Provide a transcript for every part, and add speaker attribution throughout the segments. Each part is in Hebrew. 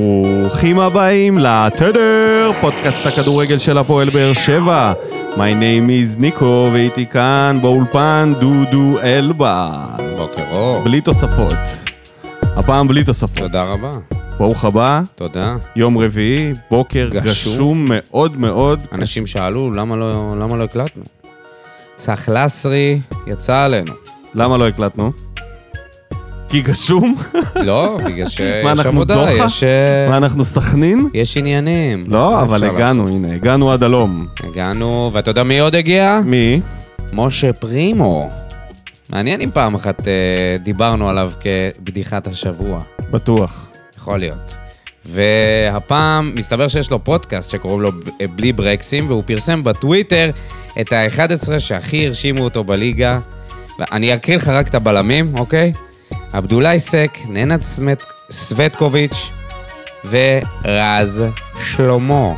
Speaker 1: ברוכים הבאים לתדר, פודקאסט הכדורגל של הפועל באר שבע. My name is ניקו, ואיתי כאן באולפן דודו אלבה.
Speaker 2: בוקר אור.
Speaker 1: בלי תוספות. הפעם בלי תוספות.
Speaker 2: תודה רבה.
Speaker 1: ברוך הבא,
Speaker 2: תודה.
Speaker 1: יום רביעי, בוקר
Speaker 2: גשום.
Speaker 1: גשום מאוד מאוד.
Speaker 2: אנשים שאלו למה לא, למה לא הקלטנו. צח לסרי יצא עלינו.
Speaker 1: למה לא הקלטנו? כי גשום?
Speaker 2: לא, בגלל
Speaker 1: מה,
Speaker 2: שיש
Speaker 1: אנחנו
Speaker 2: עבודה,
Speaker 1: דוחה?
Speaker 2: יש, אה,
Speaker 1: מה, אנחנו סכנין?
Speaker 2: יש עניינים.
Speaker 1: לא,
Speaker 2: מה
Speaker 1: אבל
Speaker 2: אפשר
Speaker 1: הגענו,
Speaker 2: לעשות?
Speaker 1: הנה, הגענו עד הלום.
Speaker 2: הגענו, ואתה יודע מי עוד הגיע?
Speaker 1: מי?
Speaker 2: משה פרימו. מעניין אם פעם אחת אה, דיברנו עליו כבדיחת השבוע.
Speaker 1: בטוח.
Speaker 2: יכול להיות. והפעם מסתבר שיש לו פודקאסט שקוראים לו ב- בלי ברקסים, והוא פרסם בטוויטר את ה-11 שהכי הרשימו אותו בליגה. אני אקריא לך רק את הבלמים, אוקיי? עבדולאי סק, ננת סמט, סווטקוביץ' ורז שלמה.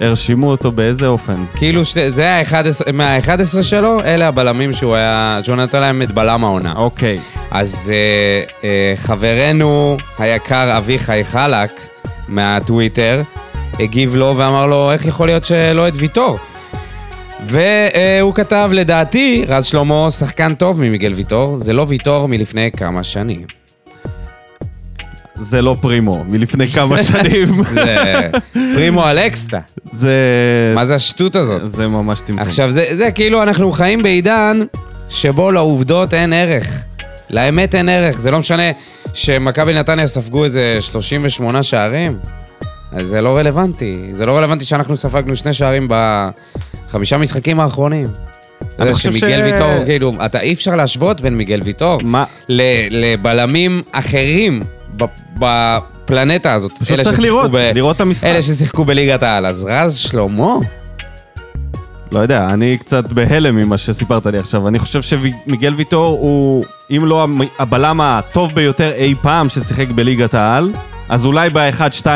Speaker 1: הרשימו אותו באיזה אופן?
Speaker 2: כאילו, ש... זה ה-11, מה-11 שלו, אלה הבלמים שהוא היה, שהוא נתן להם את בלם העונה.
Speaker 1: אוקיי.
Speaker 2: אז אה, אה, חברנו היקר אביחי חלק מהטוויטר הגיב לו ואמר לו, איך יכול להיות שלא את ויטור? והוא כתב, לדעתי, רז שלמה שחקן טוב ממיגל ויטור, זה לא ויטור מלפני כמה שנים.
Speaker 1: זה לא פרימו, מלפני כמה שנים.
Speaker 2: זה פרימו אלקסטה,
Speaker 1: זה...
Speaker 2: מה זה השטות הזאת?
Speaker 1: זה ממש טמטום.
Speaker 2: עכשיו, זה, זה כאילו, אנחנו חיים בעידן שבו לעובדות אין ערך. לאמת אין ערך. זה לא משנה שמכבי נתניה ספגו איזה 38 שערים, אז זה לא רלוונטי. זה לא רלוונטי שאנחנו ספגנו שני שערים בחמישה משחקים האחרונים.
Speaker 1: אני
Speaker 2: זה
Speaker 1: חושב
Speaker 2: שמיגל
Speaker 1: ש-
Speaker 2: ויטור, כאילו, אתה אי אפשר להשוות בין מיגל ויטור
Speaker 1: מה?
Speaker 2: ל- לבלמים אחרים ב- בפלנטה הזאת.
Speaker 1: פשוט
Speaker 2: אלה
Speaker 1: צריך
Speaker 2: ששיחקו
Speaker 1: לראות, לראות את המשחק.
Speaker 2: אלה ששיחקו בליגת העל. אז רז שלמה?
Speaker 1: לא יודע, אני קצת בהלם ממה שסיפרת לי עכשיו. אני חושב שמיגל ויטור הוא, אם לא המ- הבלם הטוב ביותר אי פעם ששיחק בליגת העל, אז אולי ב-1-2.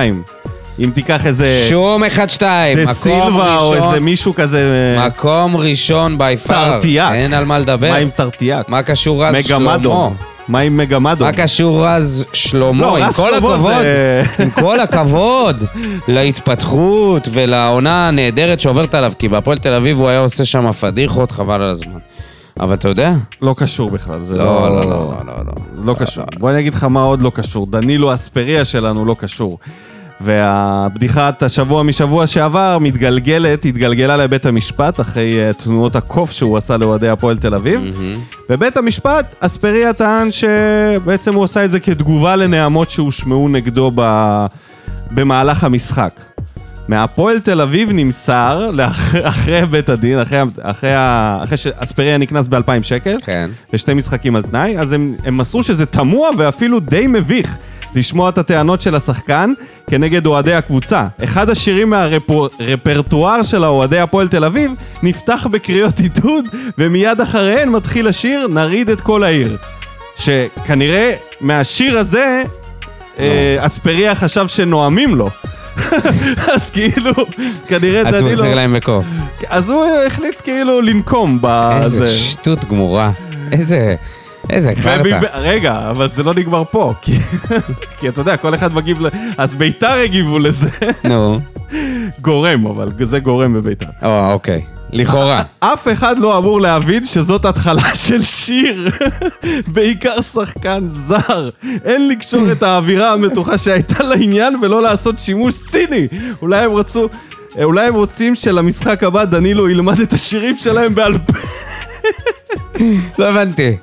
Speaker 1: אם תיקח איזה...
Speaker 2: שום אחד שתיים,
Speaker 1: דה
Speaker 2: מקום
Speaker 1: סילבה או איזה
Speaker 2: ראשון,
Speaker 1: מישהו כזה... אה,
Speaker 2: מקום ראשון בי פאר,
Speaker 1: תרתיאק.
Speaker 2: אין על מה לדבר.
Speaker 1: מה עם תרטיאק?
Speaker 2: מה קשור רז שלמה?
Speaker 1: מגמדו. מה עם מגמדו?
Speaker 2: מה קשור רז שלמה?
Speaker 1: לא,
Speaker 2: עם
Speaker 1: רז
Speaker 2: כל
Speaker 1: שלמה
Speaker 2: הכבוד,
Speaker 1: זה-
Speaker 2: עם כל הכבוד להתפתחות ולעונה הנהדרת שעוברת עליו, כי בהפועל תל אביב הוא היה עושה שם פדיחות, חבל על הזמן. אבל אתה יודע?
Speaker 1: לא קשור בכלל, זה
Speaker 2: לא, לא, לא, לא, לא, לא.
Speaker 1: לא קשור. בוא אני אגיד לך מה עוד לא קשור. דנילו אספריה שלנו לא קשור. והבדיחת השבוע משבוע שעבר מתגלגלת, התגלגלה לבית המשפט אחרי אה, תנועות הקוף שהוא עשה לאוהדי הפועל תל אביב. בבית המשפט אספריה טען שבעצם הוא עשה את זה כתגובה לנעמות שהושמעו נגדו ב... במהלך המשחק. מהפועל תל אביב נמסר, לאח- אחרי בית הדין, אחרי, אחרי, ה- אחרי שאספריה נקנס ב-2,000 שקל,
Speaker 2: כן.
Speaker 1: לשתי משחקים על תנאי, אז הם, הם מסרו שזה תמוה ואפילו די מביך לשמוע את הטענות של השחקן כנגד אוהדי הקבוצה. אחד השירים מהרפרטואר של האוהדי הפועל תל אביב נפתח בקריאות עידוד, ומיד אחריהן מתחיל השיר "נרעיד את כל העיר". שכנראה מהשיר הזה אה, אספריה חשב שנואמים לו. אז כאילו, כנראה
Speaker 2: אז הוא
Speaker 1: דנילו...
Speaker 2: החזיר להם בקוף.
Speaker 1: אז הוא החליט כאילו לנקום בזה.
Speaker 2: איזה שטות גמורה. איזה... איזה חרטא.
Speaker 1: ומב- רגע, אבל זה לא נגמר פה, כי, כי אתה יודע, כל אחד מגיב, ל... אז ביתר הגיבו לזה,
Speaker 2: נו.
Speaker 1: גורם, אבל זה גורם בביתר.
Speaker 2: או, אוקיי. לכאורה.
Speaker 1: אף אחד לא אמור להבין שזאת התחלה של שיר, בעיקר שחקן זר. אין לקשור את האווירה המתוחה שהייתה לעניין ולא לעשות שימוש ציני. אולי הם רצו, אולי הם רוצים שלמשחק הבא דנילו ילמד את השירים שלהם בעל פה.
Speaker 2: לא הבנתי.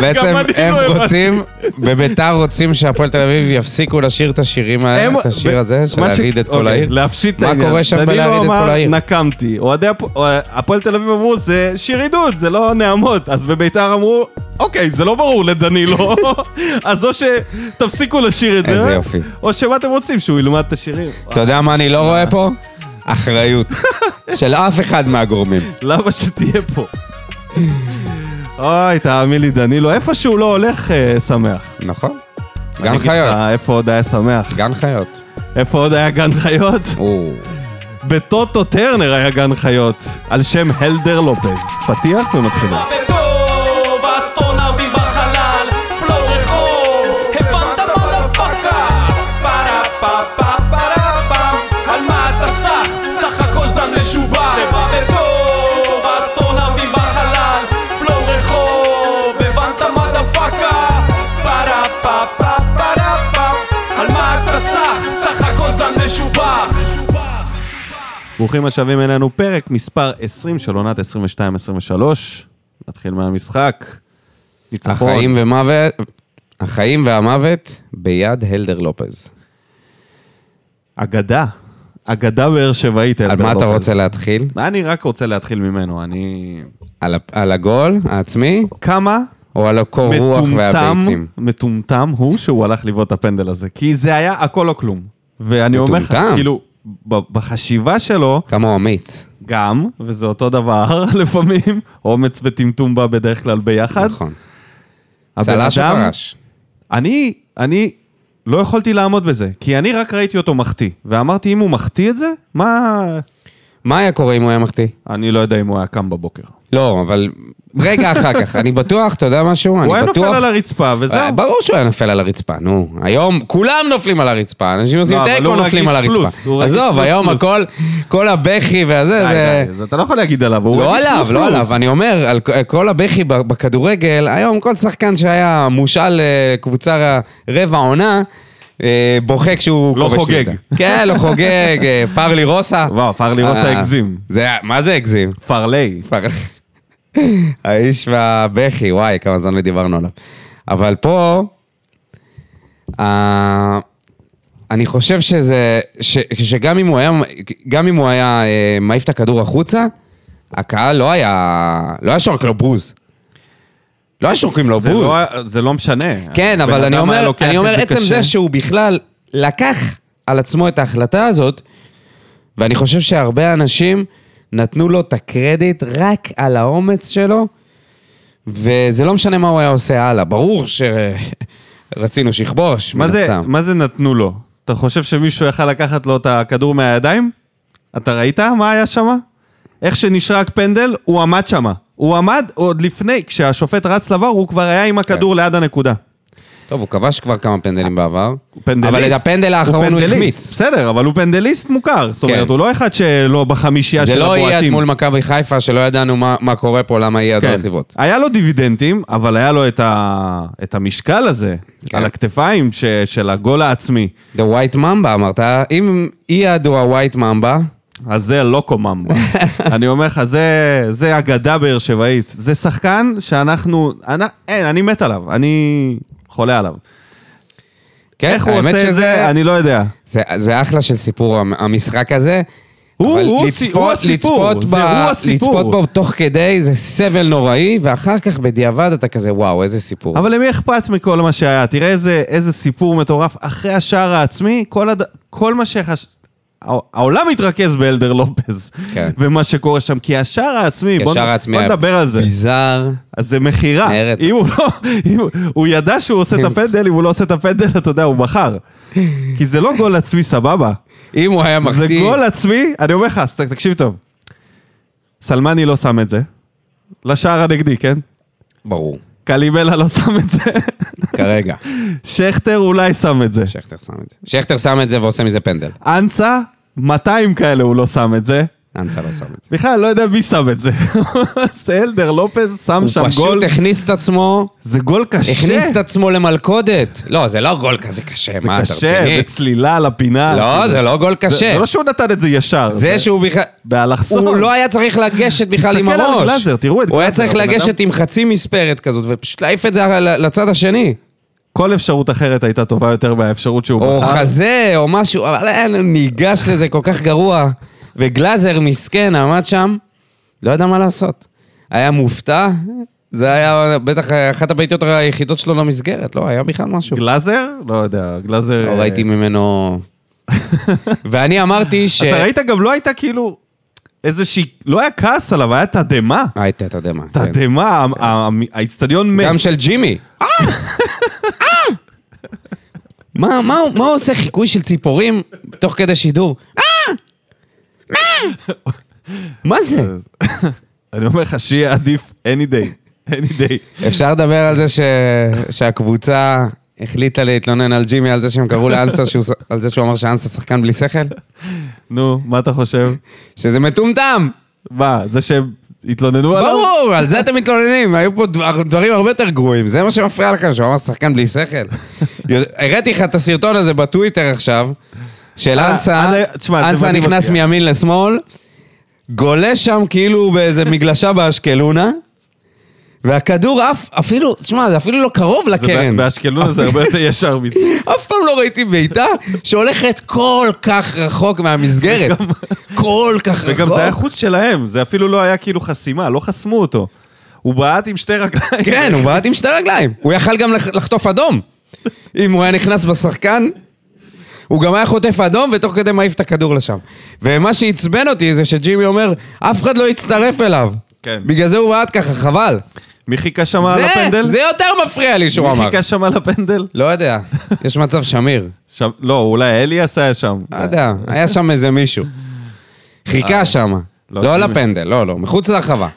Speaker 2: בעצם
Speaker 1: אני לא
Speaker 2: הם
Speaker 1: הבנתי.
Speaker 2: רוצים, בביתר רוצים שהפועל תל אביב יפסיקו לשיר את השירים האלה,
Speaker 1: הם-
Speaker 2: אה, את השיר
Speaker 1: ב-
Speaker 2: הזה, של
Speaker 1: מה ש-
Speaker 2: להרעיד את כל
Speaker 1: אוקיי,
Speaker 2: העיר.
Speaker 1: להפשיט את
Speaker 2: מה
Speaker 1: העניין.
Speaker 2: קורה שם
Speaker 1: דנילו
Speaker 2: בלהרעיד את
Speaker 1: אמר,
Speaker 2: כל העיר?
Speaker 1: נקמתי. אוהדי הפ- אה, הפועל תל אביב אמרו, זה שיר עידוד, זה לא נעמות. אז בביתר אמרו, אוקיי, זה לא ברור לדנילו. אז או שתפסיקו לשיר את זה.
Speaker 2: איזה יופי.
Speaker 1: או שמה אתם רוצים, שהוא ילמד את השירים.
Speaker 2: אתה יודע מה אני לא רואה פה? אחריות. של אף אחד מהגורמים.
Speaker 1: למה שתהיה פה? אוי, תאמין לי, דנילו, איפה שהוא לא הולך, אה, שמח.
Speaker 2: נכון.
Speaker 1: אני
Speaker 2: גן
Speaker 1: אגיד לך,
Speaker 2: חיות.
Speaker 1: איפה עוד היה שמח?
Speaker 2: גן חיות.
Speaker 1: איפה עוד היה גן חיות?
Speaker 2: או.
Speaker 1: בטוטו טרנר היה גן חיות, על שם הלדר לופז. פתיח ומתחילה.
Speaker 3: בטוב, האסטרונאוטים בחלל, פלור רחוב, הבנת מה דפקה? פרה פה פה oh,
Speaker 1: ברוכים השבים אלינו, פרק מספר 20 של עונת 22-23. נתחיל מהמשחק. ניצחון.
Speaker 2: החיים ומוות, החיים והמוות ביד הלדר לופז.
Speaker 1: אגדה. אגדה באר שבעית.
Speaker 2: על
Speaker 1: אלבר
Speaker 2: מה אתה
Speaker 1: לופז.
Speaker 2: רוצה להתחיל?
Speaker 1: אני רק רוצה להתחיל ממנו. אני...
Speaker 2: על ה- על הגול העצמי,
Speaker 1: כמה
Speaker 2: או על הקור רוח
Speaker 1: מטומטם,
Speaker 2: והביצים?
Speaker 1: מטומטם הוא שהוא הלך לבעוט את הפנדל הזה, כי זה היה הכל או כלום. ואני אומר לך,
Speaker 2: מטומטם.
Speaker 1: כאילו, ב- בחשיבה שלו,
Speaker 2: כמה הוא אמיץ.
Speaker 1: גם, וזה אותו דבר לפעמים, אומץ וטמטום בא בדרך כלל ביחד.
Speaker 2: נכון.
Speaker 1: הבן
Speaker 2: צלש או
Speaker 1: אדם-
Speaker 2: פרש?
Speaker 1: אני, אני לא יכולתי לעמוד בזה, כי אני רק ראיתי אותו מחטיא, ואמרתי, אם הוא מחטיא את זה, מה...
Speaker 2: מה היה קורה אם הוא היה מחטיא?
Speaker 1: אני לא יודע אם הוא היה קם בבוקר.
Speaker 2: לא, אבל רגע אחר כך, אני בטוח, אתה יודע משהו?
Speaker 1: הוא
Speaker 2: אני
Speaker 1: היה
Speaker 2: בטוח...
Speaker 1: נופל על הרצפה,
Speaker 2: אה,
Speaker 1: וזהו.
Speaker 2: ברור שהוא היה נופל על הרצפה, נו. היום כולם נופלים על הרצפה, אנשים עושים
Speaker 1: לא, אבל
Speaker 2: תיקו
Speaker 1: הוא
Speaker 2: נופלים על
Speaker 1: רגיש
Speaker 2: הרצפה.
Speaker 1: פלוס, הוא רגיש
Speaker 2: עזוב,
Speaker 1: פלוס
Speaker 2: היום
Speaker 1: פלוס.
Speaker 2: הכל, כל הבכי והזה,
Speaker 1: די,
Speaker 2: זה...
Speaker 1: די, אז אתה לא יכול להגיד עליו, הוא
Speaker 2: לא
Speaker 1: רגיש
Speaker 2: עליו, לא
Speaker 1: פלוס-פלוס.
Speaker 2: עליו, אני אומר, על כ- כל הבכי ב- בכדורגל, היום כל שחקן שהיה מושאל לקבוצה רבע עונה, אה, בוכה כשהוא
Speaker 1: לא
Speaker 2: כובש
Speaker 1: חוגג.
Speaker 2: נגדה. כן, לא חוגג, אה, פרלי רוסה.
Speaker 1: וואו, פרלי רוסה
Speaker 2: אה,
Speaker 1: הגזים.
Speaker 2: זה היה- מה זה הגזים?
Speaker 1: פרלי.
Speaker 2: פר- האיש והבכי, וואי, כמה זמן לא דיברנו עליו. אבל פה, אה, אני חושב שזה, ש, שגם אם הוא היה, גם אם הוא היה אה, מעיף את הכדור החוצה, הקהל לא היה, לא היה שורק לו בוז. לא היה שורקים לו
Speaker 1: זה
Speaker 2: בוז.
Speaker 1: לא, זה לא משנה.
Speaker 2: כן,
Speaker 1: הבן
Speaker 2: אבל אני
Speaker 1: אדם היה
Speaker 2: אומר,
Speaker 1: לוקח
Speaker 2: אני
Speaker 1: את
Speaker 2: אומר,
Speaker 1: זה
Speaker 2: עצם
Speaker 1: קשה.
Speaker 2: זה שהוא בכלל לקח על עצמו את ההחלטה הזאת, ואני חושב שהרבה אנשים נתנו לו את הקרדיט רק על האומץ שלו, וזה לא משנה מה הוא היה עושה הלאה. ברור שרצינו שיכבוש,
Speaker 1: מה
Speaker 2: מן
Speaker 1: זה,
Speaker 2: הסתם.
Speaker 1: מה זה נתנו לו? אתה חושב שמישהו יכל לקחת לו את הכדור מהידיים? אתה ראית מה היה שם? איך שנשרק פנדל, הוא עמד שם. הוא עמד עוד לפני, כשהשופט רץ לבר, הוא כבר היה עם הכדור
Speaker 2: כן.
Speaker 1: ליד הנקודה.
Speaker 2: טוב, הוא כבש כבר כמה פנדלים בעבר,
Speaker 1: הוא פנדליסט.
Speaker 2: אבל את הפנדל האחרון הוא
Speaker 1: פנדליסט.
Speaker 2: החמיץ.
Speaker 1: בסדר, אבל הוא פנדליסט מוכר. זאת אומרת,
Speaker 2: כן.
Speaker 1: הוא לא אחד שלא בחמישייה של
Speaker 2: זה
Speaker 1: הבועטים.
Speaker 2: לא יהיה מול מכבי חיפה, שלא ידענו מה מה קורה פה, למה יהיה הדו
Speaker 1: כן.
Speaker 2: רכיבות.
Speaker 1: היה לו דיבידנדים, אבל היה לו את, ה... את המשקל הזה,
Speaker 2: כן.
Speaker 1: על הכתפיים ש... של הגול העצמי.
Speaker 2: The White Mamba, אמרת, אם אי-ידו ה-White Mamba,
Speaker 1: אז זה לוקו ממבה. אני אומר לך, זה, זה אגדה באר שבעית. זה שחקן שאנחנו... אני, אין, אני מת עליו, אני חולה עליו.
Speaker 2: כן,
Speaker 1: איך הוא
Speaker 2: האמת
Speaker 1: עושה את זה, אני לא יודע.
Speaker 2: זה, זה אחלה של סיפור המ- המשחק הזה.
Speaker 1: הוא-
Speaker 2: אבל
Speaker 1: הוא
Speaker 2: לצפות-
Speaker 1: הסי- הוא הסיפור,
Speaker 2: לצפות
Speaker 1: זה
Speaker 2: ב-
Speaker 1: הוא הסיפור.
Speaker 2: לצפות בו תוך כדי זה סבל נוראי, ואחר כך בדיעבד אתה כזה, וואו, איזה סיפור.
Speaker 1: אבל למי אכפת מכל מה שהיה? תראה איזה, איזה סיפור מטורף. אחרי השער העצמי, כל, הד... כל מה שחש... הע- העולם התרכז באלדר לופז,
Speaker 2: כן.
Speaker 1: ומה שקורה שם, כי השער העצמי,
Speaker 2: כי
Speaker 1: בוא,
Speaker 2: השער העצמי
Speaker 1: בוא
Speaker 2: היה
Speaker 1: נדבר על זה.
Speaker 2: ביזאר.
Speaker 1: אז זה מכירה.
Speaker 2: מארץ.
Speaker 1: אם הוא לא... אם... הוא- הוא ידע שהוא עושה את הפנדל, אם הוא לא עושה את הפנדל, אתה יודע, הוא בחר. כי זה לא גול עצמי סבבה.
Speaker 2: אם הוא היה
Speaker 1: זה
Speaker 2: מחטיא,
Speaker 1: גול עצמי, אני אומר לך, אז ת- תקשיב טוב. סלמני לא שם את זה. לשער הנגדי, כן?
Speaker 2: ברור,
Speaker 1: קליבלה לא שם את זה.
Speaker 2: כרגע.
Speaker 1: שכטר אולי שם את זה.
Speaker 2: שכטר שם את זה. שכטר שם את זה ועושה מזה פנדל.
Speaker 1: אנסה, 200 כאלה הוא לא שם את זה.
Speaker 2: אנסה לא שם את זה.
Speaker 1: בכלל, לא יודע מי שם את זה. סלדר לופז שם
Speaker 2: הוא
Speaker 1: שם
Speaker 2: פשוט
Speaker 1: גול.
Speaker 2: הכניס את עצמו,
Speaker 1: זה גול קשה.
Speaker 2: הכניס את עצמו למלכודת. לא, זה לא גול כזה קשה,
Speaker 1: זה
Speaker 2: מה, אתה
Speaker 1: קשה,
Speaker 2: רציני?
Speaker 1: זה צלילה לפינה.
Speaker 2: לא, זה לא גול
Speaker 1: זה-
Speaker 2: קשה.
Speaker 1: זה לא שהוא נתן את זה ישר.
Speaker 2: זה שהוא בכלל...
Speaker 1: באלכסון.
Speaker 2: הוא לא היה צריך לגשת בכלל עם
Speaker 1: תסתכל
Speaker 2: הראש.
Speaker 1: על גלאזר, תראו את
Speaker 2: הוא היה
Speaker 1: גלאזר,
Speaker 2: צריך
Speaker 1: הבן אדם-
Speaker 2: לגשת עם חצי מספרת כזאת, ופשוט להעיף את זה ל- לצד השני.
Speaker 1: כל אפשרות אחרת הייתה טובה יותר מהאפשרות שהוא
Speaker 2: או חזה, או משהו, אבל אין, הוא ניגש לזה כל כך גרוע. וגלאזר, מסכן, עמד שם, לא ידע מה לעשות. היה מופתע, זה היה בטח אחת הבעיטות היחידות שלו למסגרת, לא, היה בכלל משהו.
Speaker 1: גלאזר? לא יודע, גלאזר...
Speaker 2: לא
Speaker 1: אה,
Speaker 2: ראיתי ממנו... ואני אמרתי ש...
Speaker 1: אתה ראית גם לא הייתה כאילו איזושהי... לא היה כעס עליו, היה תדהמה.
Speaker 2: הייתה תדהמה. כן.
Speaker 1: תדהמה, ה- ה- האיצטדיון מת.
Speaker 2: גם של ג'ימי. מה, מה, הוא- מה הוא עושה חיקוי של ציפורים תוך כדי שידור? אה! מה? מה זה?
Speaker 1: אני אומר לך שיהיה עדיף any day, any day.
Speaker 2: אפשר לדבר על זה ש... שהקבוצה החליטה להתלונן על ג'ימי על זה שהם קראו לאנסה, שהוא... ש- על זה שהוא אמר שאנסה שחקן בלי שכל?
Speaker 1: נו, מה אתה חושב?
Speaker 2: שזה מטומטם!
Speaker 1: מה, זה שהם התלוננו עליו?
Speaker 2: ברור, על זה אתם מתלוננים, היו פה דבר- דברים הרבה יותר גרועים, זה מה שמפריע לכם, שהוא אמר שחקן בלי שכל. הראיתי לך את הסרטון הזה בטוויטר עכשיו, של
Speaker 1: אה,
Speaker 2: אנסה,
Speaker 1: עד ה- תשמע, זה
Speaker 2: אנסה
Speaker 1: מדהים
Speaker 2: נכנס
Speaker 1: אותי.
Speaker 2: מימין לשמאל, גולש שם כאילו באיזה מגלשה באשקלונה, והכדור עף, אפילו, תשמע, זה אפילו לא קרוב
Speaker 1: זה בא-
Speaker 2: לקרן.
Speaker 1: באשקלון זה הרבה יותר ישר מזה.
Speaker 2: אף פעם לא ראיתי בעיטה שהולכת כל כך רחוק מהמסגרת. כל כך רחוק.
Speaker 1: וגם זה היה חוץ שלהם, זה אפילו לא היה כאילו חסימה, לא חסמו אותו. הוא בעט עם שתי רגליים.
Speaker 2: כן, הוא בעט עם שתי רגליים. הוא יכל גם לח- לחטוף אדום. אם הוא היה נכנס בשחקן, הוא גם היה חוטף אדום ותוך כדי מעיף את הכדור לשם. ומה שעצבן אותי זה שג'ימי אומר, אף אחד לא יצטרף אליו.
Speaker 1: כן.
Speaker 2: בגלל זה הוא בעט ככה, חבל.
Speaker 1: מי חיכה שם על
Speaker 2: זה,
Speaker 1: הפנדל?
Speaker 2: זה יותר מפריע לי שהוא
Speaker 1: מי
Speaker 2: אמר.
Speaker 1: חיכה שם על הפנדל?
Speaker 2: לא יודע, יש מצב שמיר.
Speaker 1: שם- לא, אולי אליאס היה שם.
Speaker 2: לא יודע, היה שם איזה מישהו. חיכה שם.
Speaker 1: לא,
Speaker 2: לא
Speaker 1: ג'ימי.
Speaker 2: לפנדל, לא, לא, מחוץ לרחבה.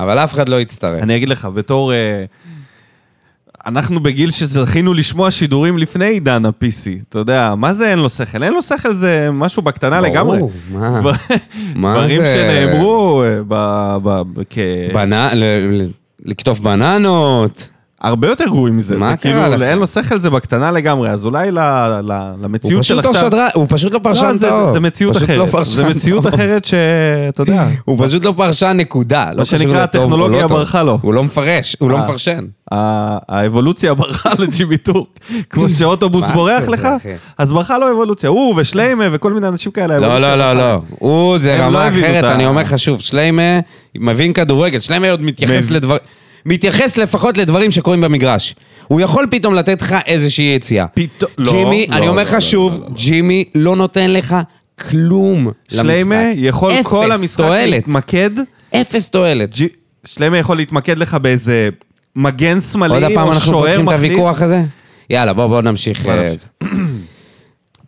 Speaker 2: אבל אף אחד לא יצטרף.
Speaker 1: אני אגיד לך, בתור... אה, אנחנו בגיל שזכינו לשמוע שידורים לפני עידן ה-PC. אתה יודע, מה זה אין לו שכל? אין לו שכל זה משהו בקטנה
Speaker 2: ברור,
Speaker 1: אה, לגמרי.
Speaker 2: מה?
Speaker 1: דבר-
Speaker 2: מה
Speaker 1: דברים
Speaker 2: זה?
Speaker 1: שנאמרו אה, ב- ב- כ...
Speaker 2: בנה- ל- ל- לקטוף בננות.
Speaker 1: הרבה יותר גרועים מזה.
Speaker 2: מה
Speaker 1: זה
Speaker 2: קרה
Speaker 1: כאילו,
Speaker 2: לך?
Speaker 1: אין לו שכל זה בקטנה לגמרי, אז אולי ל- ל-
Speaker 2: הוא
Speaker 1: למציאות של
Speaker 2: פשוט לא
Speaker 1: עכשיו...
Speaker 2: שדרן, הוא פשוט לא פרשן
Speaker 1: לא, זה-
Speaker 2: טוב.
Speaker 1: זה מציאות
Speaker 2: פשוט לא
Speaker 1: אחרת.
Speaker 2: פרשן
Speaker 1: זה מציאות
Speaker 2: טוב.
Speaker 1: אחרת שאתה יודע.
Speaker 2: הוא פשוט לא פרשן נקודה. לא קשור
Speaker 1: שנקרא,
Speaker 2: לטוב או לא
Speaker 1: הטכנולוגיה
Speaker 2: טוב.
Speaker 1: ברחה לו.
Speaker 2: הוא לא מפרש, הוא לא
Speaker 1: אה.
Speaker 2: מפרשן.
Speaker 1: ה- האבולוציה ברחה לג'ימי טורק. כמו שאוטובוס
Speaker 2: מה זה
Speaker 1: בורח
Speaker 2: זה,
Speaker 1: לך,
Speaker 2: אחי?
Speaker 1: אז ברחה לו אבולוציה. הוא ושליימה וכל מיני אנשים כאלה.
Speaker 2: לא,
Speaker 1: האבולוציה
Speaker 2: לא, לא,
Speaker 1: ברחה.
Speaker 2: לא. הוא,
Speaker 1: הם
Speaker 2: זה
Speaker 1: לא
Speaker 2: רמה
Speaker 1: הבינו
Speaker 2: אחרת,
Speaker 1: את ה-
Speaker 2: אני אומר לך שוב, שליימה מבין כדורגל, שליימה עוד מתייחס
Speaker 1: מבין.
Speaker 2: לדבר... מתייחס לפחות לדברים שקורים במגרש. הוא יכול פתאום לתת לך איזושהי יציאה.
Speaker 1: פתאום- לא,
Speaker 2: ג'ימי,
Speaker 1: לא,
Speaker 2: אני אומר
Speaker 1: לא,
Speaker 2: לך
Speaker 1: לא,
Speaker 2: שוב, ג'ימי לא נותן לך כלום לא. למשחק.
Speaker 1: שליימה יכול
Speaker 2: אפס
Speaker 1: כל המשחק
Speaker 2: תועלת.
Speaker 1: להתמקד.
Speaker 2: אפס תועלת.
Speaker 1: ג'י- שליימה יכול להתמקד לך באיזה מגן
Speaker 2: עוד
Speaker 1: שמאלי
Speaker 2: הפעם
Speaker 1: או
Speaker 2: אנחנו
Speaker 1: שוער
Speaker 2: פותחים את
Speaker 1: מחליף.
Speaker 2: הוויכוח הזה? יאללה, בואו בואו נמשיך.
Speaker 1: בוא
Speaker 2: אה,
Speaker 1: נמשיך.
Speaker 2: זה.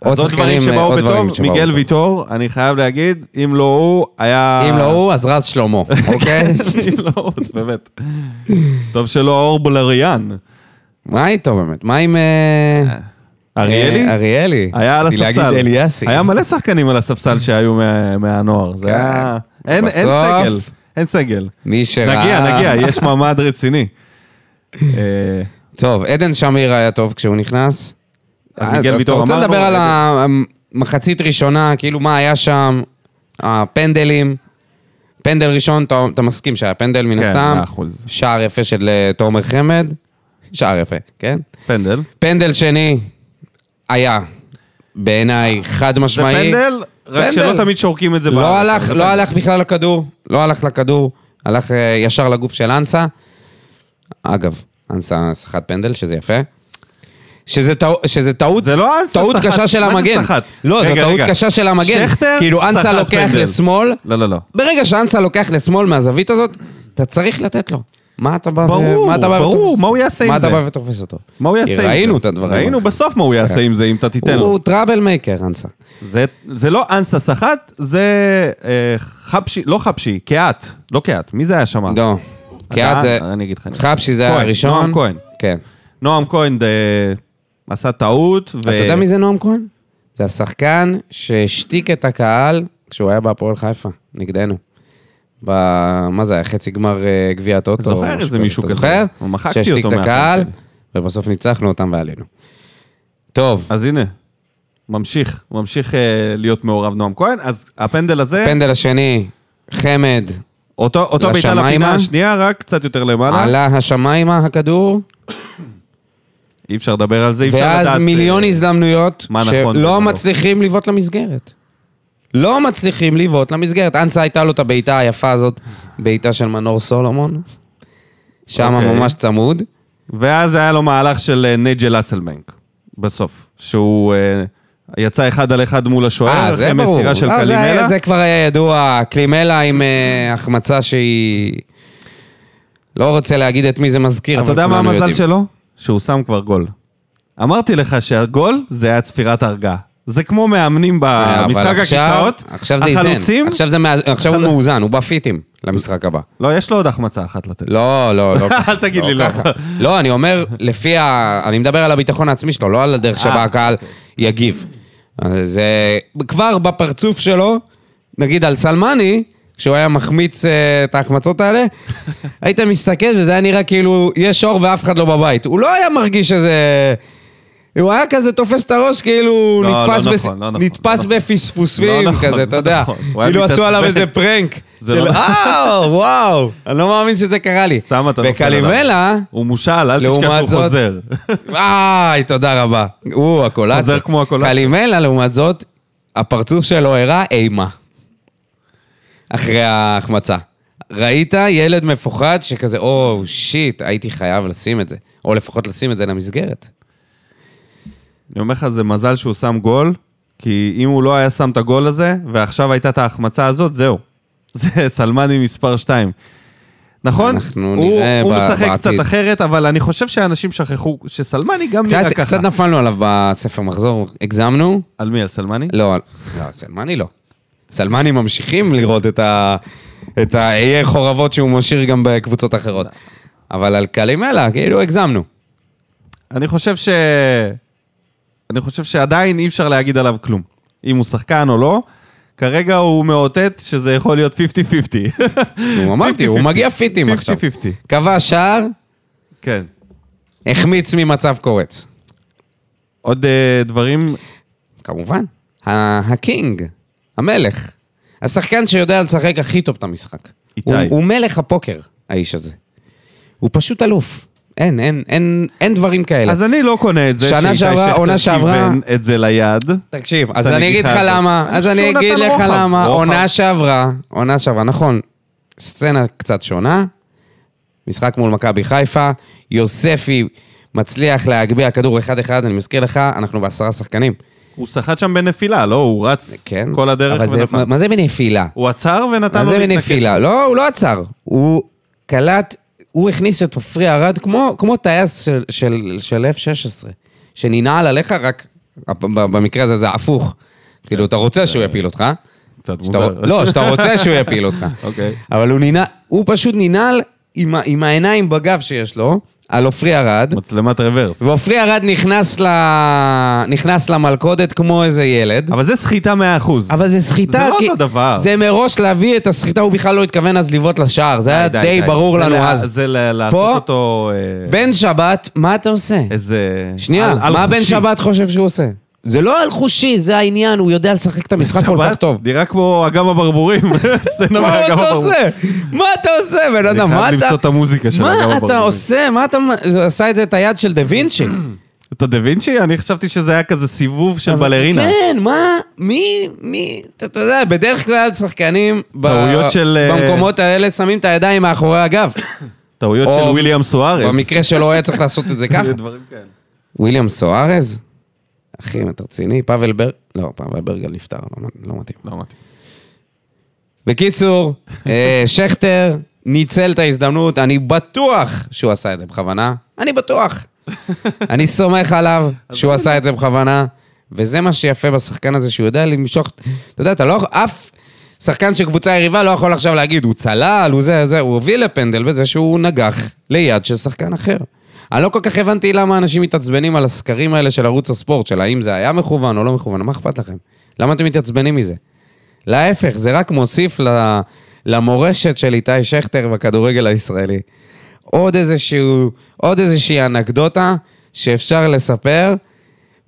Speaker 2: עוד
Speaker 1: אז עוד דברים
Speaker 2: שחקנים, אה,
Speaker 1: שבאו
Speaker 2: עוד דברים
Speaker 1: בטוב,
Speaker 2: שבאו
Speaker 1: מיגל
Speaker 2: בטוב.
Speaker 1: ויטור, אני חייב להגיד, אם לא הוא, היה...
Speaker 2: אם לא הוא, אז רז שלמה, אוקיי?
Speaker 1: אם לא הוא, אז באמת. טוב שלא אור בולריאן.
Speaker 2: מה איתו באמת? מה עם... אה,
Speaker 1: אריאלי?
Speaker 2: אה, אריאלי.
Speaker 1: היה על
Speaker 2: רציתי
Speaker 1: הספסל.
Speaker 2: להגיד אליאסי.
Speaker 1: היה מלא שחקנים על הספסל שהיו מה- מהנוער. זה
Speaker 2: כן.
Speaker 1: היה... אין אין
Speaker 2: בסוף-
Speaker 1: סגל. אין סגל.
Speaker 2: מי שראה...
Speaker 1: נגיע, נגיע, יש מעמד רציני. אה,
Speaker 2: טוב, עדן שמיר היה טוב כשהוא נכנס.
Speaker 1: אז
Speaker 2: אה,
Speaker 1: מיגל ויטור "לא,
Speaker 2: אתה
Speaker 1: אמרנו,
Speaker 2: רוצה לדבר על
Speaker 1: עדן.
Speaker 2: המחצית ראשונה, כאילו מה היה שם, הפנדלים. פנדל ראשון, אתה, אתה מסכים שהיה פנדל מן
Speaker 1: כן,
Speaker 2: הסתם.
Speaker 1: מאה אחוז.
Speaker 2: שער יפה של אה, תומר חמד. שער יפה, כן?
Speaker 1: פנדל.
Speaker 2: פנדל שני היה, בעיניי, חד
Speaker 1: זה
Speaker 2: משמעי.
Speaker 1: פנדל, רק
Speaker 2: פנדל.
Speaker 1: שלא תמיד שורקים את זה בארץ,
Speaker 2: לא
Speaker 1: אבל
Speaker 2: הלך,
Speaker 1: זה
Speaker 2: לא
Speaker 1: פנדל.
Speaker 2: הלך בכלל לכדור, לא הלך לכדור, הלך אה, ישר לגוף של אנסה. אגב, אנסה סחט פנדל, שזה יפה. שזה טעו- שזה טעות,
Speaker 1: זה לא אנסה
Speaker 2: טעות
Speaker 1: סחט.
Speaker 2: קשה של
Speaker 1: מה זה
Speaker 2: המגן.
Speaker 1: סחט?
Speaker 2: לא, זו
Speaker 1: רגע,
Speaker 2: טעות
Speaker 1: רגע.
Speaker 2: קשה של המגן.
Speaker 1: שכטר
Speaker 2: כאילו אנסה
Speaker 1: סחט
Speaker 2: לוקח
Speaker 1: פנדל.
Speaker 2: לשמאל,
Speaker 1: לא, לא, לא.
Speaker 2: ברגע שאנסה לוקח לשמאל מהזווית הזאת, אתה צריך לתת לו. מה אתה בא ו-
Speaker 1: ברור,
Speaker 2: מה אתה בא
Speaker 1: ברור,
Speaker 2: ותופס-
Speaker 1: מה הוא יעשה עם
Speaker 2: מה אתה
Speaker 1: זה?
Speaker 2: בא ותופס אותו?
Speaker 1: מה הוא יעשה עם
Speaker 2: כי
Speaker 1: זה?
Speaker 2: ראינו את הדברים. כן.
Speaker 1: ראינו בסוף מה הוא יעשה עם זה, אם אתה תיתן לו.
Speaker 2: הוא טראבל מייקר, אנסה.
Speaker 1: זה, זה לא אנסה סחט, זה אה, חפשי, לא חפשי, קהת, לא קהת, מי זה היה שם?
Speaker 2: לא. כי
Speaker 1: אתה-
Speaker 2: אז זה...
Speaker 1: אני אגיד לך, אני-
Speaker 2: חבשי זה
Speaker 1: כהן,
Speaker 2: הראשון.
Speaker 1: נועם כהן.
Speaker 2: כן.
Speaker 1: נועם כהן אה, עשה טעות, ו...
Speaker 2: אתה יודע מי זה נועם כהן? זה השחקן שהשתיק את הקהל כשהוא היה בהפועל חיפה, נגדנו. ב... מה זה היה? חצי גמר אה, גביע הטוטו.
Speaker 1: זוכר
Speaker 2: או משהו
Speaker 1: איזה
Speaker 2: כזה.
Speaker 1: מישהו
Speaker 2: אתה
Speaker 1: כזה.
Speaker 2: זוכר?
Speaker 1: הוא מחקתי
Speaker 2: שהשתיק
Speaker 1: אותו
Speaker 2: את הקהל,
Speaker 1: מהחיים
Speaker 2: ובסוף ניצחנו אותם ועלינו. טוב,
Speaker 1: אז הנה, ממשיך, ממשיך אה, להיות מעורב נועם כהן, אז הפנדל הזה,
Speaker 2: הפנדל השני, חמד,
Speaker 1: אותו, אותו בעיטה
Speaker 2: לשמיימה.
Speaker 1: לפינה השנייה, רק קצת יותר למעלה,
Speaker 2: עלה השמיימה הכדור,
Speaker 1: אי אפשר לדבר על זה, אי אפשר לדעת.
Speaker 2: ואז מיליון
Speaker 1: אה,
Speaker 2: הזדמנויות
Speaker 1: מה נכון ומה לא.
Speaker 2: שלא מצליחים לבעוט למסגרת. לא מצליחים לבעוט למסגרת. אנסה הייתה לו את הבעיטה היפה הזאת, בעיטה של מנור סולומון. שם
Speaker 1: אוקיי.
Speaker 2: ממש צמוד.
Speaker 1: ואז היה לו מהלך של אה, נייג'ל אסלבנק, בסוף, שהוא אה, יצא אחד על אחד מול השוער,
Speaker 2: אה, זה
Speaker 1: אחרי
Speaker 2: ברור.
Speaker 1: מסירה של
Speaker 2: אה, זה היה-
Speaker 1: קלימלה.
Speaker 2: זה כבר היה ידוע. קלימלה עם אה, החמצה שהיא... לא רוצה להגיד את מי זה מזכיר,
Speaker 1: אתה
Speaker 2: אבל
Speaker 1: יודע מה
Speaker 2: כולנו
Speaker 1: המזל
Speaker 2: יודעים.
Speaker 1: שלו? שהוא שם כבר גול. אמרתי לך שהגול זה היה צפירת הרגעה. זה כמו מאמנים
Speaker 2: אה, אבל
Speaker 1: במשחק
Speaker 2: עכשיו-
Speaker 1: הכיסאות,
Speaker 2: עכשיו זה איזן.
Speaker 1: החלוצים,
Speaker 2: עכשיו זה מה- עכשיו הוא מאוזן, הוא בפיטים למשחק הבא.
Speaker 1: לא, יש לו עוד החמצה אחת לתת.
Speaker 2: לא, לא, לא. ככה,
Speaker 1: אל תגיד לי לא.
Speaker 2: ככה. לא, אני אומר, לפי ה... אני מדבר על הביטחון העצמי שלו, לא על הדרך
Speaker 1: אה,
Speaker 2: שבה הקהל יגיב. אז זה כבר בפרצוף שלו, נגיד על סלמני, כשהוא היה מחמיץ אה, את ההחמצות האלה, היית מסתכל וזה היה נראה כאילו יש אור ואף אחד לא בבית. הוא לא היה מרגיש איזה... הוא היה כזה תופס את הראש, כאילו הוא
Speaker 1: לא,
Speaker 2: נתפס,
Speaker 1: לא
Speaker 2: בס-
Speaker 1: נכון, לא נכון, לא
Speaker 2: נתפס
Speaker 1: נכון.
Speaker 2: בפספוסים,
Speaker 1: לא נכון,
Speaker 2: כזה, אתה
Speaker 1: לא
Speaker 2: יודע.
Speaker 1: נכון. הוא היה
Speaker 2: כאילו עשו
Speaker 1: מתעצבן.
Speaker 2: עליו איזה פרנק.
Speaker 1: זה
Speaker 2: של
Speaker 1: לא-
Speaker 2: וואו, וואו, אני לא מאמין שזה קרה לי.
Speaker 1: סתם אתה נופל עליו.
Speaker 2: בקלימלה,
Speaker 1: הוא מושל, אל
Speaker 2: לעומת
Speaker 1: תשכח שהוא
Speaker 2: זאת-
Speaker 1: חוזר.
Speaker 2: וואי, תודה רבה. הוא, הקולציה.
Speaker 1: חוזר כמו הקולציה.
Speaker 2: קלימלה, לעומת זאת, הפרצוף שלו הראה אימה. אחרי ההחמצה. ראית ילד מפוחד שכזה, או, שיט, הייתי חייב לשים את זה. או לפחות לשים את זה למסגרת.
Speaker 1: אני אומר לך, זה מזל שהוא שם גול, כי אם הוא לא היה שם את הגול הזה, ועכשיו הייתה את ההחמצה הזאת, זהו. זה סלמני מספר 2. נכון?
Speaker 2: אנחנו
Speaker 1: הוא,
Speaker 2: נראה
Speaker 1: הוא
Speaker 2: ב-
Speaker 1: משחק
Speaker 2: בעתיד.
Speaker 1: קצת אחרת, אבל אני חושב שאנשים שכחו שסלמני גם נראה
Speaker 2: קצת,
Speaker 1: ככה.
Speaker 2: קצת נפלנו עליו בספר מחזור, הגזמנו?
Speaker 1: על מי? על סלמני?
Speaker 2: לא, על- לא, סלמני לא. סלמני ממשיכים לראות את ה... את האיי חורבות שהוא משאיר גם בקבוצות אחרות. אבל על קלימלה, כאילו, הגזמנו.
Speaker 1: אני חושב ש... אני חושב שעדיין אי אפשר להגיד עליו כלום. אם הוא שחקן או לא, כרגע הוא מאותת שזה יכול להיות 50-50.
Speaker 2: נו, אמרתי, הוא
Speaker 1: 50-50.
Speaker 2: מגיע פיטים עכשיו.
Speaker 1: 50-50.
Speaker 2: קבע שער,
Speaker 1: כן.
Speaker 2: החמיץ ממצב קורץ.
Speaker 1: עוד אה, דברים?
Speaker 2: כמובן. ה- הקינג, המלך. השחקן שיודע לשחק הכי טוב את המשחק.
Speaker 1: איתי.
Speaker 2: הוא, הוא מלך הפוקר, האיש הזה. הוא פשוט אלוף. אין, אין, אין, אין דברים כאלה.
Speaker 1: אז אני לא קונה את זה
Speaker 2: שנה
Speaker 1: שאיתי
Speaker 2: שעברה,
Speaker 1: שכטר
Speaker 2: עונה שעברה-
Speaker 1: כיוון את זה ליד.
Speaker 2: תקשיב,
Speaker 1: את
Speaker 2: אז אני אגיד
Speaker 1: הנגיחה
Speaker 2: לך
Speaker 1: הזאת.
Speaker 2: למה,
Speaker 1: אני
Speaker 2: אז
Speaker 1: חושב
Speaker 2: אני
Speaker 1: שהוא
Speaker 2: אגיד
Speaker 1: נתן
Speaker 2: לך
Speaker 1: רוחב,
Speaker 2: למה,
Speaker 1: רוחב.
Speaker 2: עונה שעברה, עונה שעברה, נכון, סצנה קצת שונה, משחק מול מכבי חיפה, יוספי מצליח להגביה כדור אחד-אחד, אני מזכיר לך, אנחנו בעשרה שחקנים.
Speaker 1: הוא סחט שם בנפילה, לא? הוא רץ
Speaker 2: כן?
Speaker 1: כל הדרך
Speaker 2: אבל זה-
Speaker 1: ונפל.
Speaker 2: מה- מה זה בנפילה?
Speaker 1: הוא עצר ונתן
Speaker 2: מה
Speaker 1: לו
Speaker 2: זה
Speaker 1: להתנקש.
Speaker 2: בנפילה? לא, הוא לא עצר. הוא קלט, הוא הכניס את עופרי ארד כמו, כמו טייס של, של, של F-16, שננעל עליך, רק ב- במקרה הזה זה הפוך. כאילו, אתה רוצה שהוא יפיל אותך.
Speaker 1: קצת
Speaker 2: שאתה-
Speaker 1: מוזר.
Speaker 2: לא, שאתה רוצה שהוא יפיל אותך.
Speaker 1: אוקיי.
Speaker 2: אבל הוא ננעל, הוא פשוט ננעל עם, ה- עם העיניים בגב שיש לו, על עופרי ארד.
Speaker 1: מצלמת רוורס.
Speaker 2: ועופרי ארד נכנס, ל... נכנס למלכודת כמו איזה ילד.
Speaker 1: אבל זה סחיטה 100%.
Speaker 2: אבל זה סחיטה,
Speaker 1: זה לא
Speaker 2: כי-
Speaker 1: אותו דבר.
Speaker 2: זה מראש להביא את הסחיטה, הוא בכלל לא התכוון אז לבעוט לשער, זה היה
Speaker 1: די,
Speaker 2: די
Speaker 1: אה, די.
Speaker 2: ברור
Speaker 1: זה לא-
Speaker 2: לנו
Speaker 1: לה-
Speaker 2: אז.
Speaker 1: זה ל-
Speaker 2: פה-
Speaker 1: לעשות אותו... אה,
Speaker 2: בן שבת, מה אתה עושה?
Speaker 1: איזה...
Speaker 2: שנייה,
Speaker 1: על- על
Speaker 2: מה בן
Speaker 1: חושי.
Speaker 2: שבת חושב שהוא עושה? זה לא על חושי, זה העניין, הוא יודע לשחק את המשחק כל כך
Speaker 1: שבת?
Speaker 2: טוב.
Speaker 1: נראה כמו אגם הברבורים. סצנה
Speaker 2: מה
Speaker 1: מאגם
Speaker 2: אתה
Speaker 1: הברבורים.
Speaker 2: עושה? מה אתה עושה, בן
Speaker 1: אני
Speaker 2: אדם?
Speaker 1: חייב
Speaker 2: מה אתה...
Speaker 1: למצוא את המוזיקה של אגם
Speaker 2: מה
Speaker 1: הברבורים.
Speaker 2: אתה עושה? מה אתה... זה עשה את זה את היד של דה וינצ'י.
Speaker 1: אתה דה וינצ'י? אני חשבתי שזה היה כזה סיבוב של בלרינה.
Speaker 2: כן, מה? מי... מי... אתה אתה יודע, בדרך כלל שחקנים... ב-
Speaker 1: טעויות של, אה,
Speaker 2: במקומות האלה שמים את הידיים מאחורי הגב.
Speaker 1: טעויות
Speaker 2: או-
Speaker 1: של וויליאם סוארס.
Speaker 2: במקרה שלו היה צריך לעשות את זה ככה.
Speaker 1: זה דברים כאלה.
Speaker 2: וויליאם סוארז? אחי, אם אתה רציני, פאבל ברג... לא, פאבל ברגל נפטר, לא, מ- לא מתאים.
Speaker 1: לא מתאים.
Speaker 2: בקיצור, אה, שכטר ניצל את ההזדמנות, אני בטוח שהוא עשה את זה בכוונה. אני בטוח. אני סומך עליו שהוא עשה את זה בכוונה, וזה מה שיפה בשחקן הזה, שהוא יודע למשוך... אתה יודע, אתה לא... אף שחקן של קבוצה יריבה לא יכול עכשיו להגיד, הוא צלל, הוא זה, זה, הוא הוביל לפנדל בזה שהוא נגח ליד של שחקן אחר. אני לא כל כך הבנתי למה אנשים מתעצבנים על הסקרים האלה של ערוץ הספורט, של האם זה היה מכוון או לא מכוון, מה אכפת לכם? למה אתם מתעצבנים מזה? להפך, זה רק מוסיף ל- למורשת של איתי שכטר בכדורגל הישראלי. עוד איזשהו, עוד איזושהי אנקדוטה שאפשר לספר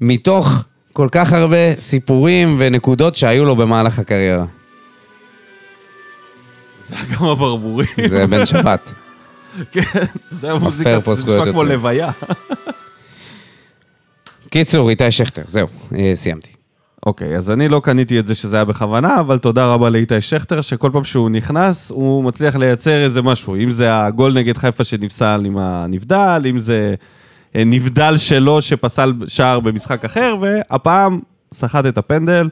Speaker 2: מתוך כל כך הרבה סיפורים ונקודות שהיו לו במהלך הקריירה.
Speaker 1: אגם הברבורים.
Speaker 2: זה בן שבת.
Speaker 1: כן, זה המוזיקה.
Speaker 2: פה
Speaker 1: זה
Speaker 2: זכויות
Speaker 1: נשמע כמו
Speaker 2: יוצרים.
Speaker 1: לוויה.
Speaker 2: קיצור, איתי שכטר, זהו, אה, סיימתי.
Speaker 1: אוקיי, אז אני לא קניתי את זה שזה היה בכוונה, אבל תודה רבה לאיתי שכטר, שכל פעם שהוא נכנס, הוא מצליח לייצר איזה משהו. אם זה הגול נגד חיפה שנפסל עם הנבדל, אם זה אה, נבדל שלו שפסל שער במשחק אחר, והפעם סחט את הפנדל.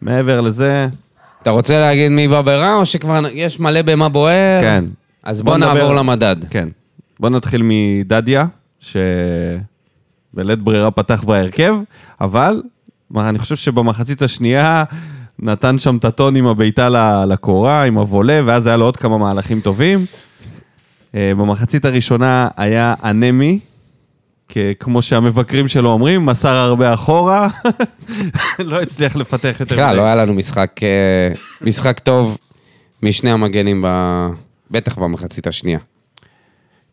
Speaker 1: מעבר לזה,
Speaker 2: אתה רוצה להגיד מי בא ברע, או שכבר יש מלא במה בוער?
Speaker 1: כן.
Speaker 2: אז בוא
Speaker 1: בוא נדבר.
Speaker 2: נעבור למדד.
Speaker 1: כן. בוא נתחיל מדדיה, שבלית ברירה פתח בהרכב, אבל מה, אני חושב שבמחצית השנייה נתן שם את הטון עם הבעיטה ל- לקורה, עם הוולה, ואז היה לו עוד כמה מהלכים טובים. אה, במחצית הראשונה היה אנמי, כ- כמו שהמבקרים שלו אומרים, מסר הרבה אחורה, לא הצליח לפתח יותר
Speaker 2: בכלל, לא היה לנו משחק, אה, משחק טוב משני המגנים, ב... בטח במחצית השנייה.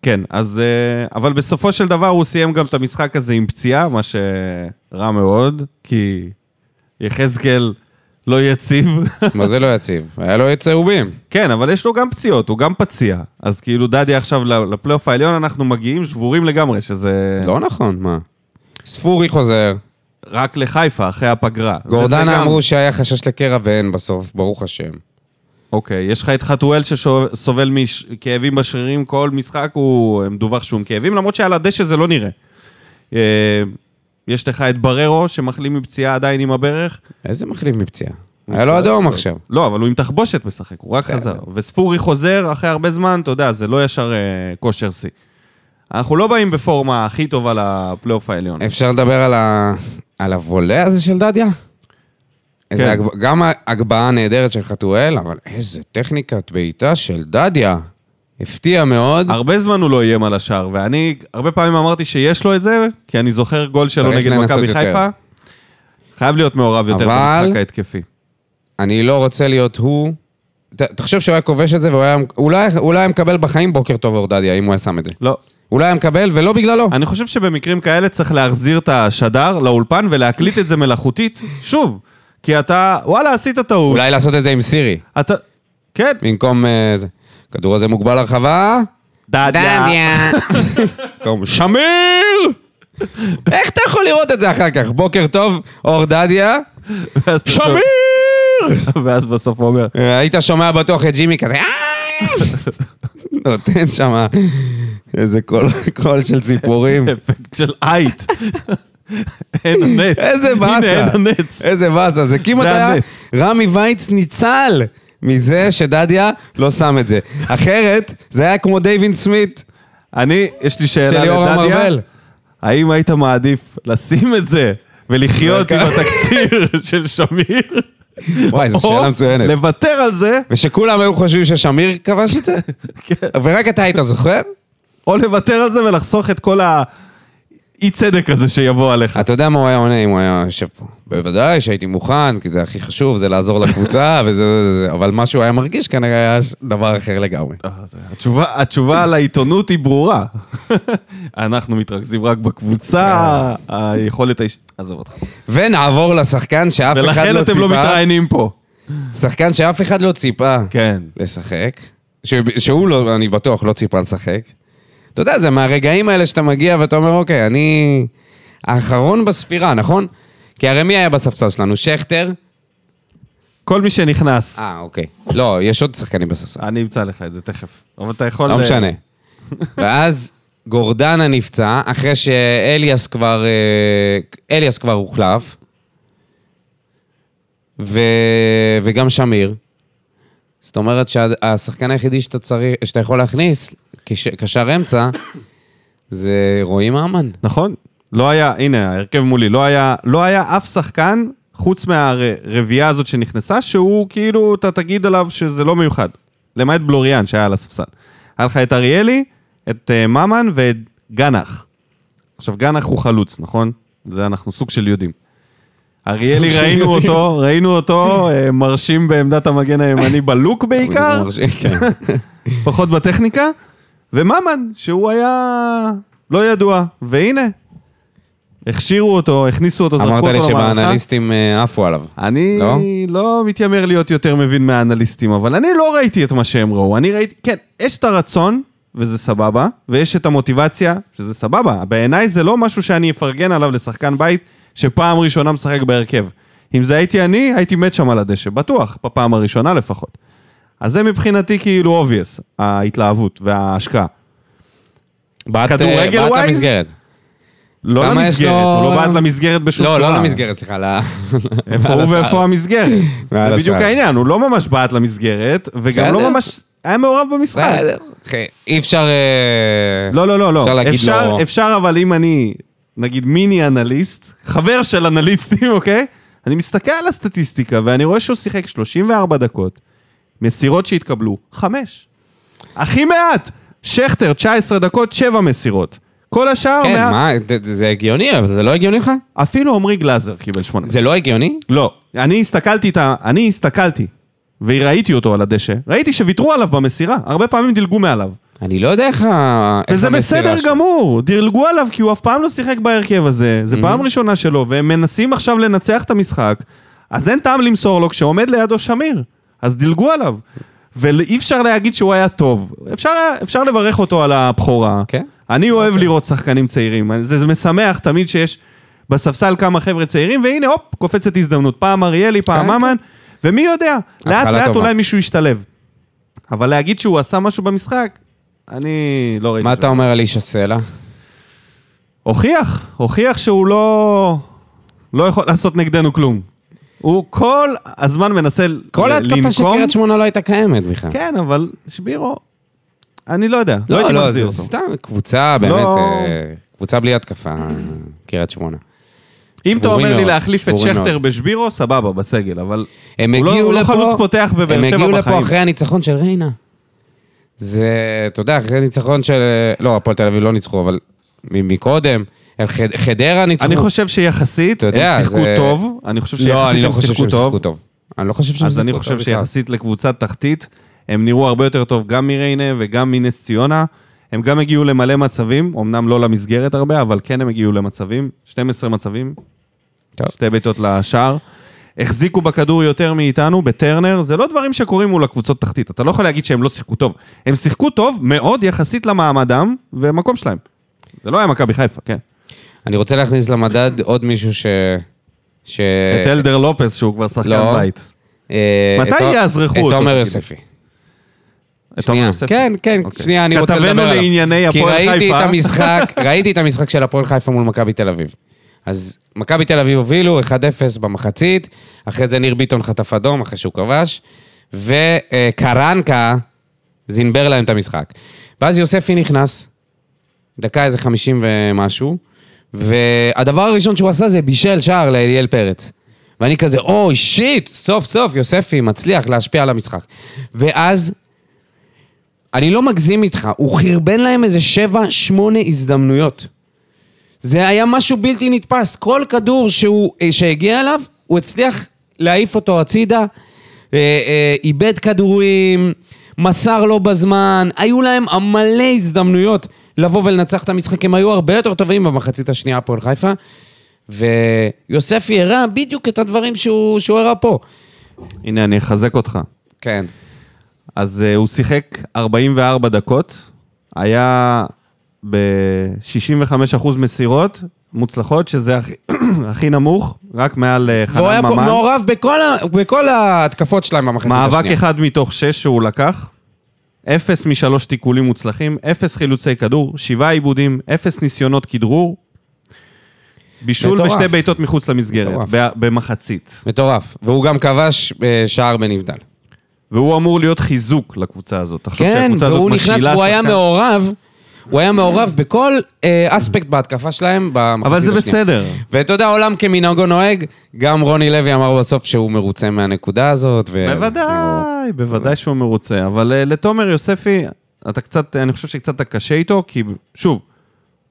Speaker 1: כן, אז... אה, אבל בסופו של דבר הוא סיים גם את המשחק הזה עם פציעה, מה שרע מאוד, כי יחזקאל לא יציב.
Speaker 2: מה זה לא יציב? היה לו את צהובים.
Speaker 1: כן, אבל יש לו גם פציעות, הוא גם פציע. אז כאילו, דדי עכשיו לפלייאוף העליון, אנחנו מגיעים שבורים לגמרי, שזה...
Speaker 2: לא נכון, מה? ספורי חוזר,
Speaker 1: רק לחיפה, אחרי הפגרה. וזה גם-
Speaker 2: גורדנה אמרו שהיה חשש לקרע ואין בסוף, ברוך השם.
Speaker 1: אוקיי, יש לך את חתואל שסובל מכאבים בשרירים כל משחק, הוא מדווח שהוא עם כאבים, למרות שעל הדשא זה לא נראה. אה, יש לך את בררו שמחלים מפציעה עדיין עם הברך.
Speaker 2: איזה מחליף מפציעה. היה לו אדום עכשיו.
Speaker 1: לא, אבל הוא עם תחבושת משחק, הוא רק
Speaker 2: בסדר.
Speaker 1: חזר. וספורי חוזר אחרי הרבה זמן, אתה יודע, זה לא ישר אה, כושר שיא. אנחנו לא באים בפורמה הכי טובה לפלייאוף העליון.
Speaker 2: אפשר לדבר על, ה... על הוולה הזה של דדיה? איזה
Speaker 1: כן.
Speaker 2: הגב... גם ההגבהה הנהדרת של חתואל, אבל איזה טכניקת בעיטה של דדיה. הפתיע מאוד.
Speaker 1: הרבה זמן הוא לא איים על השער, ואני הרבה פעמים אמרתי שיש לו את זה, כי אני זוכר גול שלו
Speaker 2: צריך
Speaker 1: נגד
Speaker 2: לנסות
Speaker 1: מכבי
Speaker 2: יותר.
Speaker 1: חיפה. חייב להיות מעורב יותר
Speaker 2: אבל-
Speaker 1: במשחק ההתקפי.
Speaker 2: אני לא רוצה להיות הוא. ת- תחשוב שהוא היה כובש את זה, והוא היה... אולי, אולי היה מקבל בחיים בוקר טוב אור דדיה, אם הוא היה שם את זה.
Speaker 1: לא.
Speaker 2: אולי היה מקבל, ולא בגללו.
Speaker 1: אני חושב שבמקרים כאלה צריך להחזיר את השדר לאולפן ולהקליט את זה מלאכותית, שוב. כי אתה, וואלה, עשית טעות.
Speaker 2: אולי לעשות את זה עם סירי,
Speaker 1: אתה... כן.
Speaker 2: במקום אה, זה. כדור הזה מוגבל הרחבה.
Speaker 1: דדיה.
Speaker 2: במקום שמיר! איך אתה יכול לראות את זה אחר כך? בוקר טוב, אור דדיה.
Speaker 1: ואז אתה שומע-
Speaker 2: שמיר!
Speaker 1: ואז בסוף הוא אומר,
Speaker 2: היית שומע בטוח את ג'ימי כזה, "אה!" נותן שם איזה קול קול של ציפורים.
Speaker 1: אפקט של אייט. אין הנץ.
Speaker 2: איזה
Speaker 1: הנה,
Speaker 2: באסה.
Speaker 1: אין הנץ.
Speaker 2: איזה באסה. זה כמעט
Speaker 1: זה
Speaker 2: היה...
Speaker 1: הנץ.
Speaker 2: רמי וייץ ניצל מזה שדדיה לא שם את זה. אחרת, זה היה כמו דייווין סמית
Speaker 1: אני, יש לי
Speaker 2: של
Speaker 1: שאלה
Speaker 2: ליאור
Speaker 1: לדדיה.
Speaker 2: המרבל.
Speaker 1: האם היית מעדיף לשים את זה ולחיות עם
Speaker 2: רגע.
Speaker 1: התקציר של שמיר?
Speaker 2: וואי, זו
Speaker 1: או
Speaker 2: שאלה מצוינת.
Speaker 1: לוותר על זה,
Speaker 2: ושכולם היו חושבים ששמיר כבש את זה?
Speaker 1: כן.
Speaker 2: ורק אתה היית זוכר?
Speaker 1: או לוותר על זה ולחסוך את כל האי צדק הזה שיבוא עליך.
Speaker 2: אתה יודע מה הוא היה עונה אם הוא היה יושב פה. בוודאי שהייתי מוכן, כי זה הכי חשוב, זה לעזור לקבוצה וזה זה זה, אבל מה שהוא היה מרגיש כנראה היה ש- דבר אחר לגמרי.
Speaker 1: אה, זה- התשובה,
Speaker 2: כן.
Speaker 1: התשובה על העיתונות היא ברורה. אנחנו מתרכזים רק בקבוצה,
Speaker 2: כן.
Speaker 1: היכולת האישית... עזוב אותך.
Speaker 2: ונעבור לשחקן שאף אחד
Speaker 1: ולכן
Speaker 2: לא
Speaker 1: אתם לא
Speaker 2: ציפה,
Speaker 1: מתראיינים פה.
Speaker 2: שחקן שאף אחד לא ציפה
Speaker 1: כן.
Speaker 2: לשחק, ש- שהוא לא, אני בטוח, לא ציפה לשחק. אתה יודע, זה מהרגעים האלה שאתה מגיע ואתה אומר, אוקיי, אני האחרון בספירה, נכון? כי הרי מי היה בספסל שלנו? שכטר?
Speaker 1: כל מי שנכנס,
Speaker 2: אה, אוקיי. לא, יש עוד שחקנים בספסל.
Speaker 1: אני אמצא לך את זה תכף. אבל אתה יכול...
Speaker 2: לא
Speaker 1: אה,
Speaker 2: משנה. ואז גורדנה נפצע, אחרי שאליאס כבר... אה, אליאס כבר הוחלף, ו... וגם שמיר. זאת אומרת שהשחקן היחידי שאתה, צריך, שאתה יכול להכניס, כש- קשר אמצע, זה רועי ממן.
Speaker 1: נכון. לא היה, הנה, ההרכב מולי, לא היה, לא היה אף שחקן, חוץ מהרביעייה הזאת שנכנסה, שהוא כאילו, אתה תגיד עליו שזה לא מיוחד. למעט בלוריאן שהיה על הספסל. היה לך את אריאלי, את אה, ממן ואת גנח. עכשיו, גנח הוא חלוץ, נכון? זה אנחנו סוג של יודעים. אריאלי,
Speaker 2: סוג של
Speaker 1: ראינו
Speaker 2: יודעים.
Speaker 1: אותו, ראינו אותו, אה, מרשים בעמדת המגן הימני בלוק בעיקר.
Speaker 2: כן.
Speaker 1: פחות בטכניקה, וממן, שהוא היה לא ידוע, והנה, הכשירו אותו, הכניסו אותו, זרקו
Speaker 2: אמרת
Speaker 1: אותו
Speaker 2: לי
Speaker 1: למערכה.
Speaker 2: שבאנליסטים אה, עפו עליו.
Speaker 1: אני
Speaker 2: לא?
Speaker 1: לא? לא מתיימר להיות יותר מבין מהאנליסטים, אבל אני לא ראיתי את מה שהם ראו. אני ראיתי, כן, יש את הרצון, וזה סבבה, ויש את המוטיבציה, שזה סבבה. בעיניי זה לא משהו שאני אפרגן עליו לשחקן בית שפעם ראשונה משחק בהרכב. אם זה הייתי אני, הייתי מת שם על הדשא, בטוח, בפעם הראשונה לפחות. אז זה מבחינתי כאילו obvious, ההתלהבות וההשקעה.
Speaker 2: בעט אה,
Speaker 1: כדורגל
Speaker 2: בעט
Speaker 1: ווייז?
Speaker 2: למסגרת.
Speaker 1: לא
Speaker 2: כמה יש
Speaker 1: למסגרת,
Speaker 2: לו-
Speaker 1: הוא לא בעט למסגרת בשום
Speaker 2: לא,
Speaker 1: צורה.
Speaker 2: לא למסגרת, סליחה. ל-
Speaker 1: איפה
Speaker 2: על
Speaker 1: הוא
Speaker 2: השער.
Speaker 1: ואיפה המסגרת.
Speaker 2: מעל
Speaker 1: זה בדיוק
Speaker 2: השער.
Speaker 1: העניין, הוא לא ממש בעט למסגרת, וגם
Speaker 2: בסדר.
Speaker 1: לא ממש היה מעורב במשחק.
Speaker 2: בסדר. אחי, אה, אוקיי, אי אפשר... אה,
Speaker 1: לא, לא, לא, לא.
Speaker 2: אפשר להגיד
Speaker 1: אפשר,
Speaker 2: לו-
Speaker 1: אפשר, אבל אם אני, נגיד, מיני אנליסט, חבר של אנליסטים, אוקיי? אני מסתכל על הסטטיסטיקה, ואני רואה שהוא שיחק 34 דקות, מסירות שהתקבלו, 5. הכי מעט! שכטר, 19 דקות, 7 מסירות. כל השאר,
Speaker 2: כן,
Speaker 1: מעט.
Speaker 2: מה, זה- זה הגיוני, אבל זה לא הגיוני לך?
Speaker 1: אפילו עמרי גלאזר קיבל 8
Speaker 2: זה לא הגיוני?
Speaker 1: לא, אני הסתכלתי את ה... אני הסתכלתי, וראיתי אותו על הדשא, ראיתי שוויתרו עליו במסירה, הרבה פעמים דילגו מעליו.
Speaker 2: אני לא יודע איך ה... איך
Speaker 1: וזה
Speaker 2: המסירה
Speaker 1: בסדר
Speaker 2: שלו.
Speaker 1: גמור, דילגו עליו כי הוא אף פעם לא שיחק בהרכב הזה, זה
Speaker 2: Mm-hmm.
Speaker 1: פעם ראשונה שלו, והם מנסים עכשיו לנצח את המשחק, אז אין טעם למסור לו כשעומד לידו שמיר, אז דילגו עליו. ואי אפשר להגיד שהוא היה טוב, אפשר, אפשר לברך אותו על הבכורה.
Speaker 2: כן.
Speaker 1: אני אוהב לראות שחקנים צעירים, זה, זה משמח תמיד שיש בספסל כמה חבר'ה צעירים, והנה, הופ, קופצת הזדמנות, פעם אריאלי, פעם
Speaker 2: כן.
Speaker 1: ממן, ומי יודע,
Speaker 2: התחלה
Speaker 1: לאט לאט
Speaker 2: טובה.
Speaker 1: אולי מישהו ישתלב. אבל להגיד שהוא עשה משהו במשחק, אני לא ראיתי
Speaker 2: מה
Speaker 1: שהוא-
Speaker 2: אתה אומר על איש הסלע?
Speaker 1: הוכיח, הוכיח שהוא לא, לא יכול לעשות נגדנו כלום. הוא כל הזמן מנסה ל-
Speaker 2: כל ההתקפה של קריית שמונה לא הייתה קיימת בכלל.
Speaker 1: כן, אבל שבירו, אני לא יודע, לא, הייתי
Speaker 2: לא,
Speaker 1: מחזיר
Speaker 2: זה
Speaker 1: אותו.
Speaker 2: סתם קבוצה, באמת,
Speaker 1: לא.
Speaker 2: אה, קבוצה בלי התקפה, קריית שמונה.
Speaker 1: אם אתה
Speaker 2: שבורים
Speaker 1: אומר לי
Speaker 2: מאוד,
Speaker 1: להחליף את
Speaker 2: שבורים
Speaker 1: שכטר
Speaker 2: מאוד.
Speaker 1: בשבירו, סבבה, בסגל, אבל
Speaker 2: הם
Speaker 1: הוא לא-
Speaker 2: הגיעו
Speaker 1: הוא לא
Speaker 2: לפה,
Speaker 1: חלוץ פותח בבאר שבע
Speaker 2: הם הגיעו לפה
Speaker 1: בחיים.
Speaker 2: אחרי הניצחון של ריינה. זה, אתה יודע, אחרי הניצחון של... לא, הפועל תל אביב לא ניצחו, אבל מ- מקודם, הם חד- חדרה ניצחו.
Speaker 1: אני חושב שיחסית
Speaker 2: אתה יודע,
Speaker 1: הם שיחקו
Speaker 2: זה-
Speaker 1: טוב, אני חושב
Speaker 2: לא, אני
Speaker 1: שיחסית
Speaker 2: לא
Speaker 1: הם
Speaker 2: חושב שהם
Speaker 1: שיחקו
Speaker 2: שיחקו
Speaker 1: טוב,
Speaker 2: טוב. אני לא חושב שהם
Speaker 1: אז
Speaker 2: שיחקו
Speaker 1: אני
Speaker 2: טוב
Speaker 1: חושב
Speaker 2: בכלל.
Speaker 1: שיחסית לקבוצת תחתית, הם נראו הרבה יותר טוב גם מריינה וגם מנס ציונה. הם גם הגיעו למלא מצבים, אמנם לא למסגרת הרבה, אבל כן הם הגיעו למצבים, 12 מצבים,
Speaker 2: טוב.
Speaker 1: שתי בעיטות לשער. החזיקו בכדור יותר מאיתנו, בטרנר, זה לא דברים שקורים מול הקבוצות תחתית. אתה לא יכול להגיד שהם לא שיחקו טוב. הם שיחקו טוב מאוד יחסית למעמדם ומקום שלהם. זה לא היה מכבי חיפה, כן.
Speaker 2: אני רוצה להכניס למדד עוד מישהו ש... ש...
Speaker 1: את אלדר לופס, שהוא כבר שחקן
Speaker 2: אה, לא.
Speaker 1: בית.
Speaker 2: אה,
Speaker 1: מתי
Speaker 2: את-
Speaker 1: יאזרחו אותו,
Speaker 2: את עומר
Speaker 1: תגיד?
Speaker 2: יוספי.
Speaker 1: את
Speaker 2: שנייה.
Speaker 1: עומר יוספי.
Speaker 2: כן, כן,
Speaker 1: אוקיי.
Speaker 2: שנייה, אני רוצה לדבר עליו.
Speaker 1: כתבנו לענייני הפועל
Speaker 2: כי ראיתי
Speaker 1: חיפה.
Speaker 2: את המשחק, ראיתי את המשחק של הפועל חיפה מול מכבי תל אביב. אז מכבי תל אביב הובילו 1-0 במחצית, אחרי זה ניר ביטון חטף אדום, אחרי שהוא כבש, וקרנקה זינבר להם את המשחק. ואז יוספי נכנס, דקה איזה 50 ומשהו, והדבר הראשון שהוא עשה זה בישל שער לאליאל פרץ. ואני כזה, אוי, שיט, סוף סוף יוספי מצליח להשפיע על המשחק. ואז אני לא מגזים איתך, הוא חרבן להם איזה שבע, שמונה הזדמנויות. זה היה משהו בלתי נתפס. כל כדור שהוא, אה, שהגיע אליו, הוא הצליח להעיף אותו הצידה, אה, אה, איבד כדורים, מסר לא בזמן, היו להם מלא הזדמנויות לבוא ולנצח את המשחק. הם היו הרבה יותר טובים במחצית השנייה, הפועל חיפה. ויוספי הראה בדיוק את הדברים שהוא, שהוא הראה פה.
Speaker 1: הנה, אני אחזק אותך.
Speaker 2: כן.
Speaker 1: אז uh, הוא שיחק 44 דקות, היה ב-65% מסירות מוצלחות, שזה הכי, הכי נמוך, רק מעל uh,
Speaker 2: והוא היה
Speaker 1: חנן ממן.
Speaker 2: מעורב בכל, ה, בכל ההתקפות שלהם במחצית השנייה.
Speaker 1: מאבק אחד מתוך שש שהוא לקח, אפס משלוש תיקולים מוצלחים, אפס חילוצי כדור, שבעה עיבודים, אפס ניסיונות כדרור, בישול
Speaker 2: מטורף.
Speaker 1: ושתי בעיטות מחוץ למסגרת,
Speaker 2: מטורף.
Speaker 1: ב- במחצית.
Speaker 2: מטורף. והוא גם כבש אה, שער בנבדל.
Speaker 1: והוא אמור להיות חיזוק לקבוצה הזאת. תחשוב
Speaker 2: כן,
Speaker 1: שהקבוצה הזאת
Speaker 2: והוא נכנס,
Speaker 1: משילה
Speaker 2: והוא היה
Speaker 1: שחקן.
Speaker 2: מעורב, הוא היה מעורב בכל אה, אספקט בהתקפה שלהם במחצית
Speaker 1: אבל זה
Speaker 2: השנייה.
Speaker 1: בסדר.
Speaker 2: ואתה יודע, עולם כמנהגו נוהג, גם רוני לוי אמר בסוף שהוא מרוצה מהנקודה הזאת. ו...
Speaker 1: בוודאי,
Speaker 2: לא-
Speaker 1: בוודאי שהוא מרוצה. אבל אה, לתומר יוספי, אתה קצת, אני חושב שקצת אתה קשה איתו, כי שוב,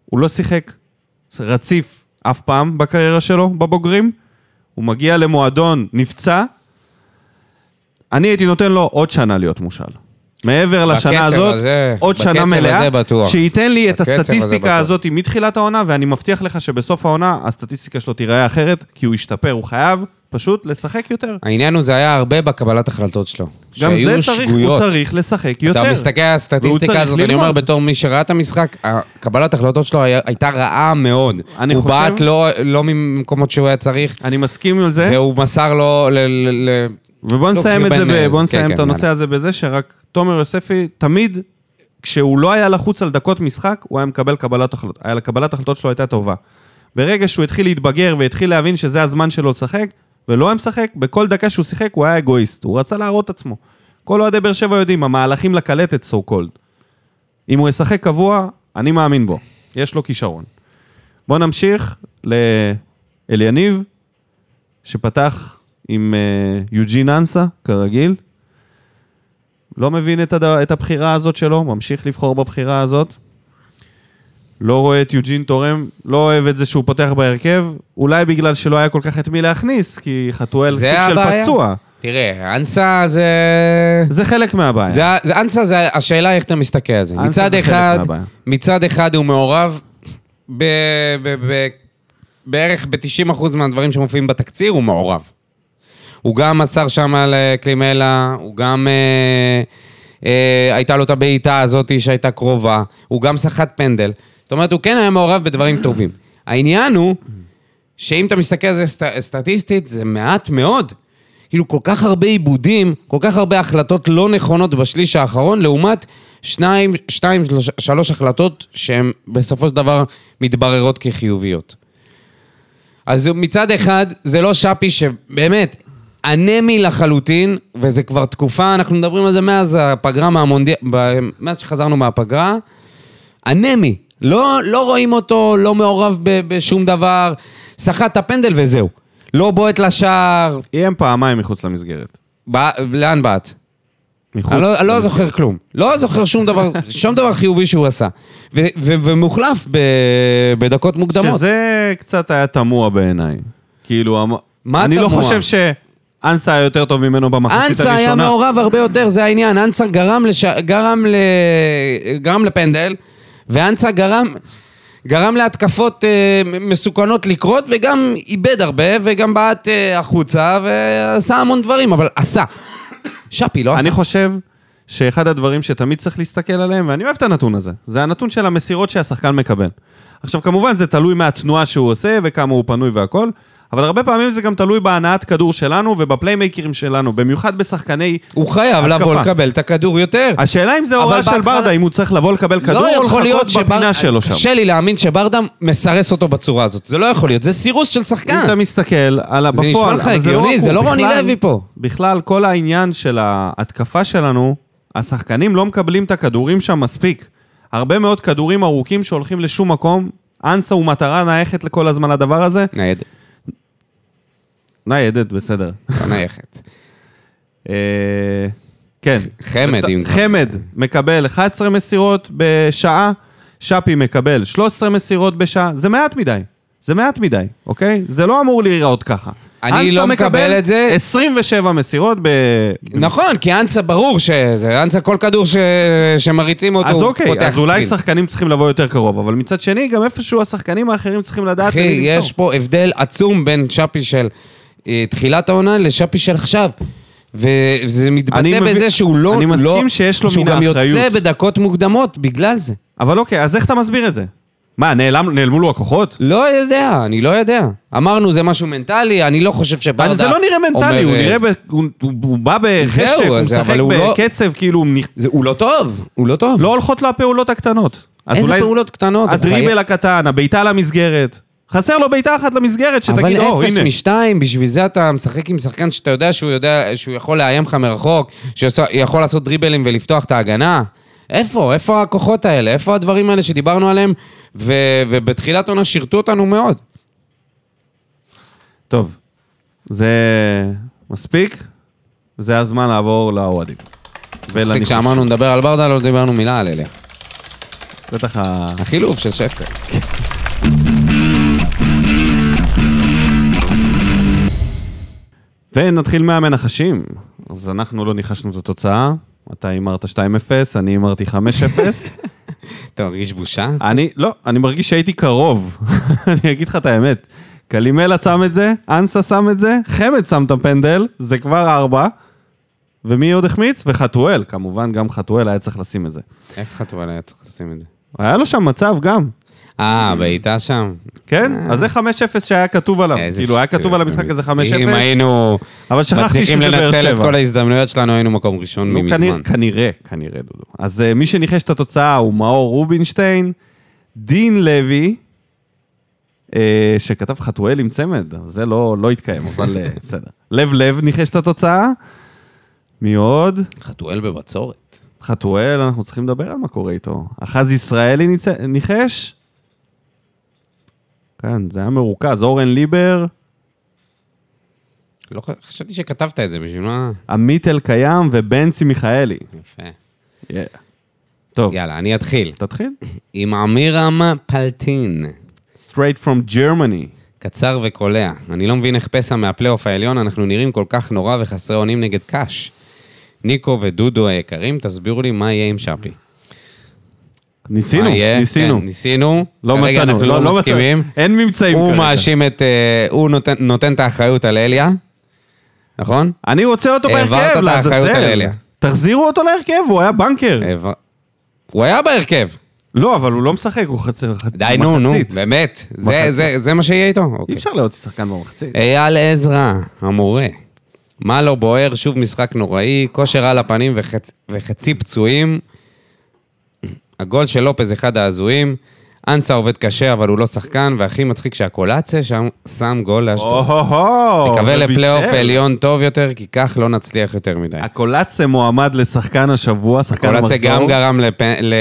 Speaker 1: הוא לא שיחק רציף אף פעם בקריירה שלו, בבוגרים. הוא מגיע למועדון, נפצע. אני הייתי נותן לו עוד שנה להיות מושל. מעבר לשנה
Speaker 2: בקצב
Speaker 1: הזאת,
Speaker 2: הזה-
Speaker 1: עוד שנה
Speaker 2: בקצב
Speaker 1: מלאה,
Speaker 2: הזה בטוח.
Speaker 1: שייתן לי את
Speaker 2: בקצב הזה
Speaker 1: הסטטיסטיקה
Speaker 2: בטוח.
Speaker 1: הזאת מתחילת העונה, ואני מבטיח לך שבסוף העונה הסטטיסטיקה שלו תיראה אחרת, כי הוא השתפר, הוא חייב פשוט לשחק יותר.
Speaker 2: העניין הוא, זה היה הרבה בקבלת החלטות שלו.
Speaker 1: גם
Speaker 2: שהיו
Speaker 1: זה צריך, הוא
Speaker 2: שגויות.
Speaker 1: צריך לשחק יותר.
Speaker 2: אתה מסתכל על
Speaker 1: והוא
Speaker 2: הסטטיסטיקה
Speaker 1: צריך
Speaker 2: הזאת, אני אומר,
Speaker 1: ללמוד.
Speaker 2: בתור מי שראה את המשחק, קבלת ההחלטות שלו היה- הייתה רעה מאוד.
Speaker 1: אני
Speaker 2: הוא
Speaker 1: חושב-
Speaker 2: בעט לא- לא ממקומות שהוא היה צריך,
Speaker 1: אני מסכים עם זה,
Speaker 2: והוא מסר לו ל... ל- ל-
Speaker 1: ובוא
Speaker 2: לא,
Speaker 1: נסיים את
Speaker 2: כאילו
Speaker 1: זה,
Speaker 2: בין-
Speaker 1: ב- בוא
Speaker 2: כן,
Speaker 1: נסיים
Speaker 2: כן,
Speaker 1: את הנושא הזה בזה שרק תומר יוספי, תמיד, כשהוא לא היה לחוץ על דקות משחק, הוא היה מקבל קבלת החלטות. היה- קבלת החלטות שלו הייתה טובה. ברגע שהוא התחיל להתבגר והתחיל להבין שזה הזמן שלו לשחק, ולא היה משחק, בכל דקה שהוא שיחק הוא היה אגואיסט, הוא רצה להראות את עצמו. כל אוהדי באר שבע יודעים, המהלכים לקלטת, so called. אם הוא ישחק קבוע, אני מאמין בו. יש לו כישרון. בואו נמשיך לאל יניב, שפתח עם אה, יוג'ין אנסה, כרגיל. לא מבין את, הד... את הבחירה הזאת שלו, ממשיך לבחור בבחירה הזאת. לא רואה את יוג'ין תורם, לא אוהב את זה שהוא פותח בהרכב, אולי בגלל שלא היה כל כך את מי להכניס, כי חתואל סוג
Speaker 2: זה
Speaker 1: של
Speaker 2: הבעיה.
Speaker 1: פצוע.
Speaker 2: תראה, אנסה זה...
Speaker 1: זה חלק מהבעיה.
Speaker 2: זה, זה אנסה זה השאלה איך אתה מסתכל על זה.
Speaker 1: אנסה
Speaker 2: מצד
Speaker 1: זה חלק
Speaker 2: אחד,
Speaker 1: מהבעיה.
Speaker 2: מצד אחד הוא מעורב ב, ב, ב, בערך ב-90% מהדברים שמופיעים בתקציר, הוא מעורב. הוא גם מסר שם על אה, קלימלה, הוא גם... אה, אה, הייתה לו את הבעיטה הזאת שהייתה קרובה, הוא גם סחט פנדל. זאת אומרת, הוא כן היה מעורב בדברים טובים. העניין הוא שאם אתה מסתכל על זה סט, סטטיסטית, זה מעט מאוד. כאילו, כל כך הרבה עיבודים, כל כך הרבה החלטות לא נכונות בשליש האחרון, לעומת שניים, שתיים, שלוש, שלוש החלטות שהן בסופו של דבר מתבררות כחיוביות. אז מצד אחד, זה לא שפי שבאמת, אנמי לחלוטין, וזה כבר תקופה, אנחנו מדברים על זה מאז הפגרה מהמונדיאל, ב- מאז שחזרנו מהפגרה, אנמי. לא, לא רואים אותו, לא מעורב ב, בשום דבר, סחט את הפנדל וזהו. לא בועט לשער,
Speaker 1: איים פעמיים מחוץ למסגרת.
Speaker 2: בא, לאן באת?
Speaker 1: מחוץ.
Speaker 2: אני לא, אני לא זוכר כלום. לא זוכר שום דבר, שום דבר חיובי שהוא עשה. ו, ו, ומוחלף ב, בדקות מוקדמות.
Speaker 1: שזה קצת היה תמוה בעיניי. כאילו, המ-
Speaker 2: מה
Speaker 1: אני לא
Speaker 2: תמוה?
Speaker 1: חושב שאנסה היה יותר טוב ממנו במחצית הראשונה.
Speaker 2: אנסה היה מעורב הרבה יותר, זה העניין. אנסה גרם, לש... גרם, ל... גרם לפנדל, ואנסה גרם... גרם להתקפות אה, מסוכנות לקרות, וגם איבד הרבה, וגם בעט אה, החוצה, ועשה המון דברים, אבל עשה. שפי לא עשה.
Speaker 1: אני חושב שאחד הדברים שתמיד צריך להסתכל עליהם, ואני אוהב את הנתון הזה, זה הנתון של המסירות שהשחקן מקבל. עכשיו, כמובן, זה תלוי מהתנועה שהוא עושה וכמה הוא פנוי והכל, אבל הרבה פעמים זה גם תלוי בהנעת כדור שלנו ובפליימייקרים שלנו, במיוחד בשחקני...
Speaker 2: הוא חייב
Speaker 1: התקפה.
Speaker 2: לבוא לקבל את הכדור יותר.
Speaker 1: השאלה אם זה
Speaker 2: אבל
Speaker 1: הוראה של
Speaker 2: בהתחלה-
Speaker 1: ברדה, אם הוא צריך לבוא לקבל כדור
Speaker 2: לא
Speaker 1: או
Speaker 2: יכול להיות
Speaker 1: לחכות בפינה שלו שם.
Speaker 2: קשה לי להאמין שברדה מסרס אותו בצורה הזאת. זה לא יכול להיות, זה סירוס של
Speaker 1: אם
Speaker 2: שחקן.
Speaker 1: אתה מסתכל על
Speaker 2: כן. זה
Speaker 1: בפועל,
Speaker 2: נשמע לך
Speaker 1: אבל
Speaker 2: הגיוני,
Speaker 1: רק
Speaker 2: זה
Speaker 1: הוא,
Speaker 2: לא רוני
Speaker 1: בכלל-
Speaker 2: לוי פה.
Speaker 1: בכלל, כל העניין של ההתקפה שלנו, השחקנים לא מקבלים את הכדורים שם מספיק. הרבה מאוד כדורים ארוכים שהולכים לשום מקום. אנסה הוא מטרה נייחת לכל הזמן לדבר הזה.
Speaker 2: ניידת,
Speaker 1: ניידת, בסדר.
Speaker 2: לא נייחת.
Speaker 1: אה, כן.
Speaker 2: חמד, אם-
Speaker 1: חמד מקבל 11 מסירות בשעה, שפי מקבל 13 מסירות בשעה, זה מעט מדי. זה מעט מדי, אוקיי? זה לא אמור להיראות ככה.
Speaker 2: אני
Speaker 1: אנסה
Speaker 2: לא מקבל את זה.
Speaker 1: 27 מסירות ב...
Speaker 2: נכון, כי אנסה ברור שזה, אנסה כל כדור ש... שמריצים אותו,
Speaker 1: אז
Speaker 2: הוא
Speaker 1: אוקיי,
Speaker 2: לא פותח
Speaker 1: אז אולי
Speaker 2: ספרינט.
Speaker 1: שחקנים צריכים לבוא יותר קרוב, אבל מצד שני, גם איפשהו השחקנים האחרים צריכים לדעת...
Speaker 2: אחי,
Speaker 1: למי למסור.
Speaker 2: יש פה הבדל עצום בין שפי של אה, תחילת העונה לשפי של עכשיו. וזה
Speaker 1: אני
Speaker 2: מתבטא
Speaker 1: מבין-
Speaker 2: בזה שהוא לא...
Speaker 1: אני מסכים
Speaker 2: לא-
Speaker 1: שיש לו
Speaker 2: שהוא
Speaker 1: מן
Speaker 2: גם יוצא
Speaker 1: האחריות.
Speaker 2: בדקות מוקדמות בגלל זה.
Speaker 1: אבל אוקיי, אז איך אתה מסביר את זה? מה, נעלם- נעלמו לו הכוחות?
Speaker 2: לא יודע, אני לא יודע. אמרנו, זה משהו מנטלי, אני לא חושב
Speaker 1: אבל
Speaker 2: שברדה...
Speaker 1: זה לא נראה מנטלי,
Speaker 2: אומר,
Speaker 1: הוא
Speaker 2: אה,
Speaker 1: נראה... ב- הוא- הוא הוא בא בחשק,
Speaker 2: זהו,
Speaker 1: הוא
Speaker 2: אז-
Speaker 1: משחק
Speaker 2: אבל הוא לא-
Speaker 1: בקצב, כאילו... הוא נכ-
Speaker 2: זה, הוא לא טוב, הוא לא טוב.
Speaker 1: לא הולכות לו הפעולות הקטנות. אז
Speaker 2: איזה
Speaker 1: אולי-
Speaker 2: פעולות קטנות?
Speaker 1: הדריבל הקטן, הבעיטה למסגרת. חסר לו בעיטה אחת למסגרת, שתגיד, או,
Speaker 2: אבל אפס
Speaker 1: הנה.
Speaker 2: משתיים, בשביל זה אתה משחק עם שחקן שאתה יודע שהוא יודע, שהוא יכול לאיים לך מרחוק, שיכול לעשות דריבלים ולפתוח את ההגנה. איפה? איפה הכוחות האלה? איפה הדברים האלה שדיברנו עליהם? ו, ובתחילת עונה שירתו אותנו מאוד.
Speaker 1: טוב, זה מספיק, זה הזמן לעבור לאוהדים.
Speaker 2: מצחיק
Speaker 1: ולניחוש.
Speaker 2: שאמרנו נדבר על ברדה, לא דיברנו מילה על אליה.
Speaker 1: בטח ה...
Speaker 2: החילוף של שפטר.
Speaker 1: ונתחיל מהמנחשים. אז אנחנו לא ניחשנו את התוצאה. אתה הימרת 2-0, אני הימרתי 5-0.
Speaker 2: אתה מרגיש בושה?
Speaker 1: אני, לא, אני מרגיש שהייתי קרוב. אני אגיד לך את האמת. קלימלה שם את זה, אנסה שם את זה, חמד שם את הפנדל, זה כבר ארבע. ומי עוד החמיץ? וחתואל, כמובן, גם חתואל היה צריך לשים את זה.
Speaker 2: איך חתואל היה צריך לשים את זה?
Speaker 1: היה לו שם מצב גם,
Speaker 2: אה, בעיטה שם.
Speaker 1: כן? אז זה 5-0 שהיה כתוב עליו.
Speaker 2: אה. איזה
Speaker 1: כאילו, היה
Speaker 2: שטויות,
Speaker 1: כתוב על המשחק
Speaker 2: באמת.
Speaker 1: הזה 5-0.
Speaker 2: אם היינו
Speaker 1: אבל שכחתי
Speaker 2: מצליחים
Speaker 1: שזה באר
Speaker 2: לנצל את
Speaker 1: שבע.
Speaker 2: כל ההזדמנויות שלנו, היינו מקום ראשון
Speaker 1: נו,
Speaker 2: מזמן.
Speaker 1: לא, כנראה, כנראה, כנראה, דודו. אז אה, מי שניחש את התוצאה הוא מאור רובינשטיין, דין לוי, אה, שכתב חתואל עם צמד, זה לא, לא התקיים, אבל אה, בסדר. לב לב ניחש את התוצאה. מי עוד?
Speaker 2: חתואל בבצורת.
Speaker 1: חתואל, אנחנו צריכים לדבר על מה קורה איתו. אחז ישראלי ניצ- ניחש? כן, זה היה מרוכז. אורן ליבר,
Speaker 2: לא ח- חשבתי שכתבת את זה, בשביל מה?
Speaker 1: עמית אלקיים ובנצי מיכאלי.
Speaker 2: יפה.
Speaker 1: Yeah. טוב,
Speaker 2: יאללה, אני אתחיל.
Speaker 1: תתחיל.
Speaker 2: עם עמירם פלטין.
Speaker 1: Straight from Germany.
Speaker 2: קצר וקולע. אני לא מבין איך פסע מהפלייאוף העליון, אנחנו נראים כל כך נורא וחסרי אונים נגד קאש. ניקו ודודו היקרים, תסבירו לי מה יהיה עם שפי.
Speaker 1: ניסינו,
Speaker 2: מה יהיה?
Speaker 1: ניסינו.
Speaker 2: כן, ניסינו.
Speaker 1: לא
Speaker 2: כרגע
Speaker 1: מצאנו,
Speaker 2: אנחנו
Speaker 1: לא-
Speaker 2: לא
Speaker 1: לא
Speaker 2: מסכימים.
Speaker 1: מצאנו. אין ממצאים
Speaker 2: הוא
Speaker 1: כרגע.
Speaker 2: מאשים את... אה, הוא נותן- נותן את האחריות על אליה, נכון?
Speaker 1: אני רוצה אותו
Speaker 2: העברת
Speaker 1: בהרכב,
Speaker 2: את האחריות על
Speaker 1: לעזאזל.
Speaker 2: אליה. אה.
Speaker 1: תחזירו אותו להרכב, הוא היה בנקר.
Speaker 2: העבר- הוא היה בהרכב.
Speaker 1: לא, אבל הוא לא משחק, הוא חצי...
Speaker 2: די, נו, נו, באמת. זה-
Speaker 1: מחצית.
Speaker 2: זה- זה מה שיהיה איתו?
Speaker 1: אי
Speaker 2: אוקיי.
Speaker 1: אפשר להוציא שחקן במחצית.
Speaker 2: אייל עזרא, המורה. מה לא בוער? שוב משחק נוראי, כושר על הפנים וחצ... וחצי פצועים. הגול של לופז אחד ההזויים. אנסה עובד קשה, אבל הוא לא שחקן, והכי מצחיק שהקולציה שם שם גול לאשדוד.
Speaker 1: או-הו-הו,
Speaker 2: נקווה
Speaker 1: ובישל.
Speaker 2: לפלייאוף עליון טוב יותר, כי כך לא נצליח יותר מדי.
Speaker 1: הקולציה מועמד לשחקן השבוע, שחקן כן, המחזור.
Speaker 2: קולציה גם גרם לפ... ל...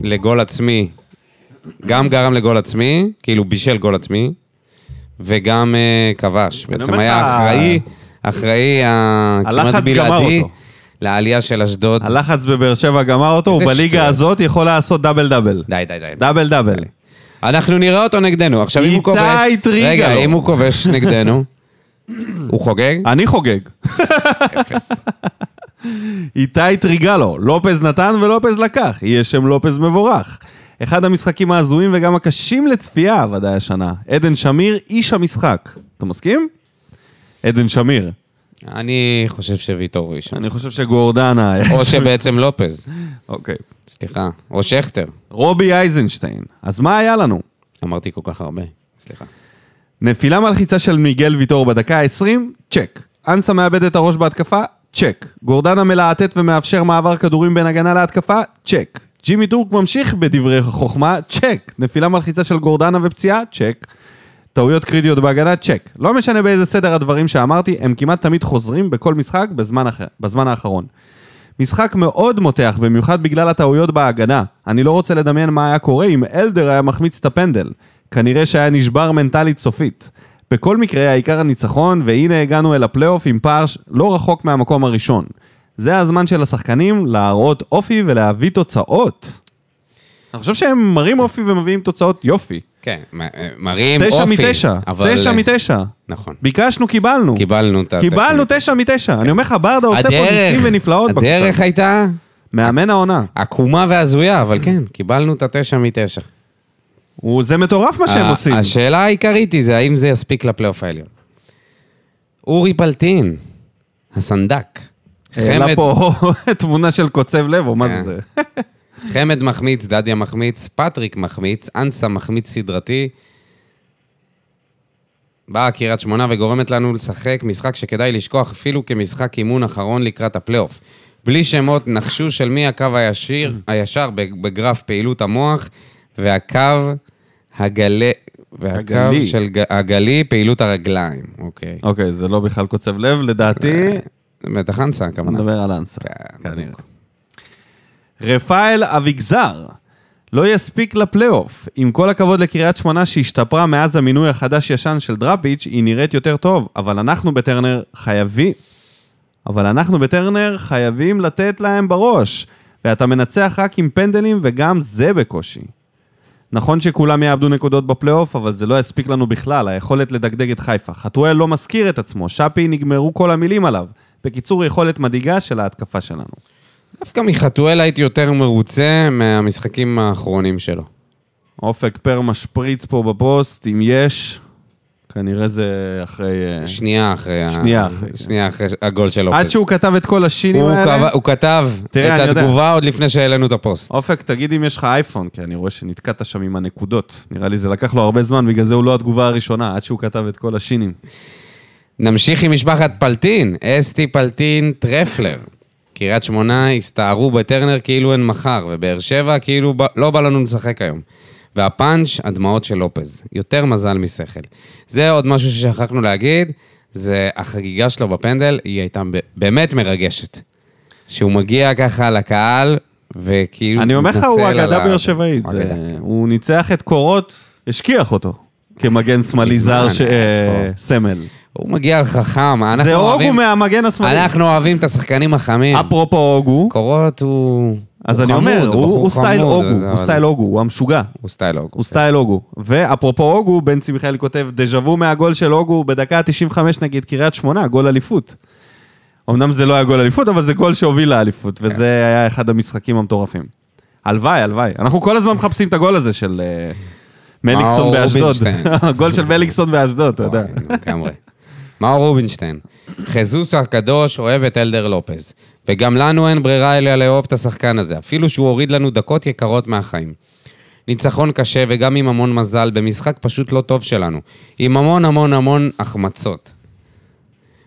Speaker 2: לגול עצמי, גם גרם לגול עצמי, כאילו בישל גול עצמי, וגם אה, כבש. בעצם
Speaker 1: אומר
Speaker 2: היה
Speaker 1: לך- אה,
Speaker 2: אחראי, אחראי ה-
Speaker 1: הלחץ
Speaker 2: כמעט
Speaker 1: גמר
Speaker 2: בלעדי
Speaker 1: אותו.
Speaker 2: לעלייה של אשדוד.
Speaker 1: הלחץ בבאר שבע גמר אותו,
Speaker 2: איזה
Speaker 1: ובליגה
Speaker 2: שטויות.
Speaker 1: הזאת יכול לעשות דאבל דאבל.
Speaker 2: די, די, די.
Speaker 1: דאבל דאבל.
Speaker 2: אנחנו נראה אותו נגדנו. עכשיו, אם הוא
Speaker 1: איתי
Speaker 2: כובש...
Speaker 1: טריגלו.
Speaker 2: רגע, אם הוא כובש נגדנו, הוא חוגג?
Speaker 1: אני חוגג.
Speaker 2: אפס.
Speaker 1: איתי טריגלו, לופז נתן ולופז לקח, יהיה שם לופז מבורך. אחד המשחקים ההזויים וגם הקשים לצפייה ודאי השנה. עדן שמיר, איש המשחק. אתה מסכים? עדן שמיר.
Speaker 2: אני חושב שוויטור הוא איש
Speaker 1: אני
Speaker 2: המשחק.
Speaker 1: חושב שגורדנה... היה
Speaker 2: או
Speaker 1: שם.
Speaker 2: שבעצם לופז,
Speaker 1: אוקיי.
Speaker 2: סליחה. או שכטר.
Speaker 1: רובי אייזנשטיין. אז מה היה לנו?
Speaker 2: אמרתי כל כך הרבה, סליחה.
Speaker 1: נפילה מלחיצה של מיגל ויטור בדקה ה-20? צ'ק. אנסה מאבד את הראש בהתקפה? צ'ק. גורדנה מלהטט ומאפשר מעבר כדורים בין הגנה להתקפה? צ'ק. ג'ימי טורק ממשיך בדברי חוכמה? צ'ק. נפילה מלחיצה של גורדנה ופציעה? צ'ק. טעויות קריטיות בהגנה? צ'ק. לא משנה באיזה סדר הדברים שאמרתי, הם כמעט תמיד חוזרים בכל משחק בזמן, אחר, בזמן האחרון. משחק מאוד מותח, במיוחד בגלל הטעויות בהגנה. אני לא רוצה לדמיין מה היה קורה אם אלדר היה מחמיץ את הפנדל. כנראה שהיה נשבר מנטלית סופית. בכל מקרה, העיקר הניצחון, והנה הגענו אל הפלייאוף עם פער ש- לא רחוק מהמקום הראשון. זה הזמן של השחקנים להראות אופי ולהביא תוצאות. אני חושב שהם מראים אופי ומביאים תוצאות יופי.
Speaker 2: כן, מ- מראים
Speaker 1: תשע
Speaker 2: אופי.
Speaker 1: מתשע,
Speaker 2: אבל- אה,
Speaker 1: תשע מתשע.
Speaker 2: נכון.
Speaker 1: ביקשנו, קיבלנו.
Speaker 2: קיבלנו את ה...
Speaker 1: קיבלנו תשע מתשע. אני אומר לך, ברדה עושה פה ניסים ונפלאות. בקבוצה.
Speaker 2: הדרך הייתה
Speaker 1: מאמן העונה.
Speaker 2: עקומה והזויה, אבל כן, קיבלנו את התשע מתשע.
Speaker 1: הוא, זה מטורף מה שהם
Speaker 2: ה-
Speaker 1: עושים.
Speaker 2: השאלה העיקרית היא זה האם זה יספיק לפלייאוף העליון. אורי פלטין, הסנדק.
Speaker 1: העלה
Speaker 2: חמד-
Speaker 1: פה תמונה של קוצב לב, או מה זה
Speaker 2: כן.
Speaker 1: זה?
Speaker 2: חמד מחמיץ, דדיה מחמיץ, פטריק מחמיץ, אנסה מחמיץ סדרתי. באה קריית שמונה וגורמת לנו לשחק משחק שכדאי לשכוח אפילו כמשחק אימון אחרון לקראת הפלייאוף. בלי שמות, נחשו של מי הקו הישיר, הישר בגרף פעילות המוח, והקו הגלי, והקו
Speaker 1: הגלי.
Speaker 2: של ג- הגלי פעילות הרגליים. אוקיי.
Speaker 1: אוקיי, זה לא בכלל קוצב לב, לדעתי,
Speaker 2: בטח אנסה הכוונה.
Speaker 1: נדבר על אנסה.
Speaker 2: אה, כן,
Speaker 1: כנראה.
Speaker 2: בדיוק.
Speaker 1: רפאל אביגזר, לא יספיק לפלייאוף. עם כל הכבוד לקריית שמונה שהשתפרה מאז המינוי החדש-ישן של דראפיץ', היא נראית יותר טוב, אבל אנחנו בטרנר חייבים... אבל אנחנו בטרנר חייבים לתת להם בראש, ואתה מנצח רק עם פנדלים, וגם זה בקושי. נכון שכולם יאבדו נקודות בפלייאוף, אבל זה לא יספיק לנו בכלל, היכולת לדגדג את חיפה. חתואל לא מזכיר את עצמו, שפי נגמרו כל המילים עליו. בקיצור, יכולת מדאיגה של ההתקפה שלנו.
Speaker 2: דווקא מחתואל הייתי יותר מרוצה מהמשחקים האחרונים שלו.
Speaker 1: אופק פר משפריץ פה בפוסט, אם יש, כנראה זה אחרי... אה,
Speaker 2: שנייה אחרי ה-
Speaker 1: שנייה אחרי. כן.
Speaker 2: שנייה אחרי הגול של לופז.
Speaker 1: עד שהוא כתב את כל השינים
Speaker 2: הוא
Speaker 1: האלה.
Speaker 2: כתב- הוא כתב
Speaker 1: תראה, אני
Speaker 2: את
Speaker 1: יודע.
Speaker 2: התגובה עוד לפני שהעלינו את הפוסט.
Speaker 1: אופק, תגיד אם יש לך אייפון, כי אני רואה שנתקעת שם עם הנקודות. נראה לי זה לקח לו הרבה זמן, בגלל זה הוא לא התגובה הראשונה, עד שהוא כתב את כל השינים.
Speaker 2: נמשיך עם משפחת פלטין, אסתי פלטין טרפלר. קריית שמונה הסתערו בטרנר כאילו אין מחר, ובאר שבע כאילו ב... לא בא לנו לשחק היום. והפאנץ', הדמעות של לופז. יותר מזל משכל. זה עוד משהו ששכחנו להגיד, זה החגיגה שלו בפנדל, היא הייתה ב- באמת מרגשת. שהוא מגיע ככה לקהל, וכאילו...
Speaker 1: אני אומר לך,
Speaker 2: מתנצל
Speaker 1: הוא
Speaker 2: על
Speaker 1: אגדה
Speaker 2: ה-
Speaker 1: באר שבעית.
Speaker 2: הוא
Speaker 1: זה-
Speaker 2: אגדה.
Speaker 1: הוא ניצח את קורות, השכיח אותו. כמגן שמאלי זר,
Speaker 2: מזמן,
Speaker 1: ש- אה,
Speaker 2: איפה?
Speaker 1: סמל.
Speaker 2: הוא מגיע חכם, אנחנו
Speaker 1: זה
Speaker 2: אוהבים...
Speaker 1: אוגו מהמגן השמאלי.
Speaker 2: אנחנו אוהבים את השחקנים החמים.
Speaker 1: אפרופו אוגו,
Speaker 2: קורות הוא...
Speaker 1: אז
Speaker 2: הוא
Speaker 1: אני אומר,
Speaker 2: חמוד, הוא
Speaker 1: הוא
Speaker 2: בחור
Speaker 1: הוא סטייל
Speaker 2: חמוד,
Speaker 1: אוגו,
Speaker 2: אז
Speaker 1: הוא
Speaker 2: אבל-
Speaker 1: סטייל אוגו, הוא המשוגע.
Speaker 2: הוא סטייל אוגו.
Speaker 1: הוא סטייל הוגו. ואפרופו הוגו, בן צמחיאל כותב, דז'ה וו מהגול של הוגו בדקה ה-95 נגד קריית שמונה, גול אליפות. אמנם זה לא היה גול אליפות, אבל זה גול שהוביל
Speaker 2: כן.
Speaker 1: לאליפות, וזה היה אחד המשחקים המטורפים. הלוואי, הלוואי. אנחנו כל הזמן מחפשים את הגול הזה של אה, מליקסון
Speaker 2: מאור
Speaker 1: באשדוד.
Speaker 2: רובינשטיין.
Speaker 1: הגול של מליקסון באשדוד, אתה יודע.
Speaker 2: וואי, לגמרי. מאור רובינשטיין, חזוס הקדוש אוהב את אלדר לופז, וגם לנו אין ברירה אלא לאהוב את השחקן הזה, אפילו שהוא הוריד לנו דקות יקרות מהחיים. ניצחון קשה וגם עם המון מזל, במשחק פשוט לא טוב שלנו, עם המון המון המון החמצות.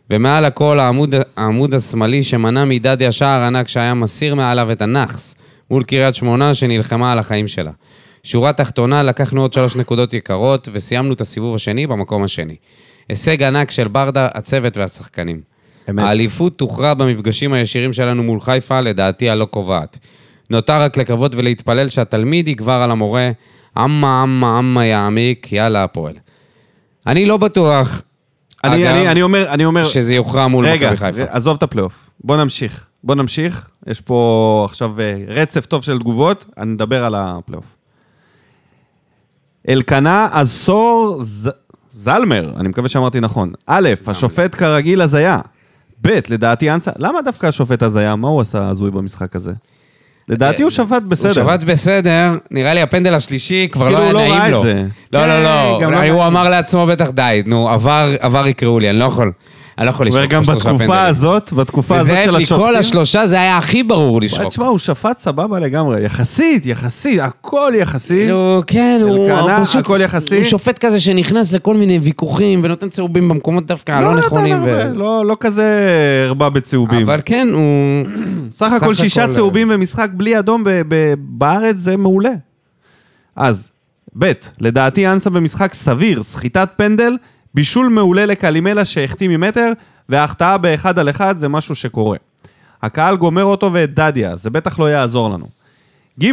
Speaker 2: ומעל הכל העמוד, העמוד השמאלי שמנע מדדיה שער ענק שהיה מסיר מעליו את הנאחס מול קריית שמונה שנלחמה על החיים שלה. שורה תחתונה, לקחנו עוד שלוש נקודות יקרות וסיימנו את הסיבוב השני במקום השני. הישג ענק של ברדה, הצוות והשחקנים.
Speaker 1: אמת.
Speaker 2: האליפות תוכרע במפגשים הישירים שלנו מול חיפה, לדעתי הלא קובעת. נותר רק לקוות ולהתפלל שהתלמיד יגבר על המורה, אממה אממה אממה יעמיק, יאללה הפועל. אני לא בטוח,
Speaker 1: אני-
Speaker 2: אגב,
Speaker 1: אני אני אומר, אני אומר...
Speaker 2: שזה יוכרע מול מכבי חיפה.
Speaker 1: רגע, עזוב את הפלייאוף. בוא נמשיך. בוא נמשיך. יש פה עכשיו אה, רצף טוב של תגובות, אני נדבר על הפלייאוף. אלקנה עשור ז... זלמר, אני מקווה שאמרתי נכון. א', השופט כרגיל הזיה. ב', לדעתי אנסה... למה דווקא השופט הזיה? מה הוא עשה הזוי במשחק הזה? לדעתי הוא שפט בסדר.
Speaker 2: אה, הוא שבת בסדר, נראה לי הפנדל השלישי כבר
Speaker 1: כאילו,
Speaker 2: לא היה
Speaker 1: הוא לא ראה
Speaker 2: נעים
Speaker 1: את
Speaker 2: לו.
Speaker 1: זה.
Speaker 2: לא, לא, לא,
Speaker 1: כן, גם לא
Speaker 2: אולי הוא
Speaker 1: ראה את
Speaker 2: אמר לעצמו בטח די, נו, עבר עבר יקראו לי, אני לא יכול, אני לא יכול לשרוק
Speaker 1: וגם
Speaker 2: פה שלושה
Speaker 1: בתקופה
Speaker 2: פנדלים.
Speaker 1: הזאת, בתקופה הזאת
Speaker 2: וזה
Speaker 1: של
Speaker 2: מכל
Speaker 1: השופטים...
Speaker 2: השלושה זה היה הכי ברור
Speaker 1: וואי,
Speaker 2: לשרוק.
Speaker 1: תשמע, הוא שפט סבבה לגמרי. יחסית, יחסית, הכל יחסי.
Speaker 2: כאילו, כן, הוא
Speaker 1: אלקנה,
Speaker 2: הוא פשוט-
Speaker 1: הכל יחסי.
Speaker 2: הוא שופט כזה שנכנס לכל מיני ויכוחים ונותן צהובים במקומות דווקא הלא
Speaker 1: נתן
Speaker 2: נכונים. ו-
Speaker 1: הרבה, לא, לא כזה הרבה בצהובים.
Speaker 2: אבל כן, הוא...
Speaker 1: סך
Speaker 2: סך
Speaker 1: הכל שישה
Speaker 2: הכל,
Speaker 1: צהובים במשחק בלי אדום ב- ב- בארץ זה מעולה. אז, ב', לדעתי אנסה במשחק סביר, סחיטת פנדל, בישול מעולה לקלימלה שהחטיא ממטר, וההחטאה באחד על אחד זה משהו שקורה. הקהל גומר אותו ואת דדיה, זה בטח לא יעזור לנו. ג',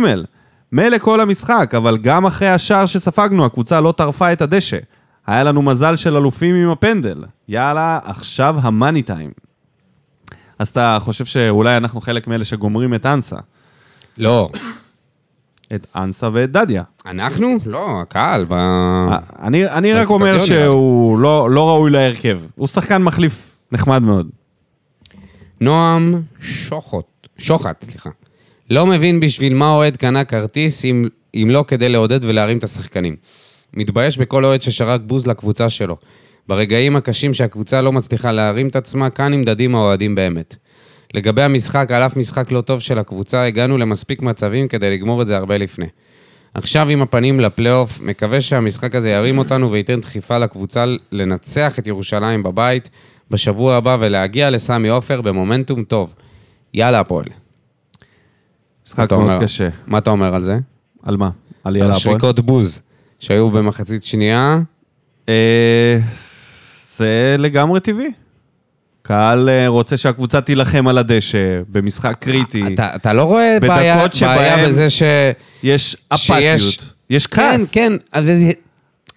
Speaker 1: מילא כל המשחק, אבל גם אחרי השער שספגנו, הקבוצה לא טרפה את הדשא. היה לנו מזל של אלופים עם הפנדל. יאללה, עכשיו המאני טיים. אז אתה חושב שאולי אנחנו חלק מאלה שגומרים את אנסה.
Speaker 2: לא.
Speaker 1: את אנסה ואת דדיה.
Speaker 2: אנחנו? לא, הקהל. ב-
Speaker 1: אה, אני, אני רק
Speaker 2: באצטדיון
Speaker 1: אומר
Speaker 2: נראה לי.
Speaker 1: שהוא לא, לא ראוי להרכב. הוא שחקן מחליף נחמד מאוד.
Speaker 2: נועם שוחט, שוחט, סליחה. לא מבין בשביל מה אוהד קנה כרטיס אם, אם לא כדי לעודד ולהרים את השחקנים. מתבייש בכל אוהד ששרק בוז לקבוצה שלו. ברגעים הקשים שהקבוצה לא מצליחה להרים את עצמה, כאן נמדדים האוהדים באמת. לגבי המשחק, על אף משחק לא טוב של הקבוצה, הגענו למספיק מצבים כדי לגמור את זה הרבה לפני. עכשיו עם הפנים לפלייאוף, מקווה שהמשחק הזה ירים אותנו וייתן דחיפה לקבוצה לנצח את ירושלים בבית בשבוע הבא ולהגיע לסמי עופר במומנטום טוב. יאללה הפועל. מה
Speaker 1: משחק
Speaker 2: אתה
Speaker 1: מאוד
Speaker 2: אומר?
Speaker 1: קשה.
Speaker 2: מה אתה אומר על זה?
Speaker 1: על מה? על
Speaker 2: על
Speaker 1: יאללה הפועל?
Speaker 2: השריקות בוז שהיו במחצית שנייה.
Speaker 1: אה, זה לגמרי טבעי. קהל אה, רוצה שהקבוצה תילחם על הדשא, במשחק קריטי.
Speaker 2: אתה, אתה לא רואה
Speaker 1: אה. בדקות
Speaker 2: בעיה, בעיה
Speaker 1: שבהם-
Speaker 2: בזה ש...
Speaker 1: יש
Speaker 2: שיש-
Speaker 1: אפתיות. יש כעס.
Speaker 2: כן, כן, אבל זה,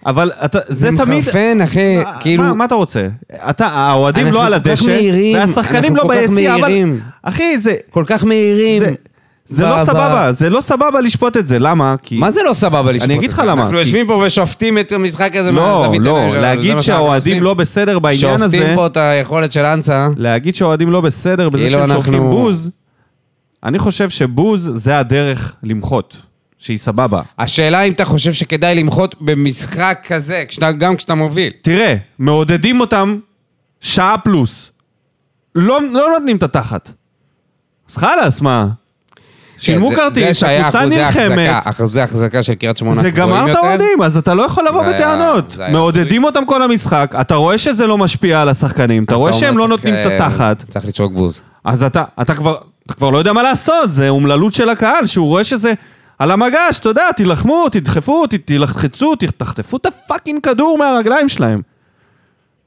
Speaker 1: אבל אתה, זה
Speaker 2: זה
Speaker 1: תמיד...
Speaker 2: מחרפן, אחי,
Speaker 1: מה-
Speaker 2: כאילו...
Speaker 1: אה, מה, מה אתה רוצה? אתה, האוהדים
Speaker 2: אנחנו
Speaker 1: לא על
Speaker 2: כל כך
Speaker 1: הדשא,
Speaker 2: מהירים,
Speaker 1: והשחקנים
Speaker 2: אנחנו
Speaker 1: לא
Speaker 2: כל כך
Speaker 1: ביציע, אבל...
Speaker 2: מהירים.
Speaker 1: אחי, זה...
Speaker 2: כל כך מהירים.
Speaker 1: זה- זה
Speaker 2: ב-
Speaker 1: לא
Speaker 2: ב-
Speaker 1: סבבה, זה לא סבבה לשפוט את זה, למה? כי...
Speaker 2: מה זה לא סבבה לשפוט
Speaker 1: אני אגיד
Speaker 2: את
Speaker 1: לך
Speaker 2: זה?
Speaker 1: למה,
Speaker 2: אנחנו
Speaker 1: כי-
Speaker 2: יושבים פה ושופטים את המשחק הזה
Speaker 1: לא,
Speaker 2: מהזווית העיניים
Speaker 1: לא,
Speaker 2: שלנו, זה
Speaker 1: להגיד
Speaker 2: מה שאנחנו
Speaker 1: שהאוהדים
Speaker 2: עושים.
Speaker 1: לא בסדר בעניין הזה,
Speaker 2: שופטים פה את היכולת של אנסה.
Speaker 1: להגיד שהאוהדים לא בסדר בזה
Speaker 2: כאילו
Speaker 1: שהם שופכים
Speaker 2: אנחנו-
Speaker 1: בוז, אני חושב שבוז זה הדרך למחות, שהיא סבבה.
Speaker 2: השאלה אם אתה חושב שכדאי למחות במשחק כזה, כשאתה- גם כשאתה מוביל.
Speaker 1: תראה, מעודדים אותם שעה פלוס. לא, לא נותנים את התחת. אז חלאס, מה? שילמו
Speaker 2: כן, זה- זה
Speaker 1: כרטיס,
Speaker 2: שהיה
Speaker 1: הקבוצה
Speaker 2: אחוזי
Speaker 1: נלחמת.
Speaker 2: החזקה- אחוזי החזקה של קריית שמונה
Speaker 1: זה גמר את האוהדים, אז אתה לא יכול לבוא
Speaker 2: זה היה-
Speaker 1: בטענות.
Speaker 2: זה היה
Speaker 1: מעודדים אותם כל המשחק, אתה רואה שזה לא משפיע על השחקנים, אתה רואה שהם לא נותנים את התחת,
Speaker 2: אה, צריך לצעוק בוז.
Speaker 1: אז אתה אתה כבר אתה כבר לא יודע מה לעשות, זה אומללות של הקהל, שהוא רואה שזה על המגש, אתה יודע, תילחמו, תדחפו, ת- תלחצו, ת- תחטפו את הפאקינג כדור מהרגליים שלהם.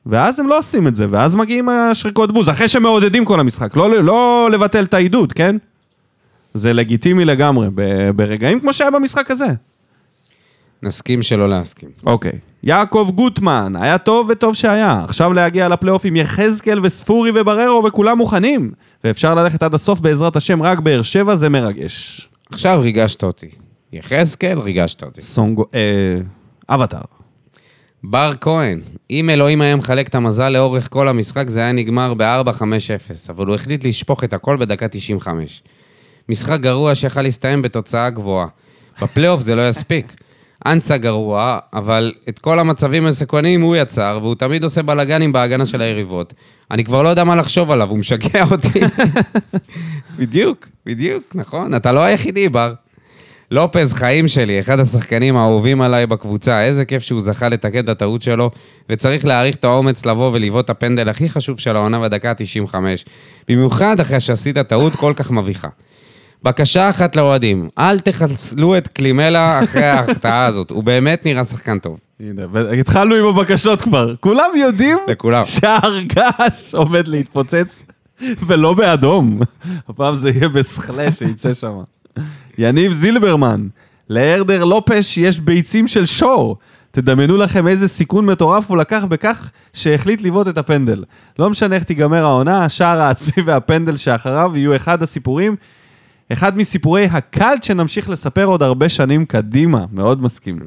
Speaker 1: ואז הם לא עושים את זה, ואז מגיעים השריקות בוז, אחרי שמעודדים כל המשחק, לא, לא לבטל את העידוד, כן? זה לגיטימי לגמרי, ב- ברגעים כמו שהיה במשחק הזה.
Speaker 2: נסכים שלא להסכים.
Speaker 1: אוקיי. יעקב גוטמן, היה טוב וטוב שהיה. עכשיו להגיע לפלייאוף עם יחזקאל וספורי ובררו וכולם מוכנים. ואפשר ללכת עד הסוף בעזרת השם, רק באר שבע זה מרגש.
Speaker 2: עכשיו ריגשת אותי. יחזקאל, ריגשת אותי.
Speaker 1: סונגו... אה... אבטאר.
Speaker 2: בר כהן, אם אלוהים היה מחלק את המזל לאורך כל המשחק, זה היה נגמר ב-4-5-0, אבל הוא החליט לשפוך את הכל בדקה 95. משחק גרוע שיכל להסתיים בתוצאה גבוהה. בפלייאוף זה לא יספיק. אנסה גרוע, אבל את כל המצבים הסקרניים הוא יצר, והוא תמיד עושה בלאגנים בהגנה של היריבות. אני כבר לא יודע מה לחשוב עליו, הוא משגע אותי. בדיוק, בדיוק, נכון. אתה לא היחידי, בר. לופז חיים שלי, אחד השחקנים האהובים עליי בקבוצה, איזה כיף שהוא זכה לתקן את הטעות שלו, וצריך להעריך את האומץ לבוא ולבעוט את הפנדל הכי חשוב של העונה בדקה ה-95, במיוחד אחרי שעשית טעות כל כך מביכה. בקשה אחת לאוהדים, אל תחסלו את קלימלה אחרי ההחטאה הזאת, הוא באמת נראה שחקן טוב.
Speaker 1: הנה, התחלנו עם הבקשות כבר. כולם יודעים
Speaker 2: לכולם.
Speaker 1: שההרגש עומד להתפוצץ, ולא באדום. הפעם זה יהיה בסכלה שיצא שם. יניב זילברמן, להרדר לופש יש ביצים של שור. תדמיינו לכם איזה סיכון מטורף הוא לקח בכך שהחליט לבעוט את הפנדל. לא משנה איך תיגמר העונה, השער העצמי והפנדל שאחריו יהיו אחד הסיפורים, אחד מסיפורי הקלט שנמשיך לספר עוד הרבה שנים קדימה. מאוד מסכים.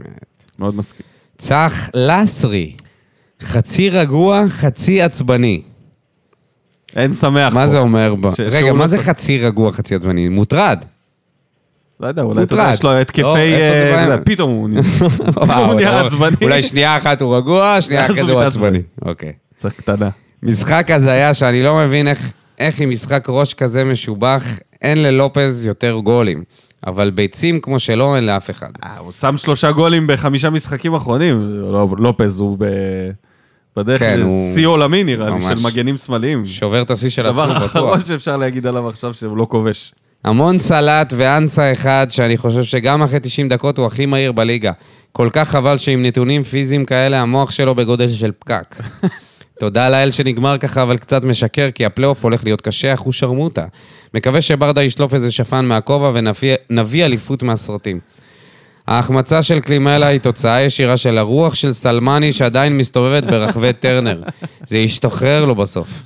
Speaker 1: מאוד מסכים.
Speaker 2: צח לסרי, חצי רגוע, חצי עצבני.
Speaker 1: אין שמח פה.
Speaker 2: מה זה אומר? ב-
Speaker 1: נכון. ש-
Speaker 2: רגע,
Speaker 1: שהוא
Speaker 2: מה
Speaker 1: לא
Speaker 2: זה
Speaker 1: צח-
Speaker 2: חצי רגוע, חצי עצבני? מוטרד.
Speaker 1: לא יודע, אולי אתה יודע,
Speaker 2: מוטרד.
Speaker 1: יש לו התקפי...
Speaker 2: לא, איפה זה
Speaker 1: אה,
Speaker 2: בעיה?
Speaker 1: אתה יודע, פתאום הוא נהיה- לא. פתאום
Speaker 2: וואו,
Speaker 1: הוא נהיה
Speaker 2: אתה-
Speaker 1: עצבני.
Speaker 2: אולי שנייה אחת הוא רגוע, שנייה
Speaker 1: ואז
Speaker 2: אחת
Speaker 1: הוא
Speaker 2: הוא
Speaker 1: מתעצבן.
Speaker 2: עצבני. אוקיי.
Speaker 1: צריך קטנה.
Speaker 2: משחק הזיה שאני לא מבין איך, איך עם משחק ראש כזה משובח, אין ללופז יותר גולים. אבל ביצים כמו שלו אין לאף אחד.
Speaker 1: אה, הוא שם שלושה גולים בחמישה משחקים אחרונים. לא- לופז הוא ב... בדרך
Speaker 2: כן, הוא-
Speaker 1: לשיא עולמי נראה לי,
Speaker 2: ממש.
Speaker 1: של מגנים שמאליים.
Speaker 2: שובר את השיא של עצמו
Speaker 1: דבר
Speaker 2: בטוח.
Speaker 1: האחרון שאפשר להגיד עליו עכשיו שהוא לא כובש.
Speaker 2: המון סלט ואנסה אחד, שאני חושב שגם אחרי 90 דקות הוא הכי מהיר בליגה. כל כך חבל שעם נתונים פיזיים כאלה, המוח שלו בגודל של פקק. תודה לאל שנגמר ככה, אבל קצת משקר, כי הפלייאוף הולך להיות קשה, אחו שרמוטה. מקווה שברדה ישלוף איזה שפן מהכובע ונביא נביא אליפות מהסרטים. ההחמצה של קלימלה היא תוצאה ישירה של הרוח של סלמני שעדיין מסתובבת ברחבי טרנר. זה ישתחרר לו בסוף.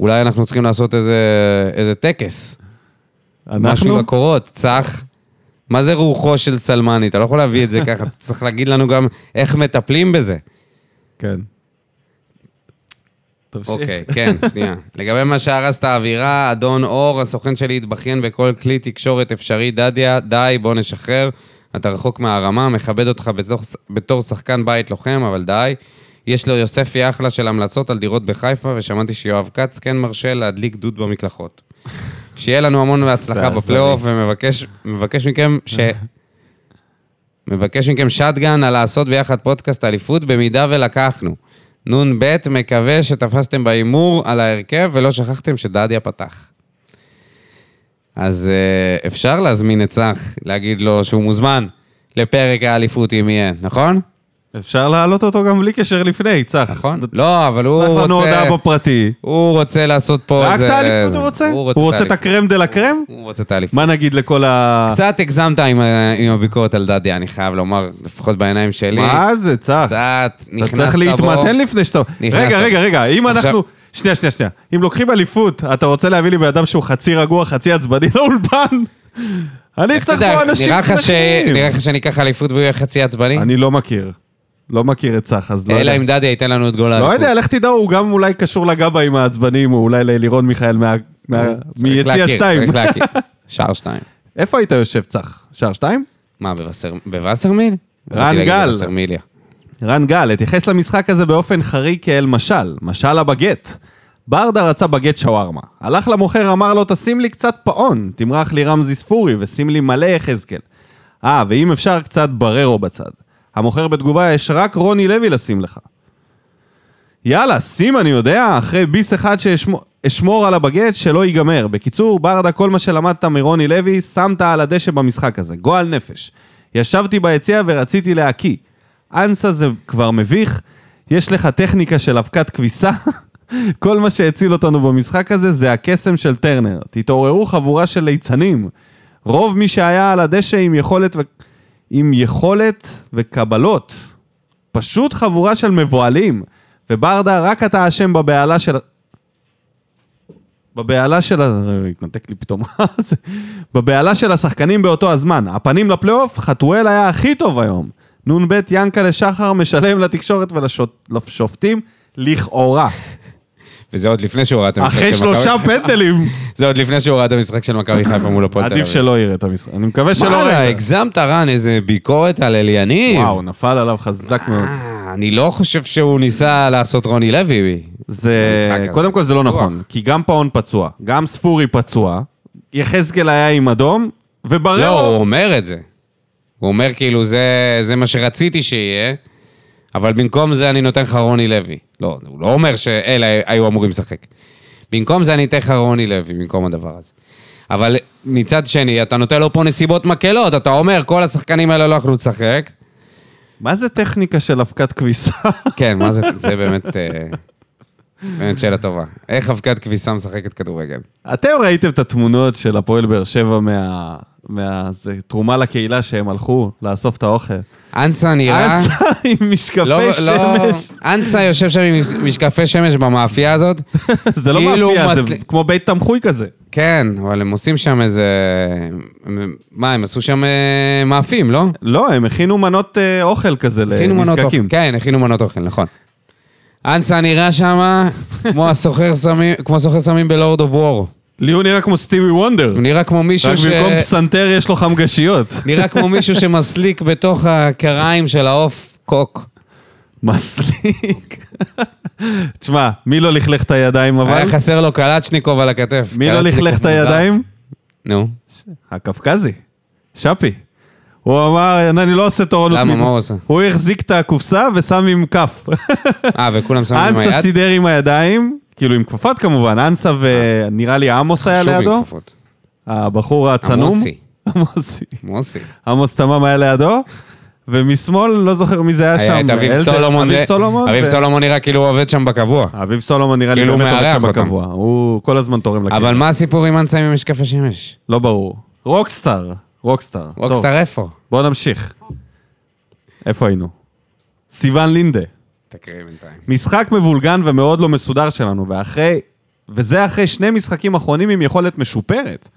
Speaker 2: אולי אנחנו צריכים לעשות איזה, איזה טקס. משהו
Speaker 1: אנחנו?
Speaker 2: עם הקורות, צח. מה זה רוחו של סלמני? אתה לא יכול להביא את זה ככה, אתה צריך להגיד לנו גם איך מטפלים בזה.
Speaker 1: כן. תמשיך.
Speaker 2: אוקיי, כן, שנייה. לגבי מה שהרס את האווירה, אדון אור, הסוכן שלי התבכיין בכל כלי תקשורת אפשרי, דדיה, די, בוא נשחרר. אתה רחוק מהרמה, מכבד אותך בתור, בתור שחקן בית לוחם, אבל די. יש לו יוספי אחלה של המלצות על דירות בחיפה, ושמעתי שיואב כץ כן מרשה להדליק דוד במקלחות. שיהיה לנו המון בהצלחה
Speaker 1: סעזעני.
Speaker 2: בפלייאוף, ומבקש מבקש מכם ש... מבקש מכם שטגן על לעשות ביחד פודקאסט אליפות, במידה ולקחנו. נ"ב, מקווה שתפסתם בהימור על ההרכב ולא שכחתם שדדיה פתח. אז אה, אפשר להזמין את צח, להגיד לו שהוא מוזמן לפרק האליפות אם יהיה, נכון?
Speaker 1: אפשר להעלות אותו גם בלי קשר לפני, צח.
Speaker 2: נכון? לא, אבל הוא
Speaker 1: שלח לנו
Speaker 2: רוצה...
Speaker 1: הודעה בפרטי.
Speaker 2: הוא רוצה לעשות פה
Speaker 1: רק
Speaker 2: איזה...
Speaker 1: את האליפות
Speaker 2: זה.
Speaker 1: הוא רוצה?
Speaker 2: הוא
Speaker 1: הוא רוצה את
Speaker 2: האליפות.
Speaker 1: הקרם דה לה קרם?
Speaker 2: הוא רוצה את האליפות.
Speaker 1: מה נגיד לכל ה...
Speaker 2: קצת הגזמת עם ה- עם הביקורת על דדיה, אני חייב לומר, לפחות בעיניים שלי.
Speaker 1: מה זה, צח?
Speaker 2: קצת נכנסת
Speaker 1: אתה
Speaker 2: בו.
Speaker 1: צריך להתמתן לפני שאתה...
Speaker 2: נכנסת.
Speaker 1: רגע, רגע, רגע, אם
Speaker 2: עכשיו-
Speaker 1: אנחנו... שנייה, שנייה, שנייה. אם לוקחים אליפות, אתה רוצה להביא לי בן אדם שהוא חצי רגוע, חצי עצבני לאולפן? אני
Speaker 2: איך אתה
Speaker 1: צריך
Speaker 2: יודע,
Speaker 1: פה אנשים
Speaker 2: נראה לך ש-
Speaker 1: שמחים.
Speaker 2: נראה לך שאני אקח אליפות והוא יהיה חצי עצבני?
Speaker 1: אני לא מכיר. לא מכיר את צח, אז לא
Speaker 2: אלא
Speaker 1: יודע.
Speaker 2: אם דדיה ייתן לנו את גול
Speaker 1: לא
Speaker 2: האליפות. אה,
Speaker 1: יודע, לך תדע, הוא גם אולי קשור לגבאים העצבניים, או אולי ללירון מיכאל מה- מה-
Speaker 2: צריך
Speaker 1: מיציע
Speaker 2: להכיר,
Speaker 1: שתיים.
Speaker 2: צריך להכיר. שער שתיים.
Speaker 1: איפה היית יושב, צח? שער שתיים?
Speaker 2: מה, בווסר- בווסרמיל?
Speaker 1: רן
Speaker 2: רציתי להגיד
Speaker 1: גל.
Speaker 2: בווסרמיליה.
Speaker 1: רן גל התייחס למשחק הזה באופן חריג כאל משל, משל הבגט. ברדה רצה בגט שווארמה. הלך למוכר, אמר לו, תשים לי קצת פאון, תמרח לי רמזי ספורי ושים לי מלא יחזקאל. אה, ואם אפשר, קצת בררו בצד. המוכר בתגובה, יש רק רוני לוי לשים לך. יאללה, שים, אני יודע, אחרי ביס אחד שאשמור על הבגט, שלא ייגמר. בקיצור, ברדה, כל מה שלמדת מרוני לוי, שמת על הדשא במשחק הזה. גועל נפש. ישבתי ביציע ורציתי להקיא. אנסה זה כבר מביך, יש לך טכניקה של אבקת כביסה. כל מה שהציל אותנו במשחק הזה זה הקסם של טרנר. תתעוררו חבורה של ליצנים. רוב מי שהיה על הדשא עם יכולת, ו... עם יכולת וקבלות. פשוט חבורה של מבוהלים. וברדה, רק אתה אשם בבהלה של... ה- בבהלה של... ה- התנתק לי פתאום. מה זה? בבהלה של השחקנים באותו הזמן. הפנים לפלייאוף, חתואל היה הכי טוב היום. נ"ב ינקלה שחר משלם לתקשורת ולשופטים, לכאורה.
Speaker 2: וזה עוד לפני שהוא ראה את המשחק של
Speaker 1: אחרי
Speaker 2: מכבי.
Speaker 1: שלושה פנדלים.
Speaker 2: זה עוד לפני שהוא ראה את המשחק של מכבי חיפה מול הפועל תל אביב.
Speaker 1: עדיף שלא יראה את המשחק. אני מקווה שלא
Speaker 2: וואלה,
Speaker 1: יראה.
Speaker 2: הגזמת רן, איזה ביקורת על אליניב.
Speaker 1: וואו, נפל עליו חזק מאוד.
Speaker 2: אה, אני לא חושב שהוא ניסה לעשות רוני לוי.
Speaker 1: זה,
Speaker 2: במשחק הזה.
Speaker 1: קודם כל זה לא
Speaker 2: בטוח.
Speaker 1: נכון, כי גם פאון פצוע, גם ספורי פצוע, יחזקאל היה עם אדום,
Speaker 2: לא, הוא
Speaker 1: ובררו,
Speaker 2: אומר את זה. הוא אומר כאילו, זה, זה מה שרציתי שיהיה, אבל במקום זה אני נותן לך רוני לוי. לא, הוא לא אומר שאלה היו אמורים לשחק. במקום זה אני אתן לך רוני לוי, במקום הדבר הזה. אבל מצד שני, אתה נותן לו פה נסיבות מקלות, אתה אומר, כל השחקנים האלה לא יכלו לשחק.
Speaker 1: מה זה טכניקה של אבקת כביסה?
Speaker 2: כן, מה זה, זה באמת, אה, באמת שאלה טובה. איך אבקת כביסה משחקת כדורגל?
Speaker 1: אתם ראיתם את התמונות של הפועל באר שבע מה... מה... זה תרומה לקהילה שהם הלכו לאסוף את האוכל.
Speaker 2: אנסה נראה...
Speaker 1: אנסה עם משקפי
Speaker 2: לא, לא,
Speaker 1: שמש.
Speaker 2: אנסה יושב שם עם משקפי שמש במאפייה הזאת.
Speaker 1: זה לא
Speaker 2: כאילו
Speaker 1: מאפייה, זה
Speaker 2: מסל-
Speaker 1: כמו בית תמחוי כזה.
Speaker 2: כן, אבל הם עושים שם איזה... הם- מה, הם עשו שם אה, מאפים, לא?
Speaker 1: לא, הם הכינו מנות אה, אוכל כזה
Speaker 2: הכינו מנות אוכל.
Speaker 1: לנזקקים.
Speaker 2: כן, הכינו מנות אוכל, נכון. אנסה נראה שם כמו הסוחר סמים, כמו סוחר סמים בלורד אוף וור.
Speaker 1: לי הוא נראה כמו סטיבי וונדר.
Speaker 2: הוא נראה כמו מישהו
Speaker 1: רק
Speaker 2: כן. ש...
Speaker 1: במקום פסנתר יש לו חמגשיות.
Speaker 2: נראה כמו מישהו שמסליק בתוך הקריים של העוף קוק.
Speaker 1: מסליק. תשמע, מי לא לכלך את הידיים אבל?
Speaker 2: היה חסר לו קלצ'ניקוב על הכתף.
Speaker 1: מי לא
Speaker 2: קלצ'ניקוב
Speaker 1: לכלך את
Speaker 2: מוזר.
Speaker 1: הידיים?
Speaker 2: נו,
Speaker 1: הקפקזי, שפי. הוא אמר, אני לא עושה תורנות.
Speaker 2: למה?
Speaker 1: מפה."
Speaker 2: מה הוא עושה?
Speaker 1: הוא החזיק את הקופסה ושם עם כף.
Speaker 2: אה, וכולם שמים עם
Speaker 1: אנסה
Speaker 2: היד?
Speaker 1: סידר עם הידיים, כאילו עם כפפות כמובן, אנסה ונראה לי עמוס היה
Speaker 2: אה. חשוב עם
Speaker 1: לידו,
Speaker 2: כפפות.
Speaker 1: הבחור הצנום.
Speaker 2: עמוסי.
Speaker 1: עמוסי.
Speaker 2: מוסי.
Speaker 1: עמוס תמם היה לידו, ומשמאל, לא זוכר מי זה היה שם.
Speaker 2: היה את אביב
Speaker 1: אלדד-
Speaker 2: סולומון.
Speaker 1: אביב
Speaker 2: זה-
Speaker 1: סולומון.
Speaker 2: אביב
Speaker 1: ו- אה,
Speaker 2: סולומון נראה כאילו הוא עובד שם בקבוע.
Speaker 1: אביב סולומון נראה לי
Speaker 2: כאילו הוא
Speaker 1: באמת עובד
Speaker 2: מארח
Speaker 1: שם
Speaker 2: אותם.
Speaker 1: בקבוע, הוא כל הזמן תורם לקהילה.
Speaker 2: אבל מה הסיפור עם אנסה עם משקף השמש?
Speaker 1: לא ברור. רוקסטאר, רוקסטאר. טוב,
Speaker 2: רוקסטאר איפה?
Speaker 1: בואו נמשיך. איפה היינו? סיוון לינדה.
Speaker 2: תקריא בינתיים.
Speaker 1: משחק מבולגן ומאוד לא מסודר שלנו, ואחרי... וזה אחרי שני משחקים אחרונים עם יכולת משופרת.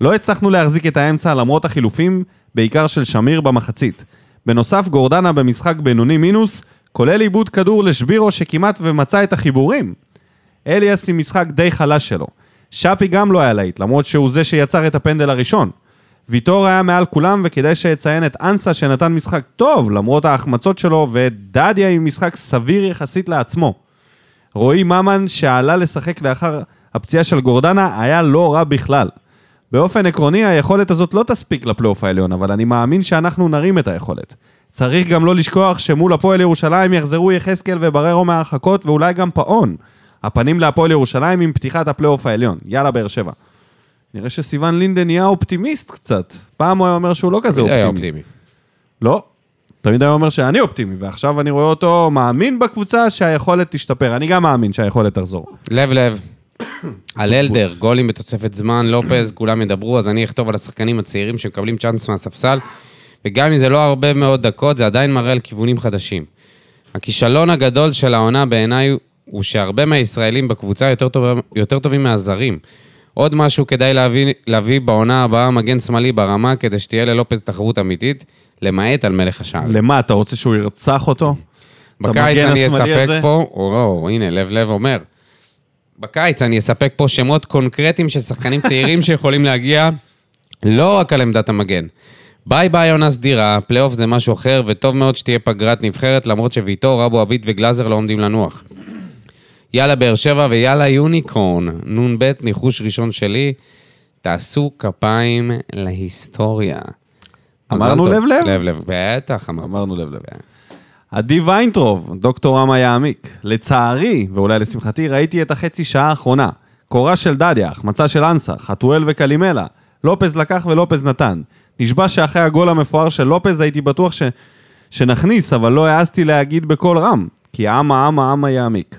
Speaker 1: לא הצלחנו להחזיק את האמצע למרות החילופים, בעיקר של שמיר במחצית. בנוסף, גורדנה במשחק בינוני מינוס, כולל עיבוד כדור לשבירו שכמעט ומצא את החיבורים. אליאס עם משחק די חלש שלו. שפי גם לא היה להיט, למרות שהוא זה שיצר את הפנדל הראשון. ויטור היה מעל כולם, וכדאי שיציין את אנסה שנתן משחק טוב, למרות ההחמצות שלו, ואת דדיה עם משחק סביר יחסית לעצמו. רועי ממן, שעלה לשחק לאחר הפציעה של גורדנה, היה לא רע בכלל. באופן עקרוני, היכולת הזאת לא תספיק לפלייאוף העליון, אבל אני מאמין שאנחנו נרים את היכולת. צריך גם לא לשכוח שמול הפועל ירושלים יחזרו יחזקאל ובררו מההרחקות, ואולי גם פאון. הפנים להפועל ירושלים עם פתיחת הפלייאוף העליון. יאללה, באר שבע. נראה שסיון לינדן נהיה אופטימיסט קצת. פעם הוא היה אומר שהוא לא כזה
Speaker 2: היה
Speaker 1: אופטימי.
Speaker 2: אופטימי.
Speaker 1: לא. תמיד היה אומר שאני אופטימי, ועכשיו אני רואה אותו מאמין בקבוצה שהיכולת תשתפר. אני גם מאמין שהיכולת תחזור.
Speaker 2: לב לב. על אלדר, גולים בתוספת זמן, לופז, כולם ידברו, אז אני אכתוב על השחקנים הצעירים שמקבלים צ'אנס מהספסל, וגם אם זה לא הרבה מאוד דקות, זה עדיין מראה על כיוונים חדשים. הכישלון הגדול של העונה בעיניי הוא שהרבה מהישראלים בקבוצה יותר, טוב, יותר טובים מהזרים. עוד משהו כדאי להביא, להביא בעונה הבאה מגן שמאלי ברמה, כדי שתהיה ללופז תחרות אמיתית, למעט על מלך השער.
Speaker 1: למה, אתה רוצה שהוא ירצח אותו?
Speaker 2: בקיץ
Speaker 1: המגן
Speaker 2: אני
Speaker 1: השמאלי
Speaker 2: אספק
Speaker 1: הזה?
Speaker 2: פה, או, או, הנה, לב לב אומר. בקיץ אני אספק פה שמות קונקרטיים של שחקנים צעירים שיכולים להגיע לא רק על עמדת המגן. ביי ביי עונה סדירה, פלייאוף זה משהו אחר, וטוב מאוד שתהיה פגרת נבחרת, למרות שוויטור, אבו עביד וגלאזר לא עומדים לנוח. יאללה באר שבע ויאללה יוניקורן, נ"ב ניחוש ראשון שלי, תעשו כפיים להיסטוריה. מזל
Speaker 1: אמרנו
Speaker 2: טוב.
Speaker 1: לב לב?
Speaker 2: לב לב, בטח, אמרנו.
Speaker 1: אמרנו לב כן. לב. עדי ויינטרוב, דוקטור רמה יעמיק. לצערי, ואולי לשמחתי, ראיתי את החצי שעה האחרונה. קורה של דדיה, החמצה של אנסה, חתואל וקלימלה. לופז לקח ולופז נתן. נשבע שאחרי הגול המפואר של לופז הייתי בטוח ש... שנכניס, אבל לא העזתי להגיד בקול רם, כי עמה עמה עמה יעמיק.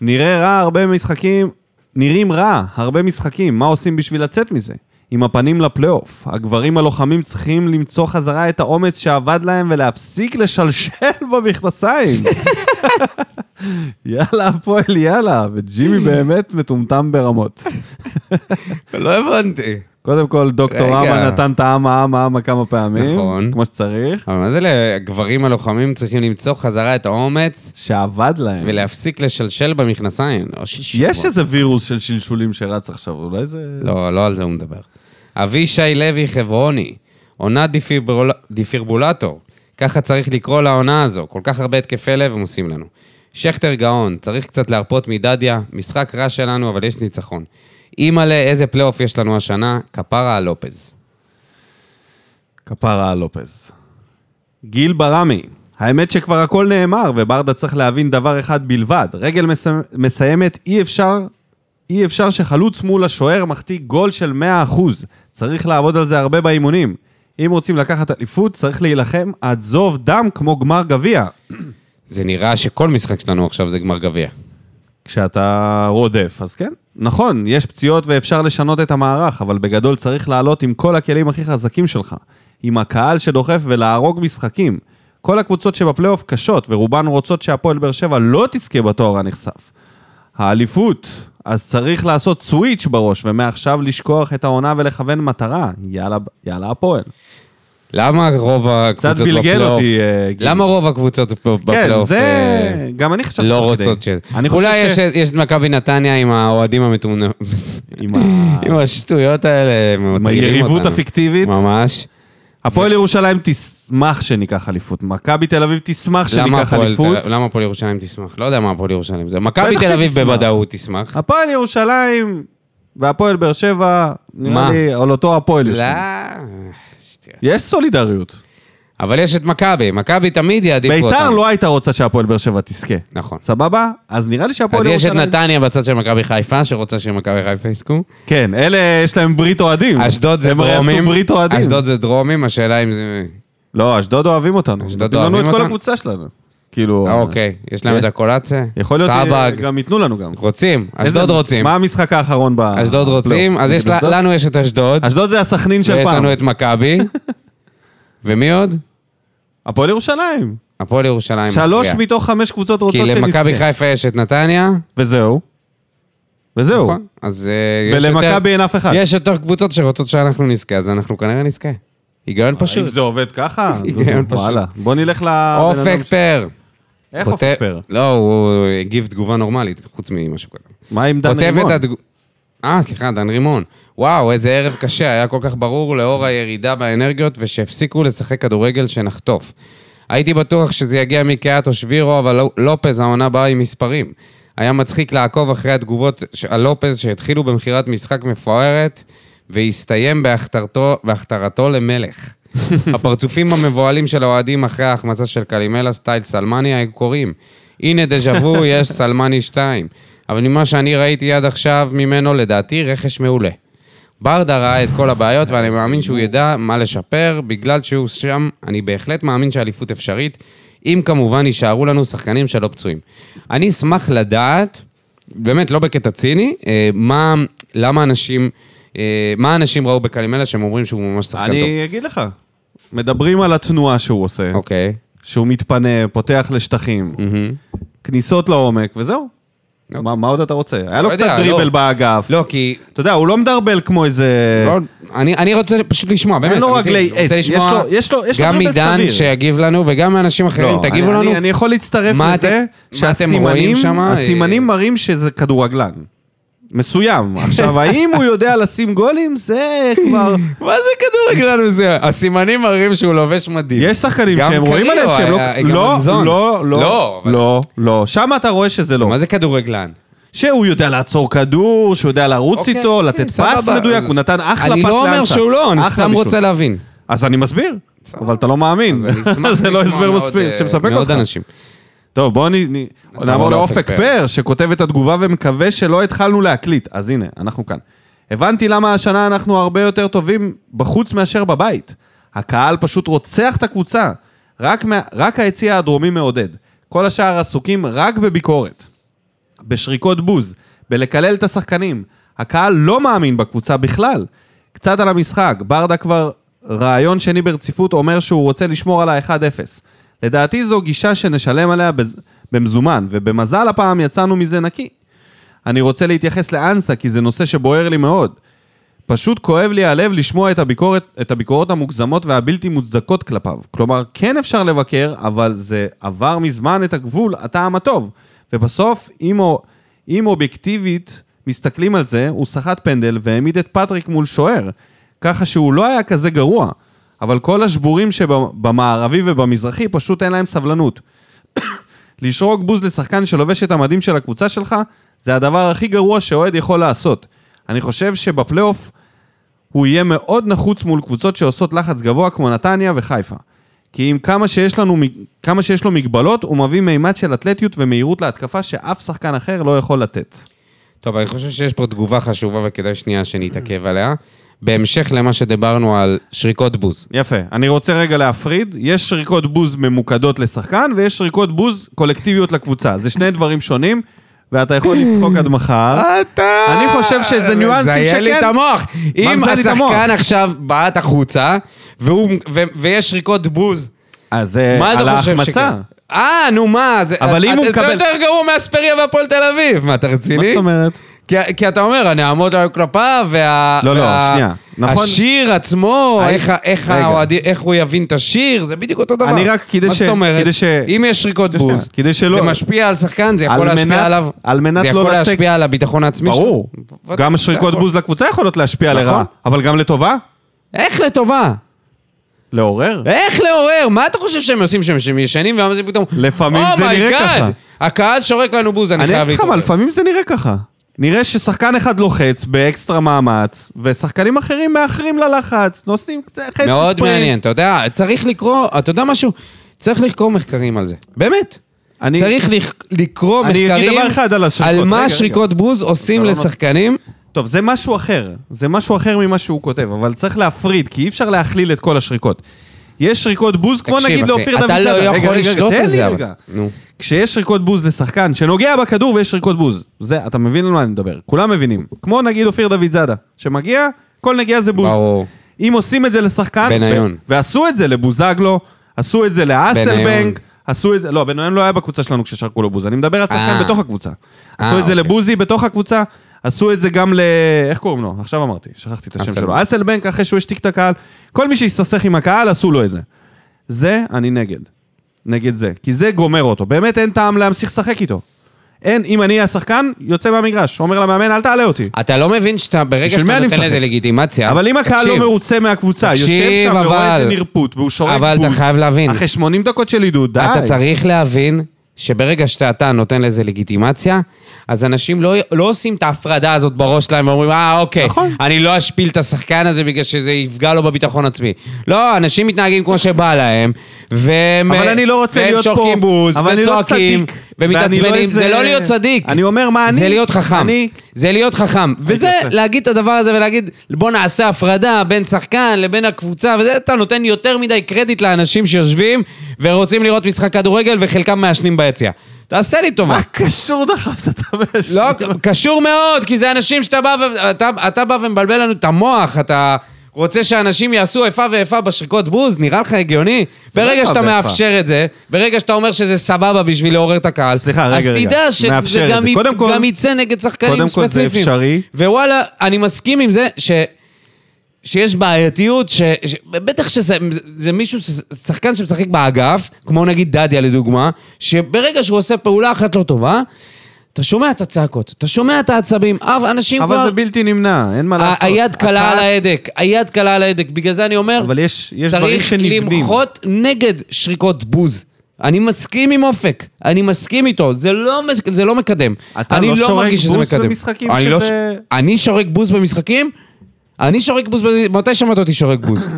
Speaker 1: נראה רע הרבה משחקים, נראים רע הרבה משחקים, מה עושים בשביל לצאת מזה? עם הפנים לפלייאוף. הגברים הלוחמים צריכים למצוא חזרה את האומץ שאבד להם ולהפסיק לשלשל במכנסיים. יאללה, הפועל, יאללה. וג'ימי באמת מטומטם ברמות.
Speaker 2: לא הבנתי.
Speaker 1: קודם כל, דוקטור
Speaker 2: רגע.
Speaker 1: אמה נתן את האמה, אמה, אמה כמה פעמים.
Speaker 2: נכון.
Speaker 1: כמו שצריך.
Speaker 2: אבל מה זה לגברים הלוחמים צריכים למצוא חזרה את האומץ
Speaker 1: שאבד להם.
Speaker 2: ולהפסיק לשלשל במכנסיים? לא, שלשל
Speaker 1: יש
Speaker 2: כבר.
Speaker 1: איזה וירוס של שלשולים שרץ עכשיו, אולי זה...
Speaker 2: לא, לא על זה הוא מדבר. אבישי לוי חברוני, עונת דיפיברול... דיפירבולטור. ככה צריך לקרוא לעונה הזו, כל כך הרבה התקפי לב הם עושים לנו. שכטר גאון, צריך קצת להרפות מדדיה, משחק רע שלנו, אבל יש ניצחון. אימא'לה, איזה פלייאוף יש לנו השנה, כפרה על לופז.
Speaker 1: כפרה על לופז. גיל ברמי, האמת שכבר הכל נאמר, וברדה צריך להבין דבר אחד בלבד. רגל מס... מסיימת, אי אפשר, אי אפשר שחלוץ מול השוער מחטיא גול של 100%. צריך לעבוד על זה הרבה באימונים. אם רוצים לקחת אליפות, צריך להילחם עד זוב דם כמו גמר גביע.
Speaker 2: זה נראה שכל משחק שלנו עכשיו זה גמר גביע.
Speaker 1: כשאתה רודף, אז כן. נכון, יש פציעות ואפשר לשנות את המערך, אבל בגדול צריך לעלות עם כל הכלים הכי חזקים שלך. עם הקהל שדוחף ולהרוג משחקים. כל הקבוצות שבפלייאוף קשות, ורובן רוצות שהפועל באר שבע לא תזכה בתואר הנכסף. האליפות, אז צריך לעשות סוויץ' בראש, ומעכשיו לשכוח את העונה ולכוון מטרה. יאללה, יאללה הפועל.
Speaker 2: למה רוב הקבוצות בפלייאוף...
Speaker 1: בלגן אותי, אה, גיל.
Speaker 2: למה רוב הקבוצות בפ-
Speaker 1: כן,
Speaker 2: בפלייאוף... אה,
Speaker 1: זה... גם אני חשבתי...
Speaker 2: לא
Speaker 1: תוך
Speaker 2: רוצות ש...
Speaker 1: כדי. אני חושב
Speaker 2: אולי
Speaker 1: ש...
Speaker 2: יש- יש את מכבי נתניה עם האוהדים המטומנ...
Speaker 1: עם ה-
Speaker 2: עם השטויות האלה, הם
Speaker 1: עם
Speaker 2: מטרילים
Speaker 1: היריבות
Speaker 2: אותנו.
Speaker 1: הפיקטיבית.
Speaker 2: ממש.
Speaker 1: הפועל ירושלים תשמח שניקח אליפות. מכבי תל אביב תשמח
Speaker 2: למה
Speaker 1: שניקח
Speaker 2: הפועל
Speaker 1: אליפות.
Speaker 2: תל- למה הפועל ירושלים תשמח? לא יודע מה הפועל ירושלים זה. מכבי
Speaker 1: בטח
Speaker 2: תל אביב
Speaker 1: שתשמח.
Speaker 2: בוודאות תשמח.
Speaker 1: הפועל ירושלים והפועל באר שבע, נראה
Speaker 2: מה?
Speaker 1: לי, על אותו הפועל יש
Speaker 2: לא,
Speaker 1: לנו.
Speaker 2: שטויות.
Speaker 1: יש סולידריות.
Speaker 2: אבל יש את מכבי, מכבי תמיד יעדיפו אותנו.
Speaker 1: ביתר לא הייתה רוצה שהפועל באר שבע תזכה.
Speaker 2: נכון.
Speaker 1: סבבה? אז נראה לי שהפועל
Speaker 2: אז יש את
Speaker 1: ירושלים...
Speaker 2: נתניה בצד של מכבי חיפה, שרוצה שמכבי חיפה יזכו.
Speaker 1: כן, אלה יש להם ברית אוהדים.
Speaker 2: אשדוד זה
Speaker 1: הם הרי
Speaker 2: דרומים.
Speaker 1: עשו ברית אוהדים.
Speaker 2: אשדוד זה דרומים, השאלה אם זה...
Speaker 1: לא, אשדוד אוהבים אותנו.
Speaker 2: אשדוד
Speaker 1: נותנים לנו
Speaker 2: אוהבים
Speaker 1: את כל
Speaker 2: אותנו?
Speaker 1: הקבוצה שלנו. כאילו... כן.
Speaker 2: אה, אוקיי, יש להם את הקולציה?
Speaker 1: יכול להיות
Speaker 2: סבג.
Speaker 1: שגם ייתנו לנו גם.
Speaker 2: רוצים, אשדוד
Speaker 1: איזה-
Speaker 2: רוצים.
Speaker 1: מה המשחק האחרון ב...
Speaker 2: אשדוד רוצים,
Speaker 1: בפלייאוף?
Speaker 2: אז יש
Speaker 1: נגד
Speaker 2: לה-
Speaker 1: אשדוד?
Speaker 2: לנו יש את אשדוד.
Speaker 1: אשדוד זה הסכנין של
Speaker 2: ויש
Speaker 1: פעם.
Speaker 2: לנו את מכבי. ומי עוד?
Speaker 1: הפועל ירושלים.
Speaker 2: הפועל ירושלים.
Speaker 1: שלוש
Speaker 2: כן, מפריע.
Speaker 1: מתוך חמש קבוצות רוצות
Speaker 2: כי
Speaker 1: שנזכה.
Speaker 2: למכבי חיפה יש את נתניה.
Speaker 1: וזהו. וזהו.
Speaker 2: נכון. אז אה, יש
Speaker 1: ולמכבי
Speaker 2: יותר-
Speaker 1: אין אף אחד.
Speaker 2: יש יותר קבוצות שרוצות שאנחנו נזכה, אז אנחנו כנראה נזכה. היגיון
Speaker 1: אה, אם
Speaker 2: פשוט.
Speaker 1: זה עובד ככה,
Speaker 2: היגיון כן, פשוט.
Speaker 1: וואלה. בוא נלך ל...
Speaker 2: אופק פר.
Speaker 1: איך
Speaker 2: כותב-
Speaker 1: אופק פר?
Speaker 2: לא, הוא הגיב תגובה נורמלית, חוץ ממה שהוא כתב.
Speaker 1: מה עם דן
Speaker 2: כותב
Speaker 1: רימון?
Speaker 2: את התגובה... אה, סליחה, דן רימון. וואו, איזה ערב קשה, היה כל כך ברור לאור הירידה באנרגיות, ושהפסיקו לשחק כדורגל שנחטוף. הייתי בטוח שזה יגיע מקיאט או שבירו, אבל לא- לופז העונה באה עם מספרים. היה מצחיק לעקוב אחרי התגובות ש- על לופז שהתחילו במכירת משחק מפוארת, והסתיים בהכתרתו, בהכתרתו למלך. הפרצופים המבוהלים של האוהדים אחרי ההחמצה של קלימלה סטייל סלמני היו קוראים. הנה דז'ה וו, יש סלמני 2. אבל ממה שאני ראיתי עד עכשיו ממנו, לדעתי, רכש מעולה. ברדה ראה את כל הבעיות, ואני מאמין שהוא ידע מה לשפר, בגלל שהוא שם, אני בהחלט מאמין שהאליפות אפשרית, אם כמובן יישארו לנו שחקנים שלא פצועים. אני אשמח לדעת, באמת, לא בקטע ציני, אה, מה, למה אנשים, אה, מה אנשים ראו בקלימלה שהם אומרים שהוא ממש שחקן טוב.
Speaker 1: אני אגיד לך. מדברים על התנועה שהוא עושה,
Speaker 2: אוקיי.
Speaker 1: שהוא מתפנה, פותח לשטחים,
Speaker 2: מהמם.
Speaker 1: כניסות לעומק, וזהו.
Speaker 2: אוקיי.
Speaker 1: מה מה עוד אתה רוצה? היה לו
Speaker 2: לא
Speaker 1: קצת
Speaker 2: יודע,
Speaker 1: דריבל
Speaker 2: לא.
Speaker 1: באגף.
Speaker 2: לא, כי...
Speaker 1: אתה יודע, הוא לא מדרבל כמו איזה...
Speaker 2: לא, אני, אני רוצה פשוט לשמוע, באמת.
Speaker 1: לו
Speaker 2: אמיתי,
Speaker 1: רגלי
Speaker 2: אני רוצה
Speaker 1: עץ,
Speaker 2: לשמוע
Speaker 1: יש לו- יש לו- יש לו
Speaker 2: גם
Speaker 1: דריבל סביר.
Speaker 2: מדן שיגיב לנו, וגם מאנשים אחרים,
Speaker 1: לא,
Speaker 2: תגיבו
Speaker 1: אני,
Speaker 2: לנו.
Speaker 1: אני, אני יכול להצטרף
Speaker 2: מה
Speaker 1: לזה
Speaker 2: אתם- מה אתם
Speaker 1: שהסימנים
Speaker 2: רואים שמה?
Speaker 1: הסימנים
Speaker 2: אה,
Speaker 1: מראים שזה כדורגלן. מסוים. עכשיו, האם הוא יודע לשים גולים? זה כבר...
Speaker 2: מה זה כדורגלן וזה? הסימנים מראים שהוא לובש מדים.
Speaker 1: יש שחקנים
Speaker 2: גם
Speaker 1: שהם רואים
Speaker 2: קריו
Speaker 1: עליהם שהם לא...
Speaker 2: היה- גם
Speaker 1: לא,
Speaker 2: רמזון.
Speaker 1: לא, לא,
Speaker 2: לא, אבל-
Speaker 1: לא, לא. שם אתה רואה שזה לא.
Speaker 2: מה זה כדורגלן?
Speaker 1: שהוא יודע לעצור כדור, שהוא יודע לרוץ
Speaker 2: אוקיי,
Speaker 1: איתו,
Speaker 2: אוקיי,
Speaker 1: לתת
Speaker 2: סבבה.
Speaker 1: פס מדויק,
Speaker 2: אז-
Speaker 1: הוא נתן אחלה פס לאנסה.
Speaker 2: אני לא אומר שהוא לא, אני
Speaker 1: אחלה
Speaker 2: סתם
Speaker 1: בישול.
Speaker 2: רוצה להבין.
Speaker 1: אז אני מסביר, אבל אתה לא מאמין.
Speaker 2: אז אני אשמח
Speaker 1: זה לא
Speaker 2: לשמוע
Speaker 1: הסבר
Speaker 2: מעוד,
Speaker 1: מספיק
Speaker 2: אה,
Speaker 1: שמספק
Speaker 2: מעוד
Speaker 1: אותך.
Speaker 2: אנשים.
Speaker 1: טוב, בואו נ... נ... נעבור לאופק
Speaker 2: פר.
Speaker 1: פר, שכותב את התגובה ומקווה שלא התחלנו להקליט. אז הנה, אנחנו כאן. הבנתי למה השנה אנחנו הרבה יותר טובים בחוץ מאשר בבית. הקהל פשוט רוצח את הקבוצה. רק, מה... רק היציע הדרומי מעודד. כל השאר עסוקים רק בביקורת. בשריקות בוז, בלקלל את השחקנים. הקהל לא מאמין בקבוצה בכלל. קצת על המשחק, ברדה כבר רעיון שני ברציפות אומר שהוא רוצה לשמור על ה-1-0. לדעתי זו גישה שנשלם עליה בז- במזומן, ובמזל הפעם יצאנו מזה נקי. אני רוצה להתייחס לאנסה, כי זה נושא שבוער לי מאוד. פשוט כואב לי הלב לשמוע את, הביקורת, את הביקורות המוגזמות והבלתי מוצדקות כלפיו. כלומר, כן אפשר לבקר, אבל זה עבר מזמן את הגבול, הטעם הטוב. ובסוף, אם, או- אם אובייקטיבית מסתכלים על זה, הוא סחט פנדל והעמיד את פטריק מול שוער, ככה שהוא לא היה כזה גרוע. אבל כל השבורים שבמערבי ובמזרחי, פשוט אין להם סבלנות. לשרוק בוז לשחקן שלובש את המדים של הקבוצה שלך, זה הדבר הכי גרוע שאוהד יכול לעשות. אני חושב שבפלייאוף הוא יהיה מאוד נחוץ מול קבוצות שעושות לחץ גבוה כמו נתניה וחיפה. כי עם כמה שיש, לנו, מג- כמה שיש לו מגבלות, הוא מביא מימד של אתלטיות ומהירות להתקפה שאף שחקן אחר לא יכול לתת.
Speaker 2: טוב, אני חושב שיש פה תגובה חשובה וכדאי שנייה שנתעכב עליה. בהמשך למה שדיברנו על שריקות בוז.
Speaker 1: יפה. אני רוצה רגע להפריד. יש שריקות בוז ממוקדות לשחקן, ויש שריקות בוז קולקטיביות לקבוצה. זה שני דברים שונים, ואתה יכול לצחוק עד מחר.
Speaker 2: אתה...
Speaker 1: אני חושב שזה ניואנסים
Speaker 2: מזיין לי
Speaker 1: שכן.
Speaker 2: את המוח.
Speaker 1: מה
Speaker 2: אם
Speaker 1: מזיין לי את המוח?
Speaker 2: השחקן עכשיו בעט החוצה, והוא- ו- ויש שריקות בוז,
Speaker 1: אז זה
Speaker 2: מה
Speaker 1: אה, על
Speaker 2: אתה חושב שכן?
Speaker 1: ההחמצה.
Speaker 2: אה, נו מה, זה...
Speaker 1: אבל אם
Speaker 2: את-
Speaker 1: הוא
Speaker 2: זה
Speaker 1: מקבל-
Speaker 2: יותר גרוע מאספריה והפועל תל אביב. מה, אתה
Speaker 1: מה
Speaker 2: רציני?
Speaker 1: זאת אומרת?
Speaker 2: כי- כי אתה אומר, הנעמות היו כלפיו, וה...
Speaker 1: לא, לא,
Speaker 2: וה-
Speaker 1: שנייה. נכון.
Speaker 2: השיר עצמו,
Speaker 1: אני-
Speaker 2: איך ה- איך
Speaker 1: רגע.
Speaker 2: האוהדים- איך הוא יבין את השיר, זה בדיוק אותו דבר.
Speaker 1: אני רק- כדי
Speaker 2: מה
Speaker 1: ש-
Speaker 2: זאת אומרת?
Speaker 1: כדי ש-
Speaker 2: אם יש שריקות
Speaker 1: שנייה,
Speaker 2: בוז,
Speaker 1: כדי שלא-
Speaker 2: זה משפיע על שחקן, זה
Speaker 1: על
Speaker 2: יכול
Speaker 1: מנת-
Speaker 2: להשפיע עליו.
Speaker 1: על מנת
Speaker 2: זה
Speaker 1: לא
Speaker 2: יכול
Speaker 1: לצק-
Speaker 2: להשפיע על הביטחון העצמי שלו.
Speaker 1: ברור.
Speaker 2: ודאי,
Speaker 1: גם
Speaker 2: זה
Speaker 1: שריקות
Speaker 2: הכל.
Speaker 1: בוז לקבוצה יכולות להשפיע
Speaker 2: נכון.
Speaker 1: לרעה, אבל גם לטובה?
Speaker 2: איך לטובה?
Speaker 1: לעורר?
Speaker 2: איך לעורר? מה אתה חושב שהם עושים שם? שהם ישנים ואז הם פתאום...
Speaker 1: לפעמים
Speaker 2: "Oh
Speaker 1: זה
Speaker 2: my
Speaker 1: נראה
Speaker 2: God,
Speaker 1: ככה."
Speaker 2: הקהל שורק לנו בוז, אני
Speaker 1: אני
Speaker 2: חייב
Speaker 1: אגיד לך מה,
Speaker 2: להתעורר.
Speaker 1: לפעמים זה נראה ככה. נראה ששחקן אחד לוחץ באקסטרה מאמץ, ושחקנים אחרים מאחרים ללחץ, נוסעים קצת חצי ספרינט.
Speaker 2: מאוד מעניין, אתה יודע, צריך לקרוא, אתה יודע משהו? צריך לקרוא מחקרים על זה. באמת.
Speaker 1: אני-
Speaker 2: צריך לק- לקרוא
Speaker 1: אני אגיד
Speaker 2: מחקרים
Speaker 1: דבר אחד על השריקות.
Speaker 2: על
Speaker 1: רגע,
Speaker 2: מה
Speaker 1: רגע.
Speaker 2: שריקות בוז עושים
Speaker 1: לא, לא, לא.
Speaker 2: לשחקנים.
Speaker 1: טוב, זה משהו אחר. זה משהו אחר ממה שהוא כותב, אבל צריך להפריד, כי אי אפשר להכליל את כל השריקות. יש שריקות בוז, כמו
Speaker 2: תקשיב,
Speaker 1: נגיד
Speaker 2: אחי,
Speaker 1: לאופיר
Speaker 2: אתה
Speaker 1: דוידזאדה.
Speaker 2: לא
Speaker 1: רגע,
Speaker 2: יכול
Speaker 1: רגע,
Speaker 2: לשלוט
Speaker 1: תן
Speaker 2: על
Speaker 1: לי
Speaker 2: זה, אבל.
Speaker 1: רגע.
Speaker 2: נו.
Speaker 1: כשיש שריקות בוז לשחקן שנוגע בכדור ויש שריקות בוז. זה, אתה מבין על מה אני מדבר. כולם מבינים. כמו נגיד אופיר דוידזאדה, שמגיע, כל נגיעה זה בוז.
Speaker 2: ברור.
Speaker 1: אם עושים את זה לשחקן,
Speaker 2: בניון.
Speaker 1: ו- ועשו את זה לבוזגלו, עשו את זה
Speaker 2: בניון.
Speaker 1: לאסלבנק, עשו את זה, לא, בניון לא היה בקבוצה שלנו כששרקו לו בוז, אני מדבר על שחקן
Speaker 2: אה.
Speaker 1: בתוך הקבוצה.
Speaker 2: אה,
Speaker 1: עשו את זה
Speaker 2: אוקיי.
Speaker 1: לבוזי בתוך הקבוצה, עשו את זה גם ל... איך קוראים לו? עכשיו אמרתי, שכחתי את השם
Speaker 2: אסלבנק.
Speaker 1: שלו. אסלבנק, אחרי שהוא השתיק את הקהל, כל מי שהסתכסך עם הקהל, עשו לו את זה. זה, אני נגד. נגד זה. כי זה גומר אותו. באמת אין טעם להמשיך לשחק איתו. אין, אם אני השחקן, יוצא מהמגרש. אומר למאמן, אל תעלה אותי.
Speaker 2: אתה לא מבין שאתה, ברגע
Speaker 1: בשביל מי
Speaker 2: שאתה
Speaker 1: אני
Speaker 2: נותן
Speaker 1: משחק?
Speaker 2: לזה לגיטימציה,
Speaker 1: אבל אם הקהל לא
Speaker 2: תקשיב,
Speaker 1: מרוצה מהקבוצה, יושב
Speaker 2: תקשיב,
Speaker 1: שם ורואה איזה
Speaker 2: אבל-
Speaker 1: נרפות, והוא שורק
Speaker 2: אבל אתה
Speaker 1: בוז,
Speaker 2: חייב להבין.
Speaker 1: אחרי 80 דקות של עידוד, די.
Speaker 2: אתה צריך להבין שברגע שאתה אתה נותן לזה לגיטימציה, אז אנשים לא, לא עושים את ההפרדה הזאת בראש שלהם ואומרים, אה, אוקיי,
Speaker 1: נכון.
Speaker 2: אני לא אשפיל את השחקן הזה בגלל שזה יפגע לו בביטחון עצמי. לא, אנשים מתנהגים כמו שבא להם, והם
Speaker 1: אבל אני לא רוצה
Speaker 2: והם
Speaker 1: להיות פה...
Speaker 2: שורקים בוז,
Speaker 1: אבל אני לא
Speaker 2: וצועקים,
Speaker 1: צדיק, ואני לא
Speaker 2: ומתעצבנים.
Speaker 1: איזה-
Speaker 2: זה לא להיות צדיק.
Speaker 1: אני אומר מה אני...
Speaker 2: זה להיות חכם.
Speaker 1: אני...
Speaker 2: זה להיות חכם. וזה
Speaker 1: עושה.
Speaker 2: להגיד את הדבר הזה ולהגיד, בוא נעשה הפרדה בין שחקן לבין הקבוצה, וזה אתה נותן יותר מדי קרדיט לאנשים שיושבים ורוצים לראות משחק כדורגל וחלקם מעשנים ביציע. תעשה לי טובה.
Speaker 1: מה קשור דחפת את המשק?
Speaker 2: לא, קשור מאוד, כי זה אנשים שאתה בא, ו... אתה, אתה בא ומבלבל לנו את המוח, אתה רוצה שאנשים יעשו איפה ואיפה בשריקות בוז, נראה לך הגיוני?
Speaker 1: זה לא
Speaker 2: ברגע
Speaker 1: איפה
Speaker 2: שאתה
Speaker 1: ואיפה.
Speaker 2: מאפשר את זה, ברגע שאתה אומר שזה סבבה בשביל לעורר את הקהל,
Speaker 1: סליחה, רגע,
Speaker 2: אז
Speaker 1: רגע.
Speaker 2: תדע שזה
Speaker 1: מאפשר את
Speaker 2: גם,
Speaker 1: זה.
Speaker 2: י...
Speaker 1: קודם כל-
Speaker 2: גם יצא נגד
Speaker 1: קודם
Speaker 2: שחקנים
Speaker 1: כל זה
Speaker 2: ספציפיים.
Speaker 1: אפשרי.
Speaker 2: ווואלה, אני מסכים עם זה ש... שיש בעייתיות, ש... ש... בטח שזה זה- זה מישהו, ש- שחקן שמשחק באגף, כמו נגיד דדיה לדוגמה, שברגע שהוא עושה פעולה אחת לא טובה, אתה שומע את הצעקות, אתה שומע את העצבים, אף אנשים
Speaker 1: אבל
Speaker 2: כבר...
Speaker 1: זה בלתי נמנע, אין מה
Speaker 2: ה-
Speaker 1: לעשות.
Speaker 2: היד קלה
Speaker 1: הקהל-
Speaker 2: על ההדק, היד קלה על ההדק, בגלל זה אני אומר,
Speaker 1: אבל יש יש דברים
Speaker 2: צריך
Speaker 1: שנבנים.
Speaker 2: למחות נגד שריקות בוז. אני מסכים עם אופק, אני מסכים איתו, זה לא, מס- זה לא מקדם.
Speaker 1: אתה
Speaker 2: אני
Speaker 1: לא שורק
Speaker 2: מרגיש שזה
Speaker 1: בוז
Speaker 2: מקדם.
Speaker 1: במשחקים
Speaker 2: אני לא
Speaker 1: שזה-
Speaker 2: ש- אני שורק בוז במשחקים? אני שורק בוז, ב- מתי שמעת אותי שורק בוז?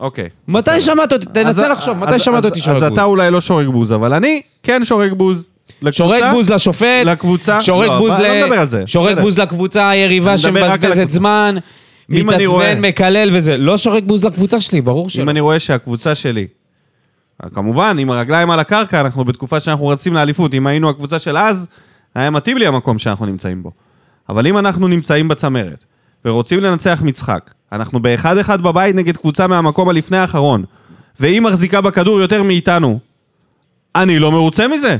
Speaker 1: אוקיי.
Speaker 2: מתי שמעת אותי?
Speaker 1: אז-
Speaker 2: תנסה לחשוב, מתי
Speaker 1: אז-
Speaker 2: שמעת
Speaker 1: אז-
Speaker 2: אותי שורק
Speaker 1: אז
Speaker 2: בוז?
Speaker 1: אתה אולי לא שורק בוז, אבל אני כן שורק בוז. לקבוצה.
Speaker 2: שורק בוז לשופט,
Speaker 1: לקבוצה.
Speaker 2: שורק
Speaker 1: לא,
Speaker 2: בוז
Speaker 1: אבל
Speaker 2: ל...
Speaker 1: לא מדבר על זה.
Speaker 2: שורק
Speaker 1: בסדר.
Speaker 2: בוז לקבוצה היריבה
Speaker 1: אני מדבר רק על
Speaker 2: שמבזבזת
Speaker 1: הקבוצה.
Speaker 2: זמן,
Speaker 1: אם אני רואה-
Speaker 2: מתעצבן, מקלל וזה. לא שורק בוז לקבוצה שלי, ברור שלא.
Speaker 1: אם אני רואה שהקבוצה שלי, כמובן, עם הרגליים על הקרקע, אנחנו בתקופה שאנחנו רצים לאליפות. אם היינו הקבוצה של אז, היה מתאים לי המקום שאנחנו נמצאים בו. אבל אם אנחנו נמצאים בצמרת, ורוצים לנצח משחק, אנחנו ב-1-1 בבית נגד קבוצה מהמקום הלפני האחרון, והיא מחזיקה בכדור יותר מאיתנו. אני לא מרוצה מזה.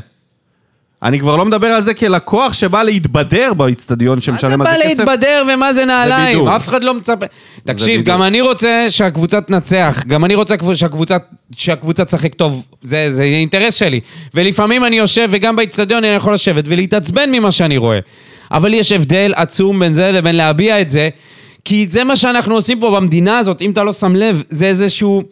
Speaker 1: אני כבר לא מדבר על זה כלקוח שבא להתבדר באיצטדיון
Speaker 2: מה זה
Speaker 1: שמשלם על
Speaker 2: בא
Speaker 1: זה כסף.
Speaker 2: להתבדר ומה זה נעליים?
Speaker 1: בידור.
Speaker 2: אף אחד לא מצפה... תקשיב,
Speaker 1: בידור.
Speaker 2: גם אני רוצה שהקבוצה תנצח. גם אני רוצה כבו- שהקבוצה- שהקבוצה תשחק טוב. זה זה אינטרס שלי. ולפעמים אני יושב, וגם באיצטדיון אני יכול לשבת ולהתעצבן ממה שאני רואה. אבל יש הבדל עצום בין זה לבין להביע את זה, כי זה מה שאנחנו עושים פה במדינה הזאת, אם אתה לא שם לב, זה איזשהו...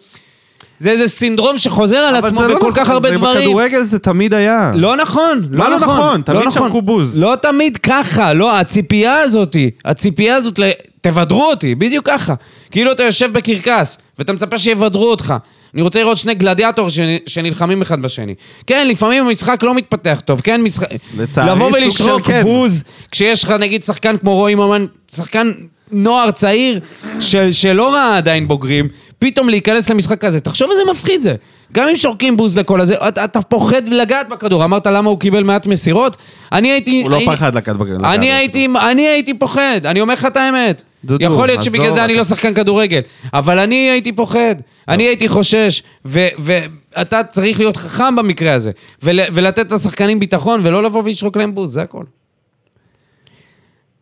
Speaker 2: זה איזה סינדרום שחוזר על
Speaker 1: אבל
Speaker 2: עצמו
Speaker 1: זה לא
Speaker 2: בכל כך
Speaker 1: נכון,
Speaker 2: הרבה
Speaker 1: זה
Speaker 2: דברים.
Speaker 1: בכדורגל זה תמיד היה.
Speaker 2: לא נכון,
Speaker 1: מה לא נכון? תמיד שרקו בוז.
Speaker 2: לא תמיד ככה, לא, הציפייה הזאת, הציפייה הזאת, ל... תבדרו אותי, בדיוק ככה. כאילו אתה יושב בקרקס, ואתה מצפה שיבדרו אותך. אני רוצה לראות שני גלדיאטור שנ... שנלחמים אחד בשני. כן, לפעמים המשחק לא מתפתח טוב, כן, משחק...
Speaker 1: לצערי,
Speaker 2: לבוא
Speaker 1: סוג של
Speaker 2: ולשרוק
Speaker 1: כן.
Speaker 2: בוז, כשיש לך נגיד שחקן כמו רועי ממן, שחקן נוער צעיר, של, שלא ראה עדיין בוגרים, פתאום להיכנס למשחק הזה. תחשוב איזה מפחיד זה. גם אם שורקים בוז לכל הזה, אתה, אתה פוחד לגעת בכדור. אמרת למה הוא קיבל מעט מסירות? אני הייתי...
Speaker 1: הוא לא
Speaker 2: הי-
Speaker 1: פחד לקחת בכדור.
Speaker 2: אני הייתי, אני הייתי פוחד, אני אומר לך את האמת.
Speaker 1: דודו,
Speaker 2: יכול להיות שבגלל
Speaker 1: עזוב, לא.
Speaker 2: זה אני
Speaker 1: אתה-
Speaker 2: לא שחקן כדורגל, אבל אני הייתי פוחד, אני הייתי חושש, ו- ואתה צריך להיות חכם במקרה הזה, ול- ולתת לשחקנים ביטחון, ולא לבוא ולשרוק להם בוז, זה הכל.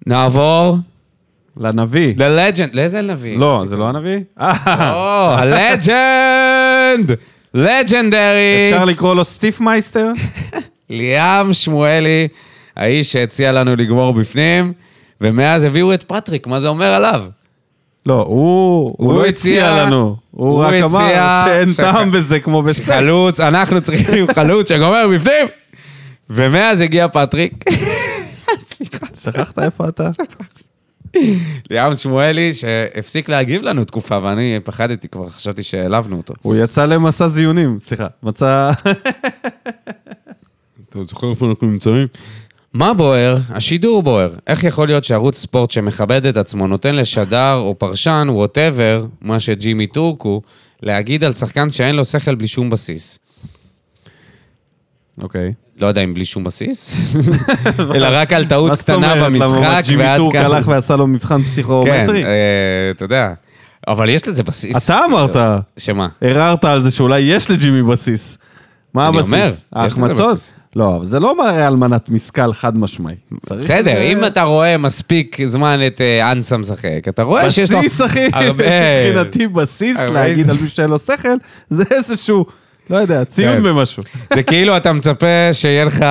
Speaker 2: נעבור
Speaker 1: לנביא.
Speaker 2: ללג'נד, לאיזה נביא?
Speaker 1: לא, זה לא הנביא? אה,
Speaker 2: או, הלג'נד! לג'נדרי!
Speaker 1: אפשר לקרוא לו סטיף מייסטר?
Speaker 2: ליאם שמואלי, האיש שהציע לנו לגמור בפנים, ומאז הביאו את פטריק, מה זה אומר עליו?
Speaker 1: לא, הוא הוא לא הציע לנו. הוא רק אמר
Speaker 2: הציע
Speaker 1: שאין
Speaker 2: שח-
Speaker 1: טעם בזה כמו בסקס.
Speaker 2: שחלוץ, אנחנו צריכים חלוץ שגומר בפנים! ומאז הגיע פטריק,
Speaker 1: שכחת איפה אתה?
Speaker 2: ליאם שמואלי, שהפסיק להגיב לנו תקופה, ואני פחדתי כבר, חשבתי שהעלבנו אותו.
Speaker 1: הוא יצא למסע זיונים, סליחה. מצא...
Speaker 2: אתה זוכר איפה אנחנו נמצאים? מה בוער? השידור בוער. איך יכול להיות שערוץ ספורט שמכבד את עצמו נותן לשדר או פרשן, ווטאבר, מה שג'ימי טורק הוא, להגיד על שחקן שאין לו שכל בלי שום בסיס?
Speaker 1: אוקיי.
Speaker 2: לא יודע אם בלי שום בסיס, אלא רק על
Speaker 1: מה
Speaker 2: טעות
Speaker 1: זאת אומרת?
Speaker 2: קטנה
Speaker 1: למה, מה,
Speaker 2: במשחק,
Speaker 1: ג'ימי
Speaker 2: ועד
Speaker 1: טורק
Speaker 2: כאן.
Speaker 1: הלך ועשה לו מבחן
Speaker 2: כן,
Speaker 1: פסיכומטרי?
Speaker 2: אה, אתה יודע. אבל יש לזה בסיס.
Speaker 1: אתה אמרת.
Speaker 2: שמה?
Speaker 1: ערערת על זה שאולי יש לג'ימי בסיס. מה
Speaker 2: אני
Speaker 1: הבסיס?
Speaker 2: אומר, יש לזה
Speaker 1: ההחמצות?
Speaker 2: בסיס.
Speaker 1: לא, אבל זה לא מראה על מנת משכל חד משמעי. צריך
Speaker 2: בסדר,
Speaker 1: איזה-
Speaker 2: אם אתה רואה מספיק זמן את אה, אנסה משחק, אתה רואה שיש לו...
Speaker 1: בסיס, אחי,
Speaker 2: הרבה-
Speaker 1: מבחינתי בסיס
Speaker 2: הרבה-
Speaker 1: להגיד על מי שאין לו שכל, זה איזשהו, לא יודע, ציון
Speaker 2: כן.
Speaker 1: במשהו.
Speaker 2: זה כאילו אתה מצפה שיהיה לך...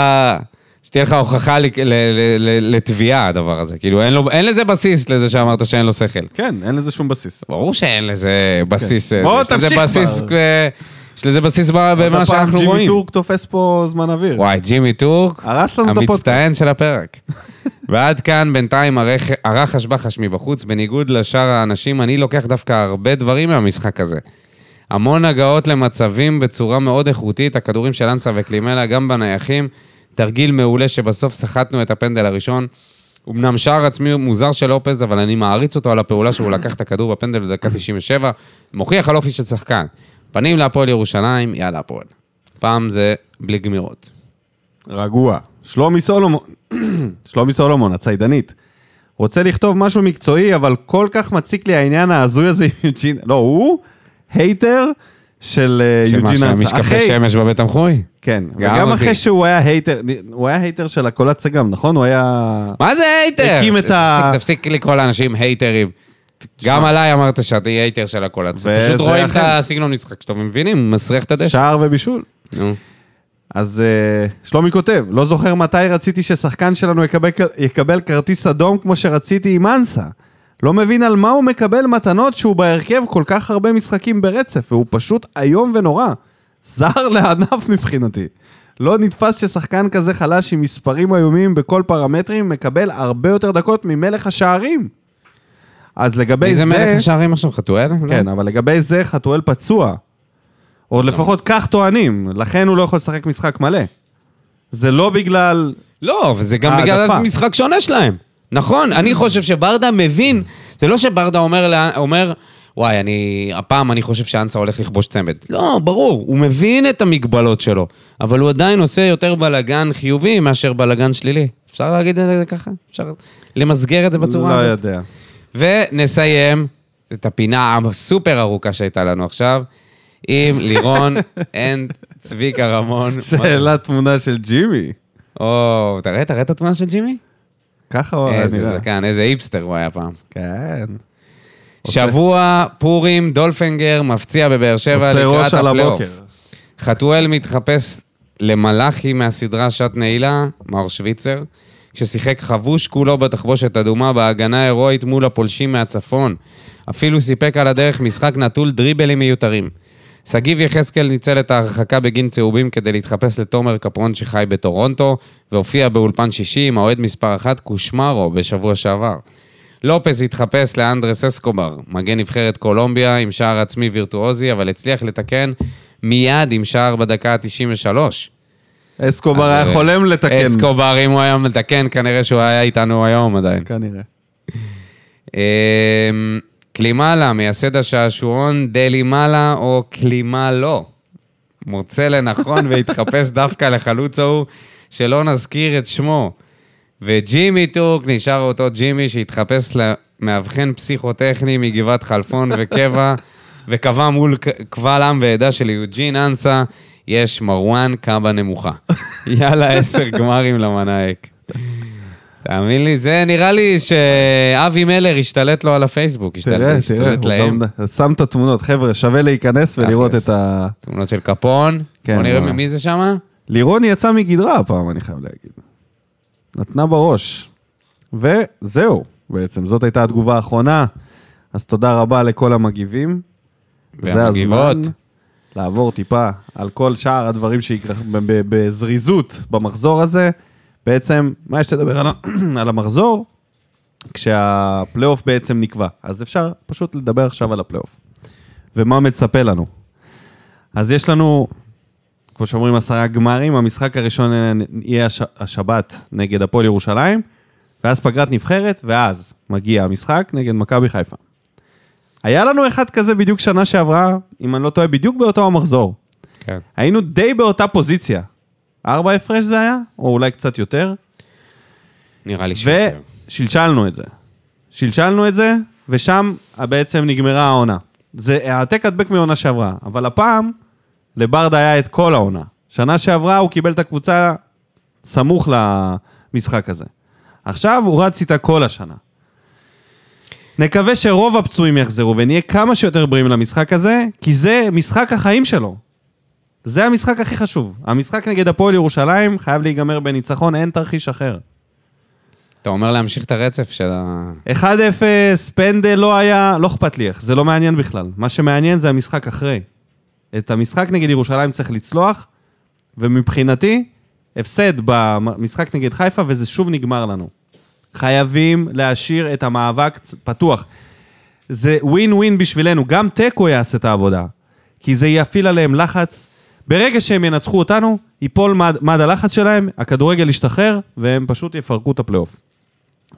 Speaker 2: שתהיה לך הוכחה לק- ל- ל- ל- לתביעה, הדבר הזה. כאילו, אין לו- אין לזה בסיס לזה שאמרת שאין לו שכל.
Speaker 1: כן, אין לזה שום בסיס.
Speaker 2: ברור שאין לזה בסיס.
Speaker 1: כן.
Speaker 2: אה,
Speaker 1: בוא,
Speaker 2: יש לזה
Speaker 1: תמשיך
Speaker 2: בסיס,
Speaker 1: כבר.
Speaker 2: אה, יש לזה בסיס ב- במה
Speaker 1: הפעם
Speaker 2: שאנחנו
Speaker 1: ג'ימי
Speaker 2: רואים.
Speaker 1: טורק אה, תופס פה זמן אוויר.
Speaker 2: וואי, ג'ימי טורק,
Speaker 1: הרס לנו את הפודקאסט.
Speaker 2: המצטיין של הפרק. ועד כאן בינתיים הרח- הרחש בחש מבחוץ, בניגוד לשאר האנשים, אני לוקח דווקא הרבה דברים מהמשחק הזה. המון הגעות למצבים בצורה מאוד איכותית, הכדורים של אנסה וקלימלה גם בנייחים, תרגיל מעולה שבסוף סחטנו את הפנדל הראשון. אמנם שער עצמי מוזר של לופז, אבל אני מעריץ אותו על הפעולה שהוא לקח את הכדור בפנדל בדקה 97, מוכיח על אופי של שחקן. פנים להפועל ירושלים, יאללה הפועל. פעם זה בלי גמירות.
Speaker 1: רגוע. שלומי סולומון, שלומי סולומון, הציידנית. רוצה לכתוב משהו מקצועי, אבל כל כך מציק לי העניין ההזוי הזה עם יוג'ין... לא, הוא הייטר של אה,
Speaker 2: שמה,
Speaker 1: יוג'ין אנסה.
Speaker 2: שהמשקפי
Speaker 1: אחרי-
Speaker 2: שמש בבית תמחוי?
Speaker 1: כן,
Speaker 2: גם
Speaker 1: וגם
Speaker 2: אותי.
Speaker 1: אחרי שהוא היה הייטר, הוא היה הייטר של הקולת סג"ם, נכון? הוא היה...
Speaker 2: מה זה הייטר?
Speaker 1: הקים את ה-
Speaker 2: תפסיק תפסיק לקרוא לאנשים הייטרים. גם עליי אמרת שאתה הייטר של הכל. אז
Speaker 1: וזה
Speaker 2: פשוט רואים את
Speaker 1: אכן.
Speaker 2: הסגנון משחק שלו ומבינים, הוא מסריח את הדשא.
Speaker 1: שער ובישול.
Speaker 2: נו.
Speaker 1: אז uh, שלומי כותב, לא זוכר מתי רציתי ששחקן שלנו יקבל, יקבל כרטיס אדום כמו שרציתי עם אנסה. לא מבין על מה הוא מקבל מתנות שהוא בהרכב כל כך הרבה משחקים ברצף, והוא פשוט איום ונורא. זר לענף מבחינתי. לא נתפס ששחקן כזה חלש עם מספרים איומים בכל פרמטרים מקבל הרבה יותר דקות ממלך השערים. אז לגבי
Speaker 2: איזה
Speaker 1: זה...
Speaker 2: מלך השערים עכשיו? חתואל? לא?
Speaker 1: כן, אבל לגבי זה חתואל פצוע. או
Speaker 2: נכון.
Speaker 1: לפחות כך טוענים, לכן הוא לא יכול לשחק משחק מלא. זה לא בגלל...
Speaker 2: לא, וזה גם בגלל
Speaker 1: העדפה.
Speaker 2: המשחק שונה שלהם. נכון, אני חושב שברדה מבין, זה לא שברדה אומר, לה- אומר וואי, אני, הפעם אני חושב שאנסה הולך לכבוש צמד. לא, ברור, הוא מבין את המגבלות שלו, אבל הוא עדיין עושה יותר בלאגן חיובי מאשר בלאגן שלילי. אפשר להגיד את זה ככה? אפשר למסגר את זה בצורה
Speaker 1: לא
Speaker 2: הזאת?
Speaker 1: יודע.
Speaker 2: ונסיים את הפינה הסופר ארוכה שהייתה לנו עכשיו, עם לירון אנד צביקה רמון.
Speaker 1: שאלה תמונה של ג'ימי.
Speaker 2: או, תראה, תראה את התמונה של ג'ימי?
Speaker 1: ככה הוא היה
Speaker 2: איזה
Speaker 1: נראה.
Speaker 2: זקן, איזה היפסטר הוא היה פעם.
Speaker 1: כן.
Speaker 2: שבוע פורים, דולפינגר מפציע בבאר שבע
Speaker 1: עושה
Speaker 2: לקראת
Speaker 1: ראש על
Speaker 2: הפלייאוף.
Speaker 1: הבוקר.
Speaker 2: חתואל מתחפש למלאכי מהסדרה שעת נעילה, מאור שוויצר, ששיחק חבוש כולו בתחבושת אדומה בהגנה הירואית מול הפולשים מהצפון. אפילו סיפק על הדרך משחק נטול דריבלים מיותרים. שגיב יחזקאל ניצל את ההרחקה בגין צהובים כדי להתחפש לתומר קפרון שחי בטורונטו, והופיע באולפן שישי עם האוהד מספר אחת קושמרו בשבוע שעבר. לופס התחפש לאנדרס אסקובר, מגן נבחרת קולומביה עם שער עצמי וירטואוזי, אבל הצליח לתקן מיד עם שער בדקה ה-93.
Speaker 1: אסקובר
Speaker 2: אז,
Speaker 1: היה
Speaker 2: אה,
Speaker 1: חולם לתקן.
Speaker 2: אסקובר, אם הוא היה מתקן, כנראה שהוא היה איתנו היום עדיין.
Speaker 1: כנראה.
Speaker 2: אמ, קלימלה, מייסד השעשועון דלימלה או קלימלו. מוצא לנכון והתחפש דווקא לחלוץ ההוא, שלא נזכיר את שמו. וג'ימי טורק נשאר אותו ג'ימי שהתחפש למאבחן פסיכוטכני מגבעת חלפון וקבע, וקבע מול ק- קבל עם ועדה של יוג'ין אנסה, יש מרואן קאבה נמוכה. יאללה, עשר גמרים למנאייק. תאמין לי, זה נראה לי שאבי מלר השתלט לו על הפייסבוק, השתלט,
Speaker 1: תראה, תראה,
Speaker 2: השתלט
Speaker 1: הוא
Speaker 2: להם.
Speaker 1: גם שם את התמונות. חבר'ה, שווה להיכנס ולראות
Speaker 2: תכלס.
Speaker 1: את ה...
Speaker 2: תמונות של קפון,
Speaker 1: כן,
Speaker 2: בוא נראה
Speaker 1: מה.
Speaker 2: ממי זה שמה.
Speaker 1: לירון יצא מגדרה הפעם, אני חייב להגיד. נתנה בראש. וזהו, בעצם. זאת הייתה התגובה האחרונה. אז תודה רבה לכל המגיבים. זה
Speaker 2: והמגיבות.
Speaker 1: הזמן לעבור טיפה על כל שאר הדברים שהתרחשו בזריזות במחזור הזה. בעצם, מה יש לדבר על, ה- על המחזור? כשהפלייאוף בעצם נקבע. אז אפשר פשוט לדבר עכשיו על הפלייאוף. ומה מצפה לנו. אז יש לנו, כמו שאומרים, עשרה גמרים, המשחק הראשון יהיה הש, השבת נגד הפועל ירושלים, ואז פגרת נבחרת, ואז מגיע המשחק נגד מכבי חיפה. היה לנו אחד כזה בדיוק שנה שעברה, אם אני לא טועה, בדיוק באותו המחזור.
Speaker 2: כן.
Speaker 1: היינו די באותה פוזיציה. ארבע הפרש זה היה, או אולי קצת יותר,
Speaker 2: נראה לי שיותר.
Speaker 1: ושלשלנו את זה. שלשלנו את זה, ושם בעצם נגמרה העונה. זה העתק הדבק מהעונה שעברה, אבל הפעם לברדה היה את כל העונה. שנה שעברה הוא קיבל את הקבוצה סמוך למשחק הזה. עכשיו הוא רץ איתה כל השנה. נקווה שרוב הפצועים יחזרו ונהיה כמה שיותר בריאים למשחק הזה, כי זה משחק החיים שלו. זה המשחק הכי חשוב. המשחק נגד הפועל ירושלים חייב להיגמר בניצחון, אין תרחיש אחר.
Speaker 2: אתה אומר להמשיך את הרצף של ה...
Speaker 1: 1-0, פנדל לא היה, לא אכפת לי איך, זה לא מעניין בכלל. מה שמעניין זה המשחק אחרי. את המשחק נגד ירושלים צריך לצלוח, ומבחינתי, הפסד במשחק נגד חיפה, וזה שוב נגמר לנו. חייבים להשאיר את המאבק צ- פתוח. זה ווין ווין בשבילנו, גם תיקו יעשה את העבודה, כי זה יפעיל עליהם לחץ. ברגע שהם ינצחו אותנו, ייפול מד, מד הלחץ שלהם, הכדורגל ישתחרר, והם פשוט יפרקו את הפלייאוף.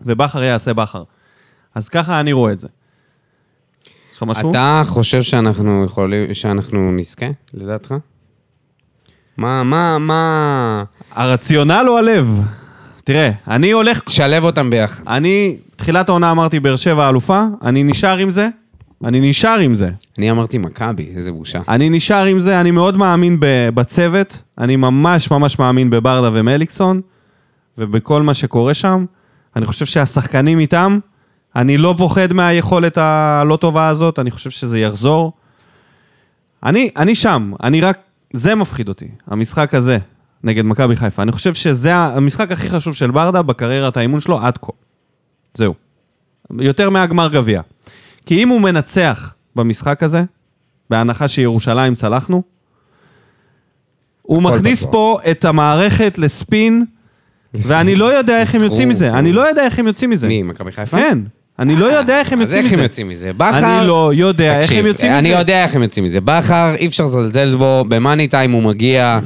Speaker 1: ובכר יעשה בכר. אז ככה אני רואה את זה. יש לך משהו?
Speaker 2: אתה חושב שאנחנו יכולים, שאנחנו נזכה, לדעתך? מה, מה, מה...
Speaker 1: הרציונל הוא הלב. תראה, אני הולך...
Speaker 2: תשלב אותם ביחד.
Speaker 1: אני, תחילת העונה אמרתי באר שבע אלופה, אני נשאר עם זה, אני נשאר עם זה.
Speaker 2: אני אמרתי מכבי, איזה בושה.
Speaker 1: אני נשאר עם זה, אני מאוד מאמין ב- בצוות, אני ממש ממש מאמין בברדה ומליקסון, ובכל מה שקורה שם. אני חושב שהשחקנים איתם, אני לא פוחד מהיכולת הלא טובה הזאת, אני חושב שזה יחזור. אני, אני שם, אני רק, זה מפחיד אותי, המשחק הזה נגד מכבי חיפה. אני חושב שזה ה- המשחק הכי חשוב של ברדה בקריירת האימון שלו עד כה. זהו. יותר מהגמר גביע. כי אם הוא מנצח במשחק הזה, בהנחה שירושלים צלחנו, הוא
Speaker 2: הכל
Speaker 1: מכניס
Speaker 2: פתוח.
Speaker 1: פה את המערכת לספין, ואני לא יודע איך הם
Speaker 2: לסחרור,
Speaker 1: יוצאים מזה.
Speaker 2: כאילו.
Speaker 1: אני לא יודע איך הם יוצאים מזה.
Speaker 2: מי, מכבי חיפה? אה,
Speaker 1: כן. אני לא יודע איך הם
Speaker 2: אז
Speaker 1: יוצאים
Speaker 2: איך הם
Speaker 1: מזה.
Speaker 2: יוצאים מזה? בכר...
Speaker 1: אני לא יודע איך
Speaker 2: תקשיב,
Speaker 1: הם יוצאים מזה.
Speaker 2: אני יודע איך הם יוצאים מזה. בכר, אי אפשר לזלזל בו, במאני טיים הוא מגיע.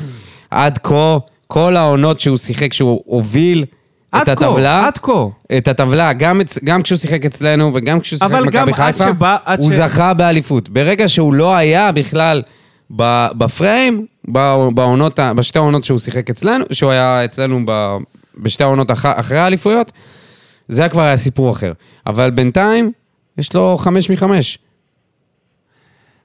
Speaker 2: עד כה, כל העונות שהוא שיחק, שהוא הוביל את
Speaker 1: עד כה,
Speaker 2: הטבלה,
Speaker 1: עד כה.
Speaker 2: את הטבלה, גם, אצ... גם כשהוא שיחק אצלנו וגם כשהוא שיחק
Speaker 1: אבל גם
Speaker 2: במכבי
Speaker 1: עד
Speaker 2: חיפה,
Speaker 1: שבא- עד
Speaker 2: הוא
Speaker 1: ש-
Speaker 2: זכה באליפות. ברגע שהוא לא היה בכלל ב... בפריים, בא- בעונות, ה- בשתי העונות שהוא שיחק אצלנו, שהוא היה אצלנו ב... בשתי העונות אח... אחרי האליפויות, זה כבר היה סיפור אחר. אבל בינתיים, יש לו חמש מחמש.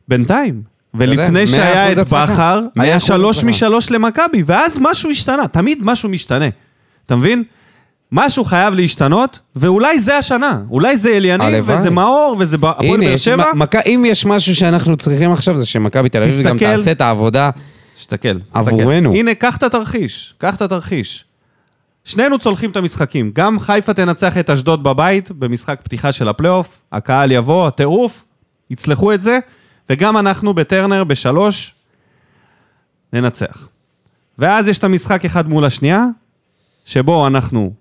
Speaker 1: בינתיים.
Speaker 2: יודע,
Speaker 1: ולפני
Speaker 2: 100%
Speaker 1: שהיה את
Speaker 2: הצלחה.
Speaker 1: בכר,
Speaker 2: 100%
Speaker 1: היה שלוש
Speaker 2: הצלחה.
Speaker 1: משלוש למכבי, ואז משהו השתנה, תמיד משהו משתנה. אתה מבין? משהו חייב להשתנות, ואולי זה השנה. אולי זה אליניב,
Speaker 2: הלוואי.
Speaker 1: וזה מאור, וזה ב- הפועל
Speaker 2: הנה,
Speaker 1: באר
Speaker 2: יש,
Speaker 1: שבע.
Speaker 2: מ- מק... אם יש משהו שאנחנו צריכים עכשיו, זה שמכבי תל אביב גם
Speaker 1: תסתכל.
Speaker 2: תעשה את העבודה.
Speaker 1: תסתכל.
Speaker 2: עבורנו.
Speaker 1: תסתכל. הנה, קח את התרחיש, קח את התרחיש. שנינו צולחים את המשחקים. גם חיפה תנצח את אשדוד בבית, במשחק פתיחה של הפלייאוף, הקהל יבוא, הטירוף, יצלחו את זה, וגם אנחנו בטרנר בשלוש, ננצח. ואז יש את המשחק אחד מול השנייה, שבו אנחנו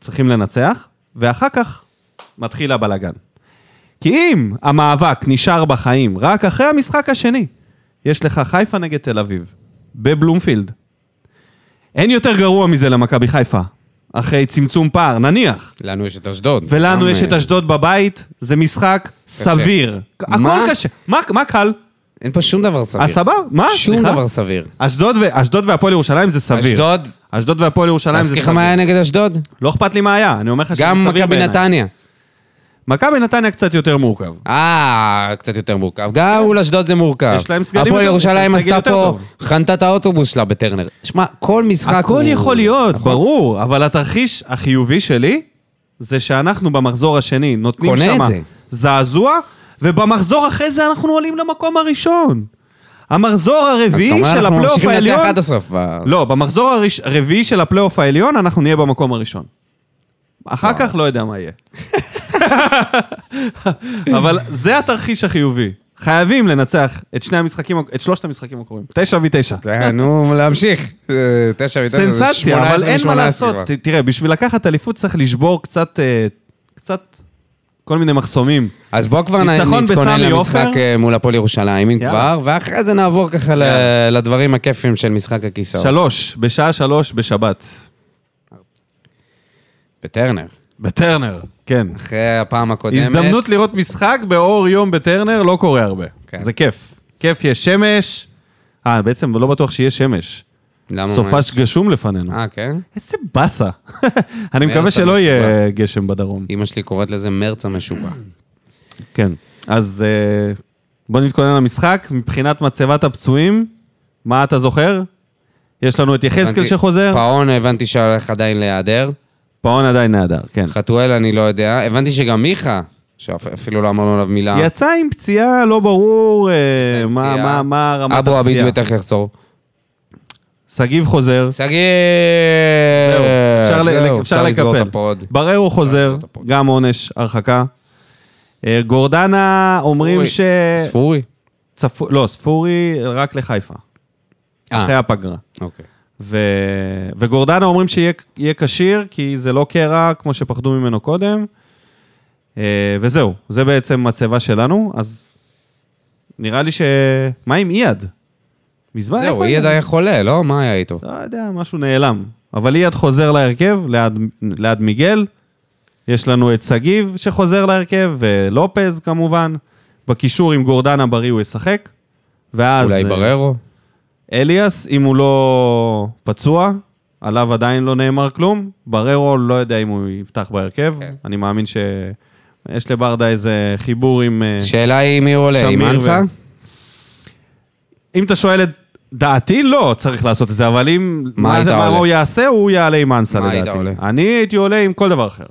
Speaker 1: צריכים לנצח, ואחר כך מתחיל הבלגן. כי אם המאבק נשאר בחיים רק אחרי המשחק השני, יש לך חיפה נגד תל אביב, בבלומפילד. אין יותר גרוע מזה למכבי חיפה, אחרי צמצום פער, נניח.
Speaker 2: לנו יש את אשדוד.
Speaker 1: ולנו
Speaker 2: גם,
Speaker 1: יש את
Speaker 2: אה,
Speaker 1: אשדוד בבית, זה משחק סביר.
Speaker 2: מה?
Speaker 1: הכל קשה. מה- מה קל?
Speaker 2: אין פה שום דבר סביר.
Speaker 1: אז סבבה? מה?
Speaker 2: שום
Speaker 1: סליחה?
Speaker 2: דבר סביר.
Speaker 1: אשדוד ו- אשדוד והפועל ירושלים זה סביר.
Speaker 2: אשדוד,
Speaker 1: אשדוד והפועל ירושלים זה
Speaker 2: להזכיר לך
Speaker 1: סביר.
Speaker 2: מה היה נגד אשדוד?
Speaker 1: לא אכפת לי מה היה, אני אומר לך שזה סביר
Speaker 2: גם
Speaker 1: בעיניי.
Speaker 2: מכבי נתניה.
Speaker 1: מכבי נתניה קצת יותר מורכב.
Speaker 2: אה, קצת יותר מורכב. גם מול אשדוד זה מורכב.
Speaker 1: יש להם סגלים
Speaker 2: הפועל
Speaker 1: יותר-
Speaker 2: ירושלים
Speaker 1: סגל
Speaker 2: עשתה
Speaker 1: יותר
Speaker 2: פה,
Speaker 1: טוב.
Speaker 2: חנתה את האוטובוס שלה בטרנר. שמע, כל משחק
Speaker 1: הכל
Speaker 2: הוא-
Speaker 1: יכול להיות,
Speaker 2: נכון.
Speaker 1: ברור, אבל התרחיש החיובי שלי זה שאנחנו במחזור השני נותנים
Speaker 2: קונה את
Speaker 1: שמה
Speaker 2: זה.
Speaker 1: זעזוע, ובמחזור אחרי זה אנחנו עולים למקום הראשון. המחזור
Speaker 2: אז אתה
Speaker 1: הרביעי
Speaker 2: אומר,
Speaker 1: של
Speaker 2: אנחנו
Speaker 1: הפלייאוף
Speaker 2: ממשיכים לנצח
Speaker 1: העליון...
Speaker 2: עד הסוף. אה, ב-
Speaker 1: לא, במחזור הראש- הרביעי של הפלייאוף העליון אנחנו נהיה במקום הראשון. אחר כך לא יודע מה יהיה. אבל זה התרחיש החיובי. חייבים לנצח את שני המשחקים, את שלושת המשחקים הקרובים. תשע מתשע.
Speaker 2: אה, נו, להמשיך. אה, תשע מתשע, זה
Speaker 1: סנסציה, אבל
Speaker 2: 18,
Speaker 1: אין מה
Speaker 2: 18
Speaker 1: לעשות.
Speaker 2: כבר.
Speaker 1: ת- תראה, בשביל לקחת אליפות צריך לשבור קצת, אה, קצת, כל מיני מחסומים.
Speaker 2: אז בוא כבר נ-
Speaker 1: ניצחון
Speaker 2: נתכונן
Speaker 1: בסמי
Speaker 2: למשחק
Speaker 1: עופר.
Speaker 2: אה, מול הפועל ירושלים, אם
Speaker 1: יאללה.
Speaker 2: כבר, ואחרי זה נעבור ככה ל-
Speaker 1: יאללה.
Speaker 2: לדברים הכיפים של משחק הכיסאות.
Speaker 1: שלוש, בשעה שלוש בשבת.
Speaker 2: בטרנר.
Speaker 1: בטרנר. כן.
Speaker 2: אחרי הפעם הקודמת.
Speaker 1: הזדמנות לראות משחק באור יום בטרנר לא קורה הרבה.
Speaker 2: כן.
Speaker 1: זה כיף. כיף, יש שמש. אה, בעצם לא בטוח שיש שמש.
Speaker 2: למה?
Speaker 1: סופש גשום לפנינו.
Speaker 2: אה, כן?
Speaker 1: איזה באסה. אני
Speaker 2: מאיר,
Speaker 1: מקווה
Speaker 2: אתה
Speaker 1: שלא יהיה
Speaker 2: משוגע.
Speaker 1: גשם בדרום.
Speaker 2: אמא שלי קוראת לזה מרץ המשוגע.
Speaker 1: כן. אז אה, בוא נתכונן למשחק. מבחינת מצבת הפצועים, מה אתה זוכר? יש לנו את יחזקאל
Speaker 2: הבנתי-
Speaker 1: שחוזר,
Speaker 2: פאון הבנתי שהולך עדיין להיעדר.
Speaker 1: פאון עדיין נהדר, כן.
Speaker 2: חתואל אני לא יודע. הבנתי שגם מיכה, שאפילו לא אמרנו עליו מילה.
Speaker 1: יצא עם פציעה, לא ברור אה,
Speaker 2: יצא עם
Speaker 1: מה-
Speaker 2: פציעה.
Speaker 1: מה- מה רמת הפציעה.
Speaker 2: אבו עביד בטח יחזור.
Speaker 1: שגיב חוזר.
Speaker 2: שגיא!
Speaker 1: זהו, אפשר ל-
Speaker 2: זהו,
Speaker 1: אפשר
Speaker 2: לסגור את
Speaker 1: לקפל.
Speaker 2: הפוד.
Speaker 1: בררו חוזר,
Speaker 2: לסגור את הפוד.
Speaker 1: גם עונש, הרחקה. אה, גורדנה אומרים
Speaker 2: ספורי.
Speaker 1: ש...
Speaker 2: ספורי?
Speaker 1: צפו- לא, ספורי רק לחיפה, אחרי
Speaker 2: אה,
Speaker 1: הפגרה.
Speaker 2: אוקיי.
Speaker 1: ו... וגורדנה אומרים שיהיה יהיה כשיר, כי זה לא קרע כמו שפחדו ממנו קודם. אה, וזהו, זה בעצם הצבע שלנו, אז נראה לי ש... מה עם אייד? מזמן
Speaker 2: זהו,
Speaker 1: איפה
Speaker 2: אייד היה חולה, לא? מה היה איתו?
Speaker 1: לא יודע, משהו נעלם. אבל אייד חוזר להרכב, ליד, ליד מיגל. יש לנו את שגיב שחוזר להרכב, ולופז כמובן. בקישור עם גורדנה בריא הוא ישחק. ואז...
Speaker 2: אולי
Speaker 1: אה,
Speaker 2: בררו?
Speaker 1: אליאס, אם הוא לא פצוע, עליו עדיין לא נאמר כלום. בררו, לא יודע אם הוא יפתח בהרכב.
Speaker 2: כן.
Speaker 1: אני מאמין שיש לברדה איזה חיבור עם... אה,
Speaker 2: השאלה היא מי הוא עולה, עם
Speaker 1: שמיר ו-
Speaker 2: אנסה?
Speaker 1: אם אתה שואל את דעתי, לא צריך לעשות את זה, אבל אם...
Speaker 2: מה היית
Speaker 1: זה-
Speaker 2: עולה?
Speaker 1: מה הוא יעשה, הוא יעלה עם אנסה
Speaker 2: מה היית
Speaker 1: לדעתי.
Speaker 2: עולה?
Speaker 1: אני הייתי עולה עם כל דבר אחר.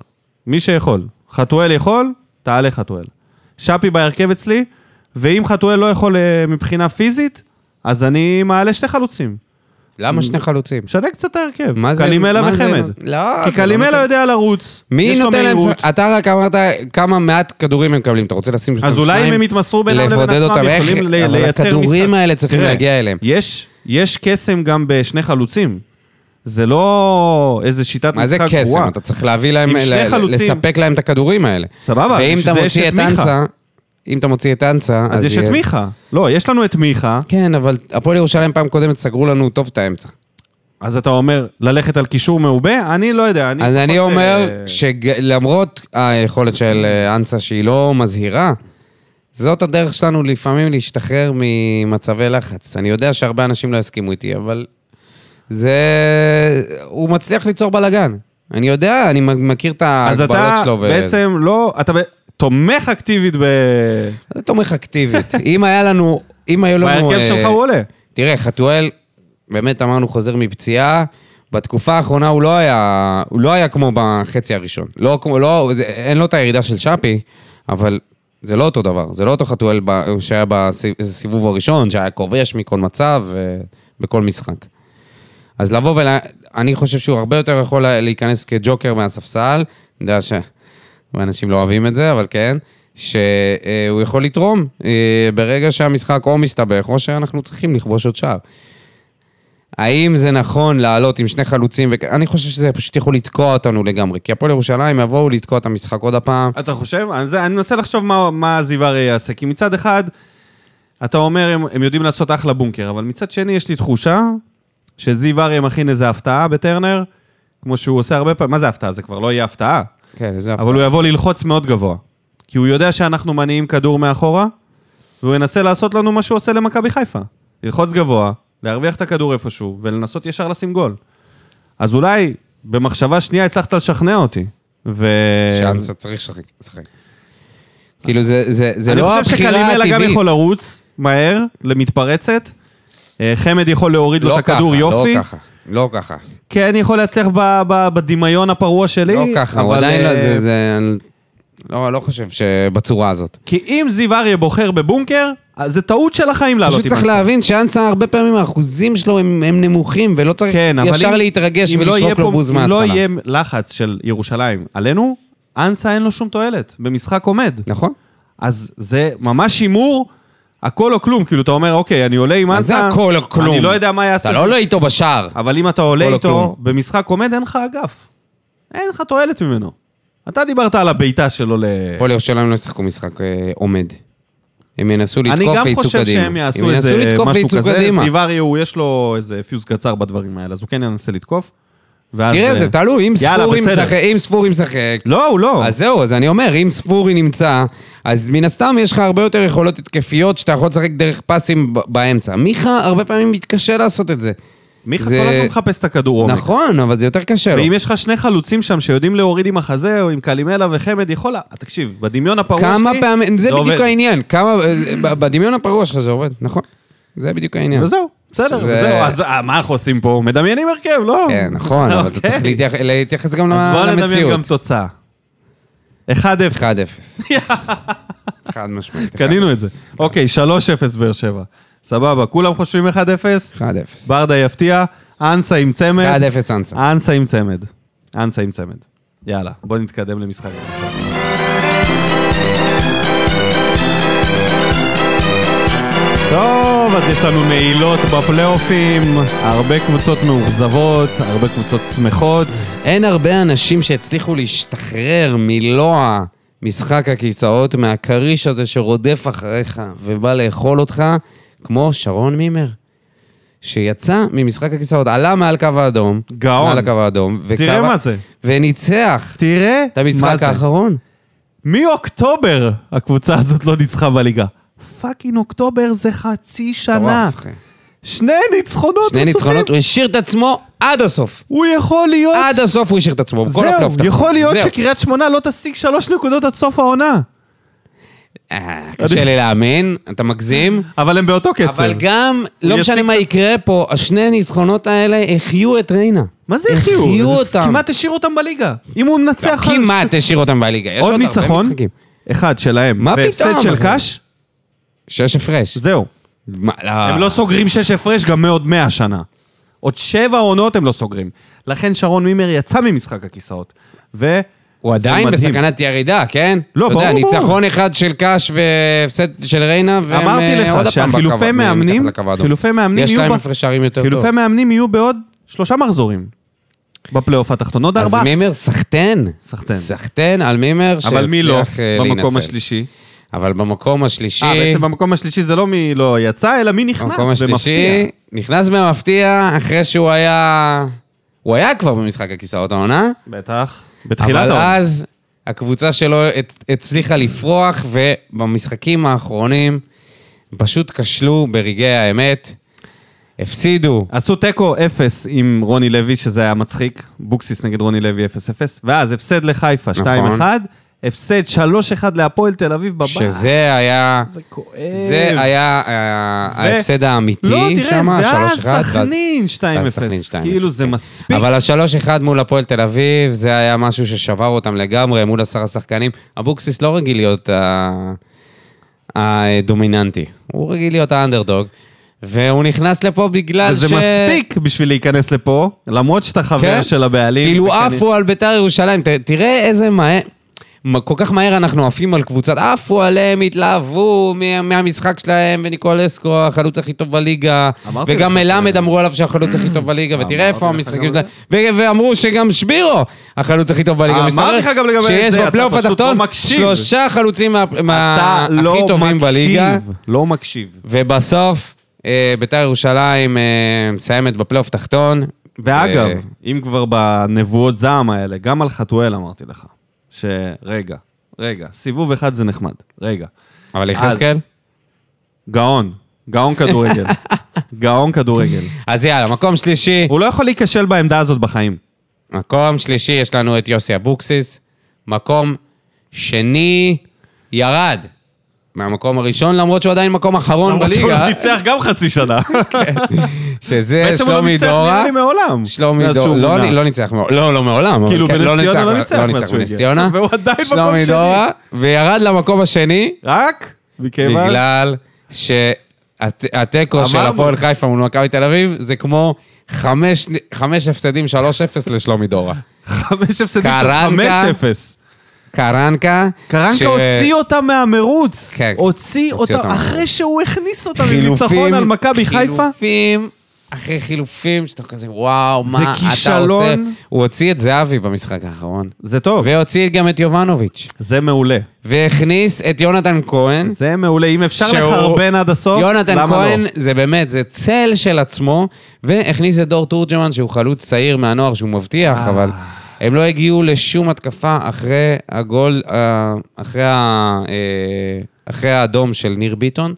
Speaker 1: מי שיכול. חתואל יכול, תעלה חתואל. שפי בהרכב אצלי, ואם חתואל לא יכול אה, מבחינה פיזית, אז אני מעלה שתי חלוצים.
Speaker 2: למה שני חלוצים?
Speaker 1: משנה קצת ההרכב.
Speaker 2: מה זה-
Speaker 1: קלימלה
Speaker 2: מה זה-
Speaker 1: וחמד.
Speaker 2: לא,
Speaker 1: כי
Speaker 2: זה לא
Speaker 1: קלימלה
Speaker 2: נותן-
Speaker 1: יודע לרוץ,
Speaker 2: מי
Speaker 1: יש לו
Speaker 2: נותן להם...
Speaker 1: מהירות.
Speaker 2: אתה רק אמרת כמה מעט כדורים הם מקבלים, אתה רוצה לשים אותם
Speaker 1: אז
Speaker 2: שניים?
Speaker 1: אולי אם הם יתמסרו בינם לבין
Speaker 2: לבודד
Speaker 1: עצמם,
Speaker 2: אותם, איך-
Speaker 1: יכולים ל- לייצר
Speaker 2: אבל
Speaker 1: משחק.
Speaker 2: הכדורים האלה צריכים
Speaker 1: תראה,
Speaker 2: להגיע אליהם.
Speaker 1: יש- יש קסם גם בשני חלוצים. זה לא איזה שיטת
Speaker 2: מה זה
Speaker 1: משחק
Speaker 2: קסם?
Speaker 1: גרועה.
Speaker 2: אתה צריך להביא להם,
Speaker 1: עם שני
Speaker 2: ל-
Speaker 1: חלוצים.
Speaker 2: לספק להם את הכדורים האלה.
Speaker 1: סבבה,
Speaker 2: ואם
Speaker 1: בשביל
Speaker 2: אתה
Speaker 1: זה יש
Speaker 2: מוציא
Speaker 1: את
Speaker 2: את
Speaker 1: מיכה.
Speaker 2: אנסה, אם אתה מוציא את אנסה,
Speaker 1: אז יש את
Speaker 2: יהיה-
Speaker 1: מיכה. לא, יש לנו את מיכה,
Speaker 2: כן, אבל הפועל ירושלים פעם קודמת סגרו לנו טוב את האמצע.
Speaker 1: אז אתה אומר ללכת על קישור מעובה? אני לא יודע.
Speaker 2: אז אני
Speaker 1: פחות,
Speaker 2: אומר
Speaker 1: אה,
Speaker 2: שלמרות היכולת של אה, אנסה שהיא לא מזהירה, זאת הדרך שלנו לפעמים להשתחרר ממצבי לחץ. אני יודע שהרבה אנשים לא יסכימו איתי, אבל זה... הוא מצליח ליצור בלאגן. אני יודע, אני מכיר את
Speaker 1: אז
Speaker 2: ההגבלות
Speaker 1: אתה
Speaker 2: שלו. ו-
Speaker 1: בעצם לא, אתה ב- תומך אקטיבית ב...
Speaker 2: זה תומך אקטיבית. אם היה לנו, אם היו לנו...
Speaker 1: בהרכב
Speaker 2: אה,
Speaker 1: שלך הוא עולה.
Speaker 2: תראה, חתואל, באמת אמרנו, חוזר מפציעה. בתקופה האחרונה הוא לא היה, הוא לא היה כמו בחצי הראשון. לא כמו, לא, זה- אין לו את הירידה של שפי, אבל זה לא אותו דבר. זה לא אותו חתואל ב- שהיה בסיבוב הראשון, שהיה כובש מכל מצב ובכל משחק. אז לבוא ול... אני חושב שהוא הרבה יותר יכול לה- להיכנס כג'וקר מהספסל, אני יודע ש... אנשים לא אוהבים את זה, אבל כן, שהוא יכול לתרום אה, ברגע שהמשחק או מסתבך, או שאנחנו צריכים לכבוש עוד שער. האם זה נכון לעלות עם שני חלוצים? וכ- אני חושב שזה פשוט יכול לתקוע אותנו לגמרי, כי הפועל ירושלים יבואו לתקוע את המשחק עוד הפעם.
Speaker 1: אתה חושב? אני, זה, אני מנסה לחשוב מה, מה זיווארי יעשה, כי מצד אחד, אתה אומר, הם, הם יודעים לעשות אחלה בונקר, אבל מצד שני, יש לי תחושה שזיווארי מכין איזו הפתעה בטרנר, כמו שהוא עושה הרבה פעמים, מה זה הפתעה? זה כבר לא יהיה הפתעה,
Speaker 2: כן, איזה הפתעה.
Speaker 1: אבל הוא יבוא ללחוץ מאוד גבוה. כי הוא יודע שאנחנו מניעים כדור מאחורה, והוא ינסה לעשות לנו מה שהוא עושה למכבי חיפה. ללחוץ גבוה, להרוויח את הכדור איפשהו, ולנסות ישר לשים גול. אז אולי, במחשבה שנייה הצלחת לשכנע אותי. ו...
Speaker 2: שאנסה צריך לשחק. לשחק. כאילו, זה, זה, זה
Speaker 1: אני
Speaker 2: לא הבחירה
Speaker 1: חושב
Speaker 2: הטבעית.
Speaker 1: שקלימלה גם יכול לרוץ מהר למתפרצת. אה, חמד יכול להוריד לו את
Speaker 2: לא
Speaker 1: הכדור
Speaker 2: ככה,
Speaker 1: יופי.
Speaker 2: לא ככה, לא ככה.
Speaker 1: כן, יכול להצליח ב- ב- בדמיון הפרוע שלי.
Speaker 2: לא ככה, הוא
Speaker 1: אבל,
Speaker 2: עדיין לא...
Speaker 1: אה,
Speaker 2: זה, זה... לא, לא חושב שבצורה הזאת.
Speaker 1: כי אם זיו אריה בוחר בבונקר, אז זה טעות של החיים לעלות
Speaker 2: פשוט צריך
Speaker 1: ההצעה.
Speaker 2: להבין שאנסה, הרבה פעמים האחוזים שלו הם, הם נמוכים, ולא צריך
Speaker 1: כן, אבל
Speaker 2: ישר
Speaker 1: אם-
Speaker 2: להתרגש
Speaker 1: אם לא יהיה
Speaker 2: ולשרוק
Speaker 1: פה-
Speaker 2: לו בוז
Speaker 1: אם
Speaker 2: מההתחלה.
Speaker 1: לא יהיה לחץ של ירושלים עלינו, אנסה אין לו שום תועלת. במשחק עומד.
Speaker 2: נכון?
Speaker 1: אז זה ממש הימור, הכל או כלום. כאילו, אתה אומר, אוקיי, אני עולה עם
Speaker 2: מה זה
Speaker 1: אנסה,
Speaker 2: הכל או כלום?
Speaker 1: אני לא יודע מה יעשה.
Speaker 2: אתה לא עולה איתו בשער.
Speaker 1: אבל אם אתה עולה
Speaker 2: כל
Speaker 1: איתו
Speaker 2: הכלום.
Speaker 1: במשחק עומד, אין לך אגף. אין לך תועלת ממנו. אתה דיברת על הבעיטה שלו ל...
Speaker 2: הפועל ירושלים לא ישחקו משחק אה, עומד. הם ינסו לתקוף
Speaker 1: אני
Speaker 2: וייצאו קדימה.
Speaker 1: גם חושב שהם יעשו איזה
Speaker 2: הם ינסו לתקוף
Speaker 1: משהו
Speaker 2: וייצאו
Speaker 1: כזה.
Speaker 2: קדימה.
Speaker 1: סיברי, הוא יש לו איזה פיוז קצר בדברים האלה, אז הוא כן ינסה לתקוף. ואז,
Speaker 2: תראה,
Speaker 1: אה,
Speaker 2: זה תלוי, אם
Speaker 1: יאללה,
Speaker 2: ספורי
Speaker 1: בסדר.
Speaker 2: משחק- אם ספורי משחק,
Speaker 1: לא, הוא לא.
Speaker 2: אז זהו, אז אני אומר, אם ספורי נמצא, אז מן הסתם יש לך הרבה יותר יכולות התקפיות שאתה יכול לשחק דרך פסים ב- באמצע. מיכה הרבה פעמים מתקשה לעשות את זה.
Speaker 1: מיכה
Speaker 2: זה-
Speaker 1: כל הזמן מחפש את הכדור עומק.
Speaker 2: נכון, אבל זה יותר קשה לו.
Speaker 1: ואם יש לך שני חלוצים שם שיודעים להוריד עם החזה, או עם קלימלה וחמד, יכול... לה- תקשיב, בדמיון הפרוע שלי...
Speaker 2: כמה פעמים, זה בדיוק
Speaker 1: עובד.
Speaker 2: העניין, כמה, ב- בדמיון הפרוע שלך זה עובד, נכון? זה בדיוק העניין.
Speaker 1: וזהו, בסדר,
Speaker 2: שזה-
Speaker 1: זהו. אז אה, מה אנחנו עושים פה? מדמיינים הרכב, לא?
Speaker 2: כן, נכון, אבל אתה
Speaker 1: אוקיי.
Speaker 2: צריך להתייח- להתייחס גם
Speaker 1: אז
Speaker 2: ל-
Speaker 1: בואו נדמיין גם
Speaker 2: למציאות.
Speaker 1: תוצאה. 1-0.
Speaker 2: 1-0. חד משמעית. 1-0.
Speaker 1: קנינו את זה. אוקיי, 3-0 באר שבע. סבבה, כולם חושבים 1-0?
Speaker 2: 1-0.
Speaker 1: ברדה יפתיע, אנסה עם צמד.
Speaker 2: 1-0 אנסה.
Speaker 1: אנסה עם צמד. אנסה עם צמד. יאללה, בוא נתקדם למשחק. טוב, אז יש לנו נעילות בפלייאופים, הרבה קבוצות מאוכזבות, הרבה קבוצות שמחות.
Speaker 2: אין הרבה אנשים שהצליחו להשתחרר מלוע משחק הכיסאות, מהכריש הזה שרודף אחריך ובא לאכול אותך, כמו שרון מימר, שיצא ממשחק הכיסאות, עלה מעל קו האדום.
Speaker 1: גאון.
Speaker 2: מעל הקו האדום.
Speaker 1: תראה
Speaker 2: וקבע-
Speaker 1: מה זה.
Speaker 2: וניצח
Speaker 1: תראה
Speaker 2: את המשחק האחרון.
Speaker 1: מאוקטובר הקבוצה הזאת לא ניצחה בליגה. פאקינג אוקטובר זה חצי שנה.
Speaker 2: מטורף, אחי.
Speaker 1: שני ניצחונות
Speaker 2: שני
Speaker 1: רצופים.
Speaker 2: ניצחונות, הוא השאיר את עצמו עד הסוף.
Speaker 1: הוא יכול להיות...
Speaker 2: עד הסוף הוא השאיר את עצמו, בכל הפלייאוף.
Speaker 1: זהו,
Speaker 2: התחתון.
Speaker 1: יכול להיות
Speaker 2: זהו.
Speaker 1: שקריית שמונה לא תשיג שלוש נקודות עד סוף העונה.
Speaker 2: אה, קשה לי להאמין, אתה מגזים.
Speaker 1: אבל הם באותו קצב.
Speaker 2: אבל גם, לא
Speaker 1: ישיג
Speaker 2: משנה מה יקרה פה, השני הניצחונות האלה החיו את ריינה.
Speaker 1: מה זה החיו?
Speaker 2: החיו
Speaker 1: זה
Speaker 2: אותם.
Speaker 1: כמעט השאירו אותם בליגה. אם הוא
Speaker 2: לא,
Speaker 1: מנצח...
Speaker 2: כמעט השאיר אותם בליגה. יש
Speaker 1: עוד
Speaker 2: עוד הרבה
Speaker 1: ניצחון.
Speaker 2: משחקים.
Speaker 1: אחד שלהם.
Speaker 2: מה פתאום,
Speaker 1: והפסד של
Speaker 2: אחי?
Speaker 1: קאש,
Speaker 2: שש הפרש.
Speaker 1: זהו.
Speaker 2: מה, לא.
Speaker 1: הם לא סוגרים שש הפרש גם מעוד מאה שנה. עוד שבע עונות הם לא סוגרים. לכן שרון מימר יצא ממשחק הכיסאות. ו...
Speaker 2: הוא
Speaker 1: זה
Speaker 2: עדיין
Speaker 1: מדהים.
Speaker 2: בסכנת ירידה, כן?
Speaker 1: לא,
Speaker 2: אתה יודע,
Speaker 1: ברור, ברור.
Speaker 2: ניצחון אחד של קאש והפסד של ריינה, והם
Speaker 1: אמרתי
Speaker 2: אה, עוד
Speaker 1: לך
Speaker 2: הפעם בקו-
Speaker 1: שהחילופי
Speaker 2: מתחת
Speaker 1: מאמנים,
Speaker 2: לקו האדום.
Speaker 1: חילופי מאמנים
Speaker 2: יש
Speaker 1: יהיו
Speaker 2: להם
Speaker 1: ב-
Speaker 2: הפרש שערים יותר טוב.
Speaker 1: חילופי מאמנים יהיו בעוד שלושה מחזורים בפלייאוף התחתון, עוד
Speaker 2: אז
Speaker 1: ארבעה.
Speaker 2: מימר סחטן.
Speaker 1: סחטן.
Speaker 2: סחטן על מימר
Speaker 1: אבל מי לא
Speaker 2: שהצליח אה,
Speaker 1: במקום
Speaker 2: להינצל.
Speaker 1: השלישי?
Speaker 2: אבל במקום השלישי...
Speaker 1: אה, בעצם במקום השלישי זה לא מי לא יצא, אלא מי נכנס
Speaker 2: במקום
Speaker 1: ומפתיע.
Speaker 2: השלישי, נכנס במפתיע אחרי שהוא היה... הוא היה כבר במשחק הכיסאות העונה,
Speaker 1: בטח. בתחילת
Speaker 2: אבל
Speaker 1: העונה.
Speaker 2: אז הקבוצה שלו הצ- הצליחה לפרוח, ובמשחקים האחרונים פשוט כשלו ברגעי האמת, הפסידו.
Speaker 1: עשו תיקו 0 עם
Speaker 2: נכון.
Speaker 1: רוני לוי, שזה היה מצחיק, בוקסיס נגד רוני לוי 0-0, ואז הפסד לחיפה 2-1, הפסד 3-1 להפועל תל אביב בבית.
Speaker 2: שזה היה...
Speaker 1: זה כואב.
Speaker 2: זה היה אה, ההפסד האמיתי שם, 3-1.
Speaker 1: לא, ואז סכנין 2-0.
Speaker 2: ואז סכנין 2-0,
Speaker 1: כאילו זה
Speaker 2: כן.
Speaker 1: מספיק.
Speaker 2: אבל השלוש אחד מול הפועל תל אביב, זה היה משהו ששבר אותם לגמרי מול עשר השחקנים. אבוקסיס לא רגיל להיות ה- הדומיננטי, הוא רגיל להיות האנדרדוג, והוא נכנס לפה בגלל ש...
Speaker 1: וזה מספיק בשביל להיכנס לפה, למרות שאתה חבר
Speaker 2: כן.
Speaker 1: של הבעלים.
Speaker 2: כאילו
Speaker 1: וכנראה-
Speaker 2: עפו על ביתר ירושלים, ת- תראה איזה מהר, מה- כל כך מהר אנחנו עפים על קבוצת, עפו עליהם, התלהבו מה- מהמשחק שלהם, וניקולסקו החלוץ הכי טוב בליגה,
Speaker 1: אמרתי
Speaker 2: וגם
Speaker 1: לך
Speaker 2: מלמד אמרו עליו שהחלוץ הכי טוב בליגה, ותראה איפה
Speaker 1: אמרתי לך
Speaker 2: המשחקים
Speaker 1: גם
Speaker 2: שלהם, ו- ואמרו שגם שבירו החלוץ הכי טוב בליגה,
Speaker 1: אמרתי
Speaker 2: מסתבר
Speaker 1: לך גם לגבי
Speaker 2: שיש
Speaker 1: זה, אתה
Speaker 2: בפלייאוף
Speaker 1: פשוט לא
Speaker 2: התחתון
Speaker 1: מקשיב.
Speaker 2: שלושה חלוצים מה- מה-
Speaker 1: אתה לא
Speaker 2: הכי טובים
Speaker 1: מקשיב,
Speaker 2: בליגה.
Speaker 1: לא מקשיב.
Speaker 2: ובסוף, אה, ביתר ירושלים אה, מסיימת בפלייאוף תחתון.
Speaker 1: ואגב,
Speaker 2: אה,
Speaker 1: אם כבר בנבואות זעם האלה, גם על חתואל אמרתי לך, שרגע, רגע, סיבוב אחד זה נחמד, רגע.
Speaker 2: אבל יחזקאל?
Speaker 1: גאון, גאון כדורגל, גאון כדורגל.
Speaker 2: אז יאללה, מקום שלישי.
Speaker 1: הוא לא יכול להיכשל בעמדה הזאת בחיים.
Speaker 2: מקום שלישי, יש לנו את יוסי אבוקסיס. מקום שני, ירד. מהמקום הראשון, למרות שהוא עדיין מקום אחרון
Speaker 1: למרות שהוא
Speaker 2: לא,
Speaker 1: לא
Speaker 2: בליגה,
Speaker 1: ניצח גם חצי שנה.
Speaker 2: שזה
Speaker 1: בעצם הוא לא
Speaker 2: שלומי
Speaker 1: ניצח נראה
Speaker 2: דורה.
Speaker 1: לי מעולם.
Speaker 2: שלומי
Speaker 1: מאז
Speaker 2: דורה,
Speaker 1: שהוא
Speaker 2: לא,
Speaker 1: מונה.
Speaker 2: לא ניצח, מעולם- לא, לא מעולם. אבל
Speaker 1: כאילו,
Speaker 2: כן,
Speaker 1: בנס ציונה לא ניצח
Speaker 2: לא
Speaker 1: מאז
Speaker 2: ניצח
Speaker 1: שהוא
Speaker 2: בנס
Speaker 1: הגיע.
Speaker 2: ציונה.
Speaker 1: והוא עדיין מקום
Speaker 2: שלומי
Speaker 1: שני.
Speaker 2: דורה, וירד למקום השני,
Speaker 1: רק מכיוון...
Speaker 2: בגלל שהתיקו של
Speaker 1: אמרנו.
Speaker 2: הפועל חיפה מול מכבי תל אביב, זה כמו חמש חמש הפסדים 3-0 לשלומי דורה.
Speaker 1: חמש הפסדים של
Speaker 2: קרנקה.
Speaker 1: חמש אפס.
Speaker 2: קרנקה. ש-
Speaker 1: קרנקה הוציא אותם מהמרוץ.
Speaker 2: כן.
Speaker 1: הוציא
Speaker 2: הוציא
Speaker 1: אותם
Speaker 2: אותם.
Speaker 1: אחרי שהוא הכניס אותם
Speaker 2: חילופים-
Speaker 1: לניצחון על מכבי חיפה.
Speaker 2: חילופים, אחרי חילופים, שאתה כזה, וואו, מה אתה עושה?
Speaker 1: כישלון. אוקיי.
Speaker 2: הוא הוציא את זהבי במשחק האחרון.
Speaker 1: זה טוב,
Speaker 2: והוציא גם את יובנוביץ'.
Speaker 1: זה מעולה.
Speaker 2: והכניס את יונתן כהן.
Speaker 1: זה מעולה. אם אפשר
Speaker 2: שהוא-
Speaker 1: לחרבן עד הסוף,
Speaker 2: יונתן
Speaker 1: למה
Speaker 2: כהן,
Speaker 1: לא?
Speaker 2: זה באמת, זה צל של עצמו, והכניס את דור תורג'מן, שהוא חלוץ צעיר מהנוער, שהוא מבטיח,
Speaker 1: אה.
Speaker 2: אבל הם לא הגיעו לשום התקפה אחרי הגול, אה, אחרי ה- אה, אחרי האדום של ניר ביטון.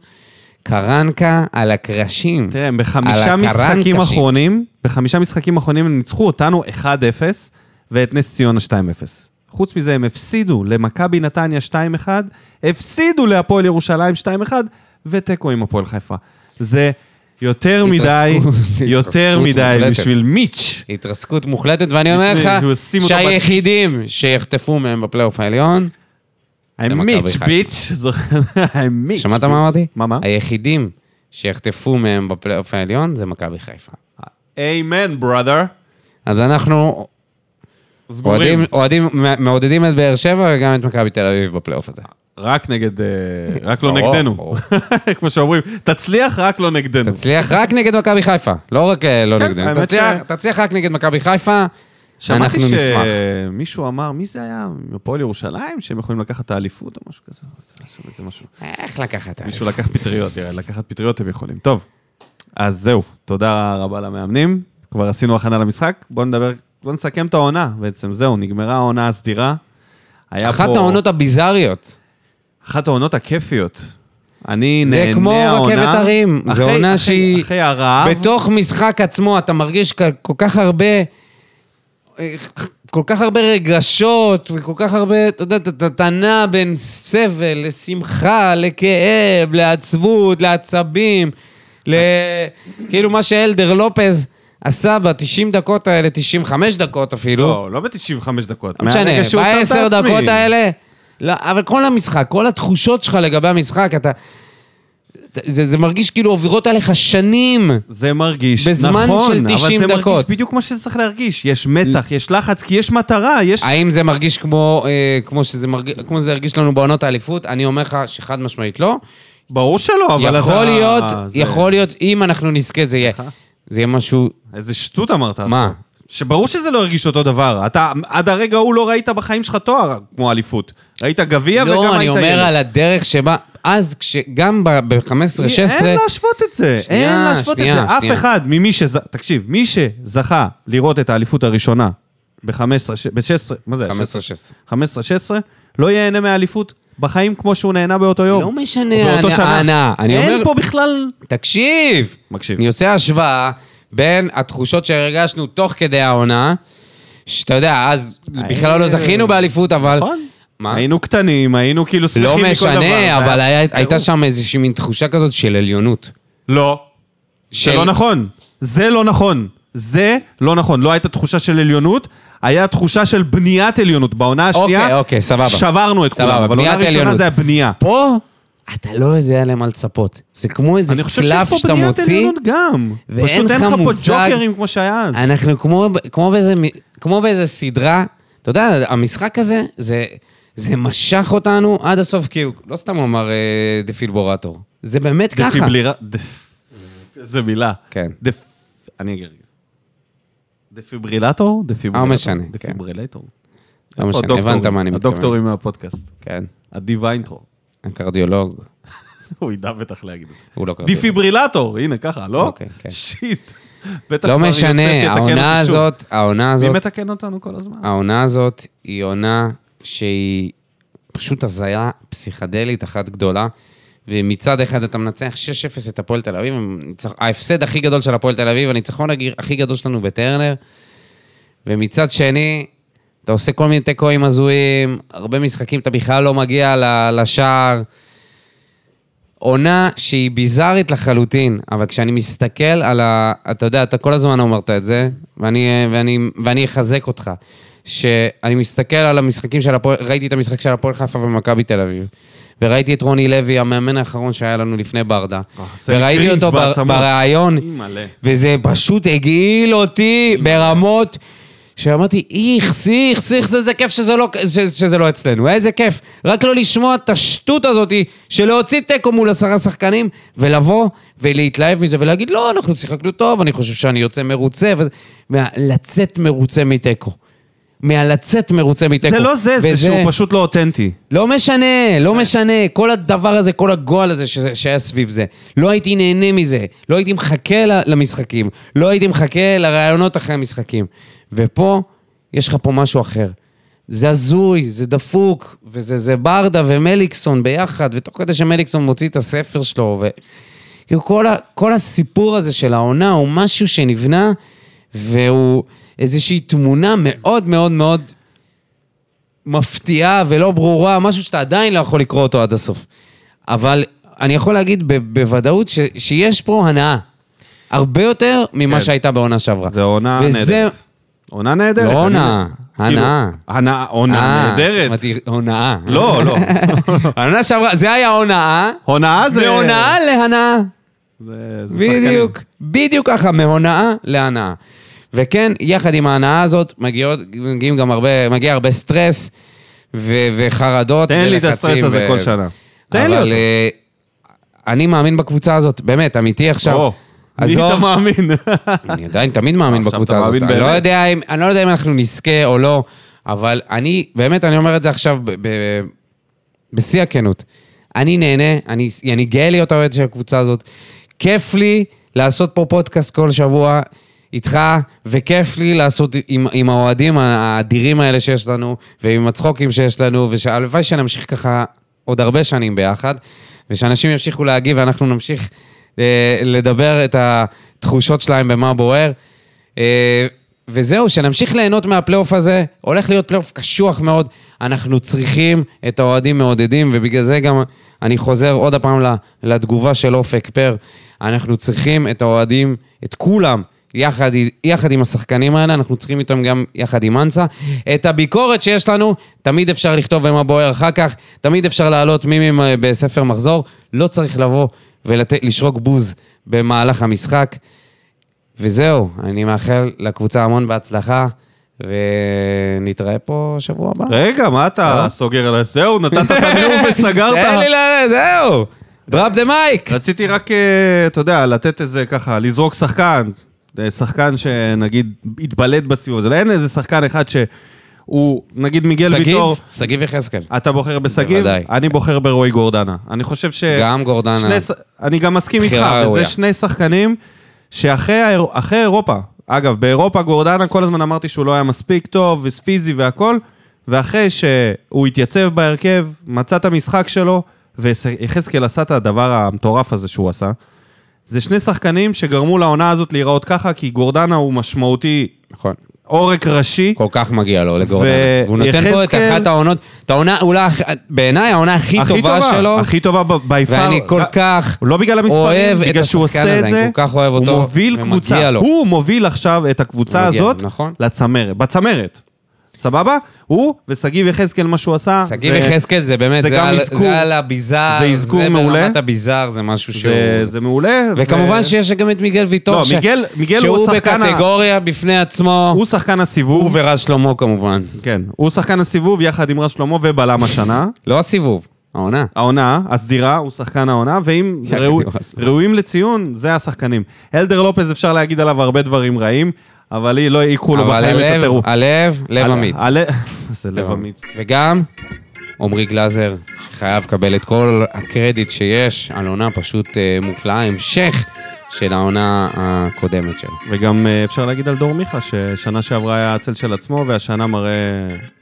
Speaker 2: קרנקה על הקרשים.
Speaker 1: תראה, הם
Speaker 2: על
Speaker 1: בחמישה
Speaker 2: הקרנקשים.
Speaker 1: משחקים אחרונים, בחמישה משחקים אחרונים הם ניצחו אותנו 1-0 ואת נס ציונה 2-0. חוץ מזה, הם הפסידו למכבי נתניה 2-1, הפסידו להפועל ירושלים 2-1, ותיקו עם הפועל חיפה. זה יותר מדי,
Speaker 2: התרסקות,
Speaker 1: יותר
Speaker 2: התרסקות
Speaker 1: מדי
Speaker 2: מוחלטת.
Speaker 1: בשביל מיץ'.
Speaker 2: התרסקות מוחלטת, ואני אומר
Speaker 1: לפני
Speaker 2: לך
Speaker 1: שהוא ישים אותו
Speaker 2: שהיחידים שיחטפו מהם בפלייאוף העליון, מכבי
Speaker 1: המיץ'
Speaker 2: חיפה.
Speaker 1: ביץ', זוכר, המיץ'.
Speaker 2: שמעת מה אמרתי?
Speaker 1: מה, מה?
Speaker 2: היחידים שיחטפו מהם בפלייאוף העליון זה מכבי חיפה.
Speaker 1: איימן, בראדר.
Speaker 2: אז אנחנו
Speaker 1: סגורים.
Speaker 2: אוהדים, אוהדים, מעודדים את באר שבע וגם את מכבי תל אביב בפלייאוף הזה.
Speaker 1: רק נגד, אה, רק לא
Speaker 2: ברור,
Speaker 1: נגדנו.
Speaker 2: ברור.
Speaker 1: כמו שאומרים, תצליח רק לא נגדנו.
Speaker 2: תצליח רק נגד מכבי חיפה, לא רק אה, לא
Speaker 1: כן,
Speaker 2: נגדנו.
Speaker 1: האמת
Speaker 2: תצליח-
Speaker 1: ש-
Speaker 2: תצליח רק נגד מכבי חיפה, אנחנו
Speaker 1: שמעתי
Speaker 2: נשמח.
Speaker 1: שמישהו אמר, מי זה היה? הפועל ירושלים? שהם יכולים לקחת את האליפות או משהו כזה? משהו- איזה משהו.
Speaker 2: אה, איך לקחת?
Speaker 1: מישהו לקח פטריות, יראה, לקחת פטריות הם יכולים. טוב, אז זהו, תודה רבה למאמנים. כבר עשינו הכנה למשחק, בואו נדבר, בואו נסכם את העונה בעצם. זהו, נגמרה העונה הסדירה. היה
Speaker 2: אחת
Speaker 1: פה-
Speaker 2: העונות הביזאריות.
Speaker 1: אחת העונות הכיפיות. אני
Speaker 2: זה
Speaker 1: נהנה
Speaker 2: כמו
Speaker 1: העונה.
Speaker 2: רכבת הרים, זה
Speaker 1: אחרי-
Speaker 2: עונה
Speaker 1: אחרי-
Speaker 2: שהיא-
Speaker 1: אחרי הרעב,
Speaker 2: בתוך משחק עצמו אתה מרגיש כ- כל כך הרבה... אה, כל כך הרבה רגשות, וכל כך הרבה, אתה יודע, אתה- אתה נע בין סבל לשמחה, לכאב, לעצבות, לעצבים, ל... כאילו מה שאלדר לופז עשה ב-90 דקות האלה, 95 דקות אפילו.
Speaker 1: לא, לא ב-95 דקות.
Speaker 2: לא משנה,
Speaker 1: מהרגע שהוא שם את
Speaker 2: בעשר
Speaker 1: העצמי.
Speaker 2: דקות האלה... לא, אבל כל המשחק, כל התחושות שלך לגבי המשחק, אתה... זה, זה מרגיש כאילו עוברות עליך שנים.
Speaker 1: זה מרגיש,
Speaker 2: בזמן
Speaker 1: נכון,
Speaker 2: של 90
Speaker 1: אבל זה מרגיש
Speaker 2: דקות.
Speaker 1: בדיוק מה שצריך להרגיש. יש מתח, יש לחץ, כי יש מטרה, יש...
Speaker 2: האם זה מרגיש כמו, אה, כמו, שזה מרגיש, כמו שזה הרגיש לנו בעונות האליפות? אני אומר לך שחד משמעית לא.
Speaker 1: ברור שלא, אבל
Speaker 2: יכול
Speaker 1: אתה... אה,
Speaker 2: להיות,
Speaker 1: זה-
Speaker 2: יכול להיות, אם אנחנו נזכה, זה יהיה. זה יהיה משהו...
Speaker 1: איזה שטות אמרת
Speaker 2: מה?
Speaker 1: עכשיו. שברור שזה לא הרגיש אותו דבר. אתה עד הרגע ההוא לא ראית בחיים שלך תואר כמו אליפות. ראית גביע וגם היית
Speaker 2: לא, אני אומר
Speaker 1: ילד.
Speaker 2: על הדרך שבה... אז, כש, גם ב-15-16...
Speaker 1: אין להשוות את זה,
Speaker 2: שנייה,
Speaker 1: אין להשוות את
Speaker 2: שנייה,
Speaker 1: זה. אף
Speaker 2: שנייה.
Speaker 1: אחד ממי שז... תקשיב, מי שזכה לראות את האליפות הראשונה ב-15, ב-16, מה זה?
Speaker 2: 15-16.
Speaker 1: 15-16, לא ייהנה מהאליפות בחיים כמו שהוא נהנה באותו יום.
Speaker 2: לא משנה
Speaker 1: או באותו
Speaker 2: ההנאה,
Speaker 1: שנה.
Speaker 2: ההנאה. אני
Speaker 1: אין
Speaker 2: אומר-
Speaker 1: פה בכלל...
Speaker 2: תקשיב!
Speaker 1: מקשיב.
Speaker 2: אני עושה השוואה בין התחושות שהרגשנו תוך כדי העונה, שאתה יודע, אז בכלל לא זכינו באליפות, אבל...
Speaker 1: אה, נכון.
Speaker 2: מה?
Speaker 1: היינו קטנים, היינו כאילו שמחים
Speaker 2: לא
Speaker 1: מכל דבר. זה
Speaker 2: משנה, אבל היה- הייתה
Speaker 1: טירוף.
Speaker 2: שם איזושהי מין תחושה כזאת של עליונות.
Speaker 1: לא.
Speaker 2: של-
Speaker 1: זה לא נכון. זה לא נכון. זה לא נכון. לא הייתה תחושה של עליונות, היה תחושה של בניית עליונות. בעונה השנייה...
Speaker 2: אוקיי, אוקיי, סבבה.
Speaker 1: שברנו את
Speaker 2: סבבה,
Speaker 1: כולם, אבל עונה
Speaker 2: בניית
Speaker 1: ראשונה
Speaker 2: עליונות.
Speaker 1: זה הבנייה.
Speaker 2: פה, אתה לא יודע למה לצפות. זה כמו איזה
Speaker 1: אני חושב שיש
Speaker 2: קלף
Speaker 1: פה
Speaker 2: שאתה
Speaker 1: בניית
Speaker 2: מוציא.
Speaker 1: עליונות גם.
Speaker 2: ואין
Speaker 1: פשוט אין
Speaker 2: לך
Speaker 1: לך פה
Speaker 2: מושג-
Speaker 1: ג'וקרים כמו שהיה אז.
Speaker 2: אנחנו כמו, ב- כמו, באיזה, מ- כמו באיזה סדרה, אתה יודע, המשחק הזה, זה, זה משך אותנו עד הסוף, כאילו, לא סתם הוא אמר אה, דפילבורטור. זה באמת ככה.
Speaker 1: דפיבלירה... ד- איזה מילה.
Speaker 2: כן.
Speaker 1: דפ... אני אגיד רגע. דפיברילטור? דפיברילטור.
Speaker 2: לא משנה, כן.
Speaker 1: דפיברילטור.
Speaker 2: לא
Speaker 1: איפה
Speaker 2: משנה, הבנת
Speaker 1: הדוקטורים?
Speaker 2: מה אני מתכוון.
Speaker 1: הדוקטורים מהפודקאסט.
Speaker 2: כן,
Speaker 1: עדי ויינטרו.
Speaker 2: הקרדיולוג,
Speaker 1: הוא ידע בטח להגיד את זה.
Speaker 2: הוא לא קרדיולוג.
Speaker 1: דיפיברילטור, הנה ככה, לא?
Speaker 2: אוקיי, כן.
Speaker 1: שיט. בטח
Speaker 2: לא
Speaker 1: מר יוסף יתקן
Speaker 2: משנה, העונה
Speaker 1: אותי שוב.
Speaker 2: הזאת, העונה
Speaker 1: מי
Speaker 2: הזאת,
Speaker 1: מתקן אותנו כל הזמן?
Speaker 2: העונה הזאת היא עונה שהיא פשוט הזיה פסיכדלית אחת גדולה. ומצד אחד אתה מנצח 6-0 את הפועל תל אביב, הניצח- ההפסד הכי גדול של הפועל תל אביב, הניצחון הגיר- הכי גדול שלנו בטרנר. ומצד שני, אתה עושה כל מיני תיקואים הזויים, הרבה משחקים אתה בכלל לא מגיע ל- לשער. עונה שהיא ביזארית לחלוטין, אבל כשאני מסתכל על ה... אתה יודע, אתה כל הזמן אמרת את זה, ואני, ואני, ואני אחזק אותך. שאני מסתכל על המשחקים של הפועל, ראיתי את המשחק של הפועל חיפה ומכבי תל אביב, וראיתי את רוני לוי, המאמן האחרון שהיה לנו לפני ברדה,
Speaker 1: אה, עושה לי
Speaker 2: וראיתי
Speaker 1: קרינג'
Speaker 2: אותו בר-
Speaker 1: בעצמות.
Speaker 2: בריאיון,
Speaker 1: אימא'לה.
Speaker 2: וזה פשוט הגעיל אותי ברמות שאמרתי, איכס, איכס, איכס, איזה כיף שזה לא, ש, שזה לא אצלנו, איזה כיף. רק לא לשמוע את השטות הזאת של להוציא תיקו מול עשרה שחקנים, ולבוא ולהתלהב מזה ולהגיד, לא, אנחנו שיחקנו טוב, אני חושב שאני יוצא מרוצה, וזה... מה, לצאת מרוצה מתיקו. מהלצאת מרוצה מתיקו.
Speaker 1: זה לא זה, זה
Speaker 2: וזה-
Speaker 1: שהוא פשוט לא אותנטי.
Speaker 2: לא משנה, לא משנה. כל הדבר הזה, כל הגועל הזה ש- שהיה סביב זה. לא הייתי נהנה מזה. לא הייתי מחכה ל- למשחקים. לא הייתי מחכה לרעיונות אחרי המשחקים. ופה, יש לך פה משהו אחר. זה הזוי, זה דפוק, וזה זה ברדה ומליקסון ביחד, ותוך כדי שמליקסון מוציא את הספר שלו, ו... כאילו כל, ה, כל הסיפור הזה של העונה הוא משהו שנבנה, והוא איזושהי תמונה מאוד מאוד מאוד מפתיעה ולא ברורה, משהו שאתה עדיין לא יכול לקרוא אותו עד הסוף. אבל אני יכול להגיד ב- בוודאות ש, שיש פה הנאה. הרבה יותר ממה
Speaker 1: כן.
Speaker 2: שהייתה בעונה שעברה.
Speaker 1: זה עונה
Speaker 2: וזה-
Speaker 1: נהדרת. עונה נהדרת.
Speaker 2: לא
Speaker 1: אני-
Speaker 2: עונה,
Speaker 1: כאילו,
Speaker 2: הנאה.
Speaker 1: הנאה, עונה
Speaker 2: אה,
Speaker 1: נהדרת.
Speaker 2: שמעתי, הונאה.
Speaker 1: לא, לא.
Speaker 2: העונה שעברה, זה היה הונאה,
Speaker 1: הונאה זה...
Speaker 2: מהונאה להנאה.
Speaker 1: זה- זה שחקנים.
Speaker 2: בדיוק, בדיוק ככה, מהונאה להנאה. וכן, יחד עם ההנאה הזאת, מגיעות, מגיעים גם הרבה, מגיע הרבה סטרס ו- וחרדות
Speaker 1: תן לי את הסטרס
Speaker 2: ולחצים
Speaker 1: הזה
Speaker 2: ו-
Speaker 1: כל שנה. תן לי
Speaker 2: אבל
Speaker 1: אותו.
Speaker 2: אה, אני מאמין בקבוצה הזאת, באמת, אמיתי עכשיו.
Speaker 1: או, מי אתה מאמין?
Speaker 2: אני עדיין תמיד מאמין
Speaker 1: עכשיו
Speaker 2: בקבוצה
Speaker 1: אתה
Speaker 2: הזאת.
Speaker 1: מאמין
Speaker 2: אני לא,
Speaker 1: באמת?
Speaker 2: יודע אם, אני לא יודע אם אנחנו נזכה או לא, אבל אני, באמת, אני אומר את זה עכשיו ב- ב- בשיא הכנות. אני נהנה, אני, אני גאה להיות האוהד של הקבוצה הזאת. כיף לי לעשות פה פודקאסט כל שבוע איתך, וכיף לי לעשות עם, עם האוהדים האדירים האלה שיש לנו, ועם הצחוקים שיש לנו, והלוואי שנמשיך ככה עוד הרבה שנים ביחד, ושאנשים ימשיכו להגיב ואנחנו נמשיך אה, לדבר את התחושות שלהם במה בוער. אה, וזהו, שנמשיך ליהנות מהפלייאוף הזה. הולך להיות פלייאוף קשוח מאוד. אנחנו צריכים את האוהדים מעודדים, ובגלל זה גם אני חוזר עוד הפעם ל- לתגובה של אופק פר. אנחנו צריכים את האוהדים, את כולם, יחד, יחד עם השחקנים האלה, אנחנו צריכים איתם גם יחד עם אנסה. את הביקורת שיש לנו, תמיד אפשר לכתוב ומה בוער אחר כך, תמיד אפשר להעלות מימים אה, בספר מחזור. לא צריך לבוא ולשרוק בוז במהלך המשחק. וזהו, אני מאחל לקבוצה המון בהצלחה, ונתראה פה שבוע הבא.
Speaker 1: רגע, מה אתה
Speaker 2: לא?
Speaker 1: סוגר על זה? זהו, נתת את הנאום וסגרת.
Speaker 2: תן לי ל... זהו! דראפ דה מייק!
Speaker 1: אה, רציתי רק, אה, אתה יודע, לתת איזה ככה, לזרוק שחקן. אה, שחקן שנגיד התבלט בסיבוב הזה. אין איזה שחקן אחד שהוא, נגיד מיגל
Speaker 2: שגיב?
Speaker 1: ויטור. אה,
Speaker 2: שגיב יחזקאל.
Speaker 1: אתה בוחר בשגיב?
Speaker 2: בוודאי.
Speaker 1: אני בוחר ברועי גורדנה. אני חושב ש...
Speaker 2: גם גורדנה.
Speaker 1: אה, שני ש- אני גם מסכים איתך,
Speaker 2: בחירה ראויה.
Speaker 1: וזה שני שחקנים שאחרי האיר- אחרי אירופה, אגב, באירופה גורדנה כל הזמן אמרתי שהוא לא היה מספיק טוב, פיזי והכול, ואחרי שהוא התייצב בהרכב, מצא את המשחק שלו, ויחזקאל עשה את הדבר המטורף הזה שהוא עשה. זה שני שחקנים שגרמו לעונה הזאת להיראות ככה, כי גורדנה הוא משמעותי
Speaker 2: נכון.
Speaker 1: עורק ראשי.
Speaker 2: כל כך מגיע לו לגורדנה.
Speaker 1: ו-
Speaker 2: והוא נותן פה את
Speaker 1: יחזקאל-
Speaker 2: אחת העונות, את העונה, אולי, הכ- בעיניי העונה הכי טובה שלו.
Speaker 1: הכי טובה ב- by far.
Speaker 2: ואני כל כך
Speaker 1: לא בגלל המספרים,
Speaker 2: אוהב את
Speaker 1: בגלל שהוא
Speaker 2: השחקן
Speaker 1: עושה
Speaker 2: הזה,
Speaker 1: את זה.
Speaker 2: אני כל כך אוהב אותו,
Speaker 1: הוא מוביל
Speaker 2: ומגיע
Speaker 1: קבוצה.
Speaker 2: לו.
Speaker 1: הוא מוביל עכשיו את הקבוצה
Speaker 2: מגיע לו,
Speaker 1: הזאת
Speaker 2: נכון.
Speaker 1: לצמרת. בצמרת. סבבה? הוא ושגיב יחזקאל, מה שהוא עשה.
Speaker 2: שגיב
Speaker 1: לא- זה-
Speaker 2: יחזקאל זה באמת,
Speaker 1: זה
Speaker 2: זה
Speaker 1: גם
Speaker 2: על-
Speaker 1: אזכור.
Speaker 2: זה על הביזאר,
Speaker 1: זה אזכור מעולה.
Speaker 2: ברמת הביזאר, זה משהו שהוא...
Speaker 1: זה- זה מעולה. ו-
Speaker 2: וכמובן שיש גם את מיגל ויטור,
Speaker 1: לא,
Speaker 2: ש-
Speaker 1: מיגל- מיגל הוא
Speaker 2: שהוא
Speaker 1: השחקן ה-
Speaker 2: בקטגוריה בפני עצמו,
Speaker 1: הוא שחקן
Speaker 2: הוא
Speaker 1: הסיבוב.
Speaker 2: ורז שלמה כמובן.
Speaker 1: כן. הוא שחקן הסיבוב יחד עם רז שלמה ובלם השנה.
Speaker 2: לא הסיבוב, העונה.
Speaker 1: העונה הסדירה, הוא שחקן העונה, ואם
Speaker 2: יחד
Speaker 1: ראו,
Speaker 2: עם הסוף.
Speaker 1: ראויים לציון, זה השחקנים. אלדר לופז, אפשר להגיד עליו הרבה דברים רעים, אבל היא לא העיקו לו
Speaker 2: אבל
Speaker 1: בחיים את
Speaker 2: הלב,
Speaker 1: הטירוף.
Speaker 2: הלב, לב אמיץ.
Speaker 1: הלב- זה לב אמיץ.
Speaker 2: וגם עמרי גלאזר, שחייב לקבל את כל הקרדיט שיש על עונה פשוט אה, מופלאה, המשך של העונה הקודמת שלו.
Speaker 1: וגם אה, אפשר להגיד על דור מיכה, ששנה שעברה היה הצל של עצמו, והשנה מראה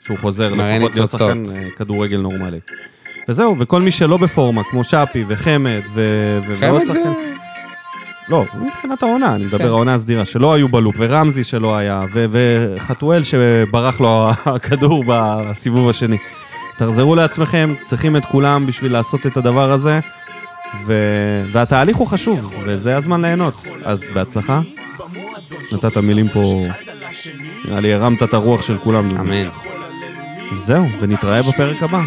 Speaker 1: שהוא חוזר
Speaker 2: מראה
Speaker 1: לפחות להיות
Speaker 2: ניצוצות.
Speaker 1: שחקן אה, כדורגל נורמלי. וזהו, וכל מי שלא בפורמה, כמו שפי וחמד ו- ו- ועוד
Speaker 2: חמד
Speaker 1: שחקן...
Speaker 2: זה- כן.
Speaker 1: לא, מבחינת העונה, אני מדבר העונה הסדירה, שלא היו בלופ, ורמזי שלא היה, ו- וחתואל שברח לו הכדור בסיבוב השני. תחזרו לעצמכם, צריכים את כולם בשביל לעשות את הדבר הזה, ו- והתהליך הוא חשוב, וזה הזמן ליהנות. אז בהצלחה. נתת מילים פה, נראה לי הרמת את הרוח של כולם.
Speaker 2: אמן.
Speaker 1: זהו, ונתראה בפרק הבא.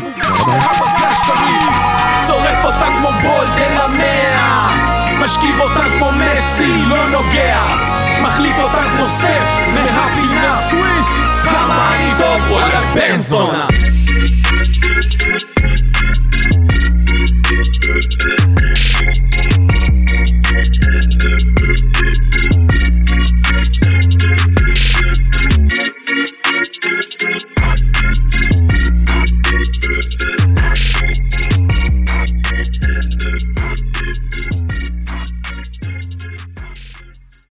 Speaker 3: שורף אותה כמו בולדן המאה משכיב אותה כמו מסי, לא נוגע מחליט אותה כמו סטף, מהפינה סוויש כמה אני טוב, וואלה בן זונה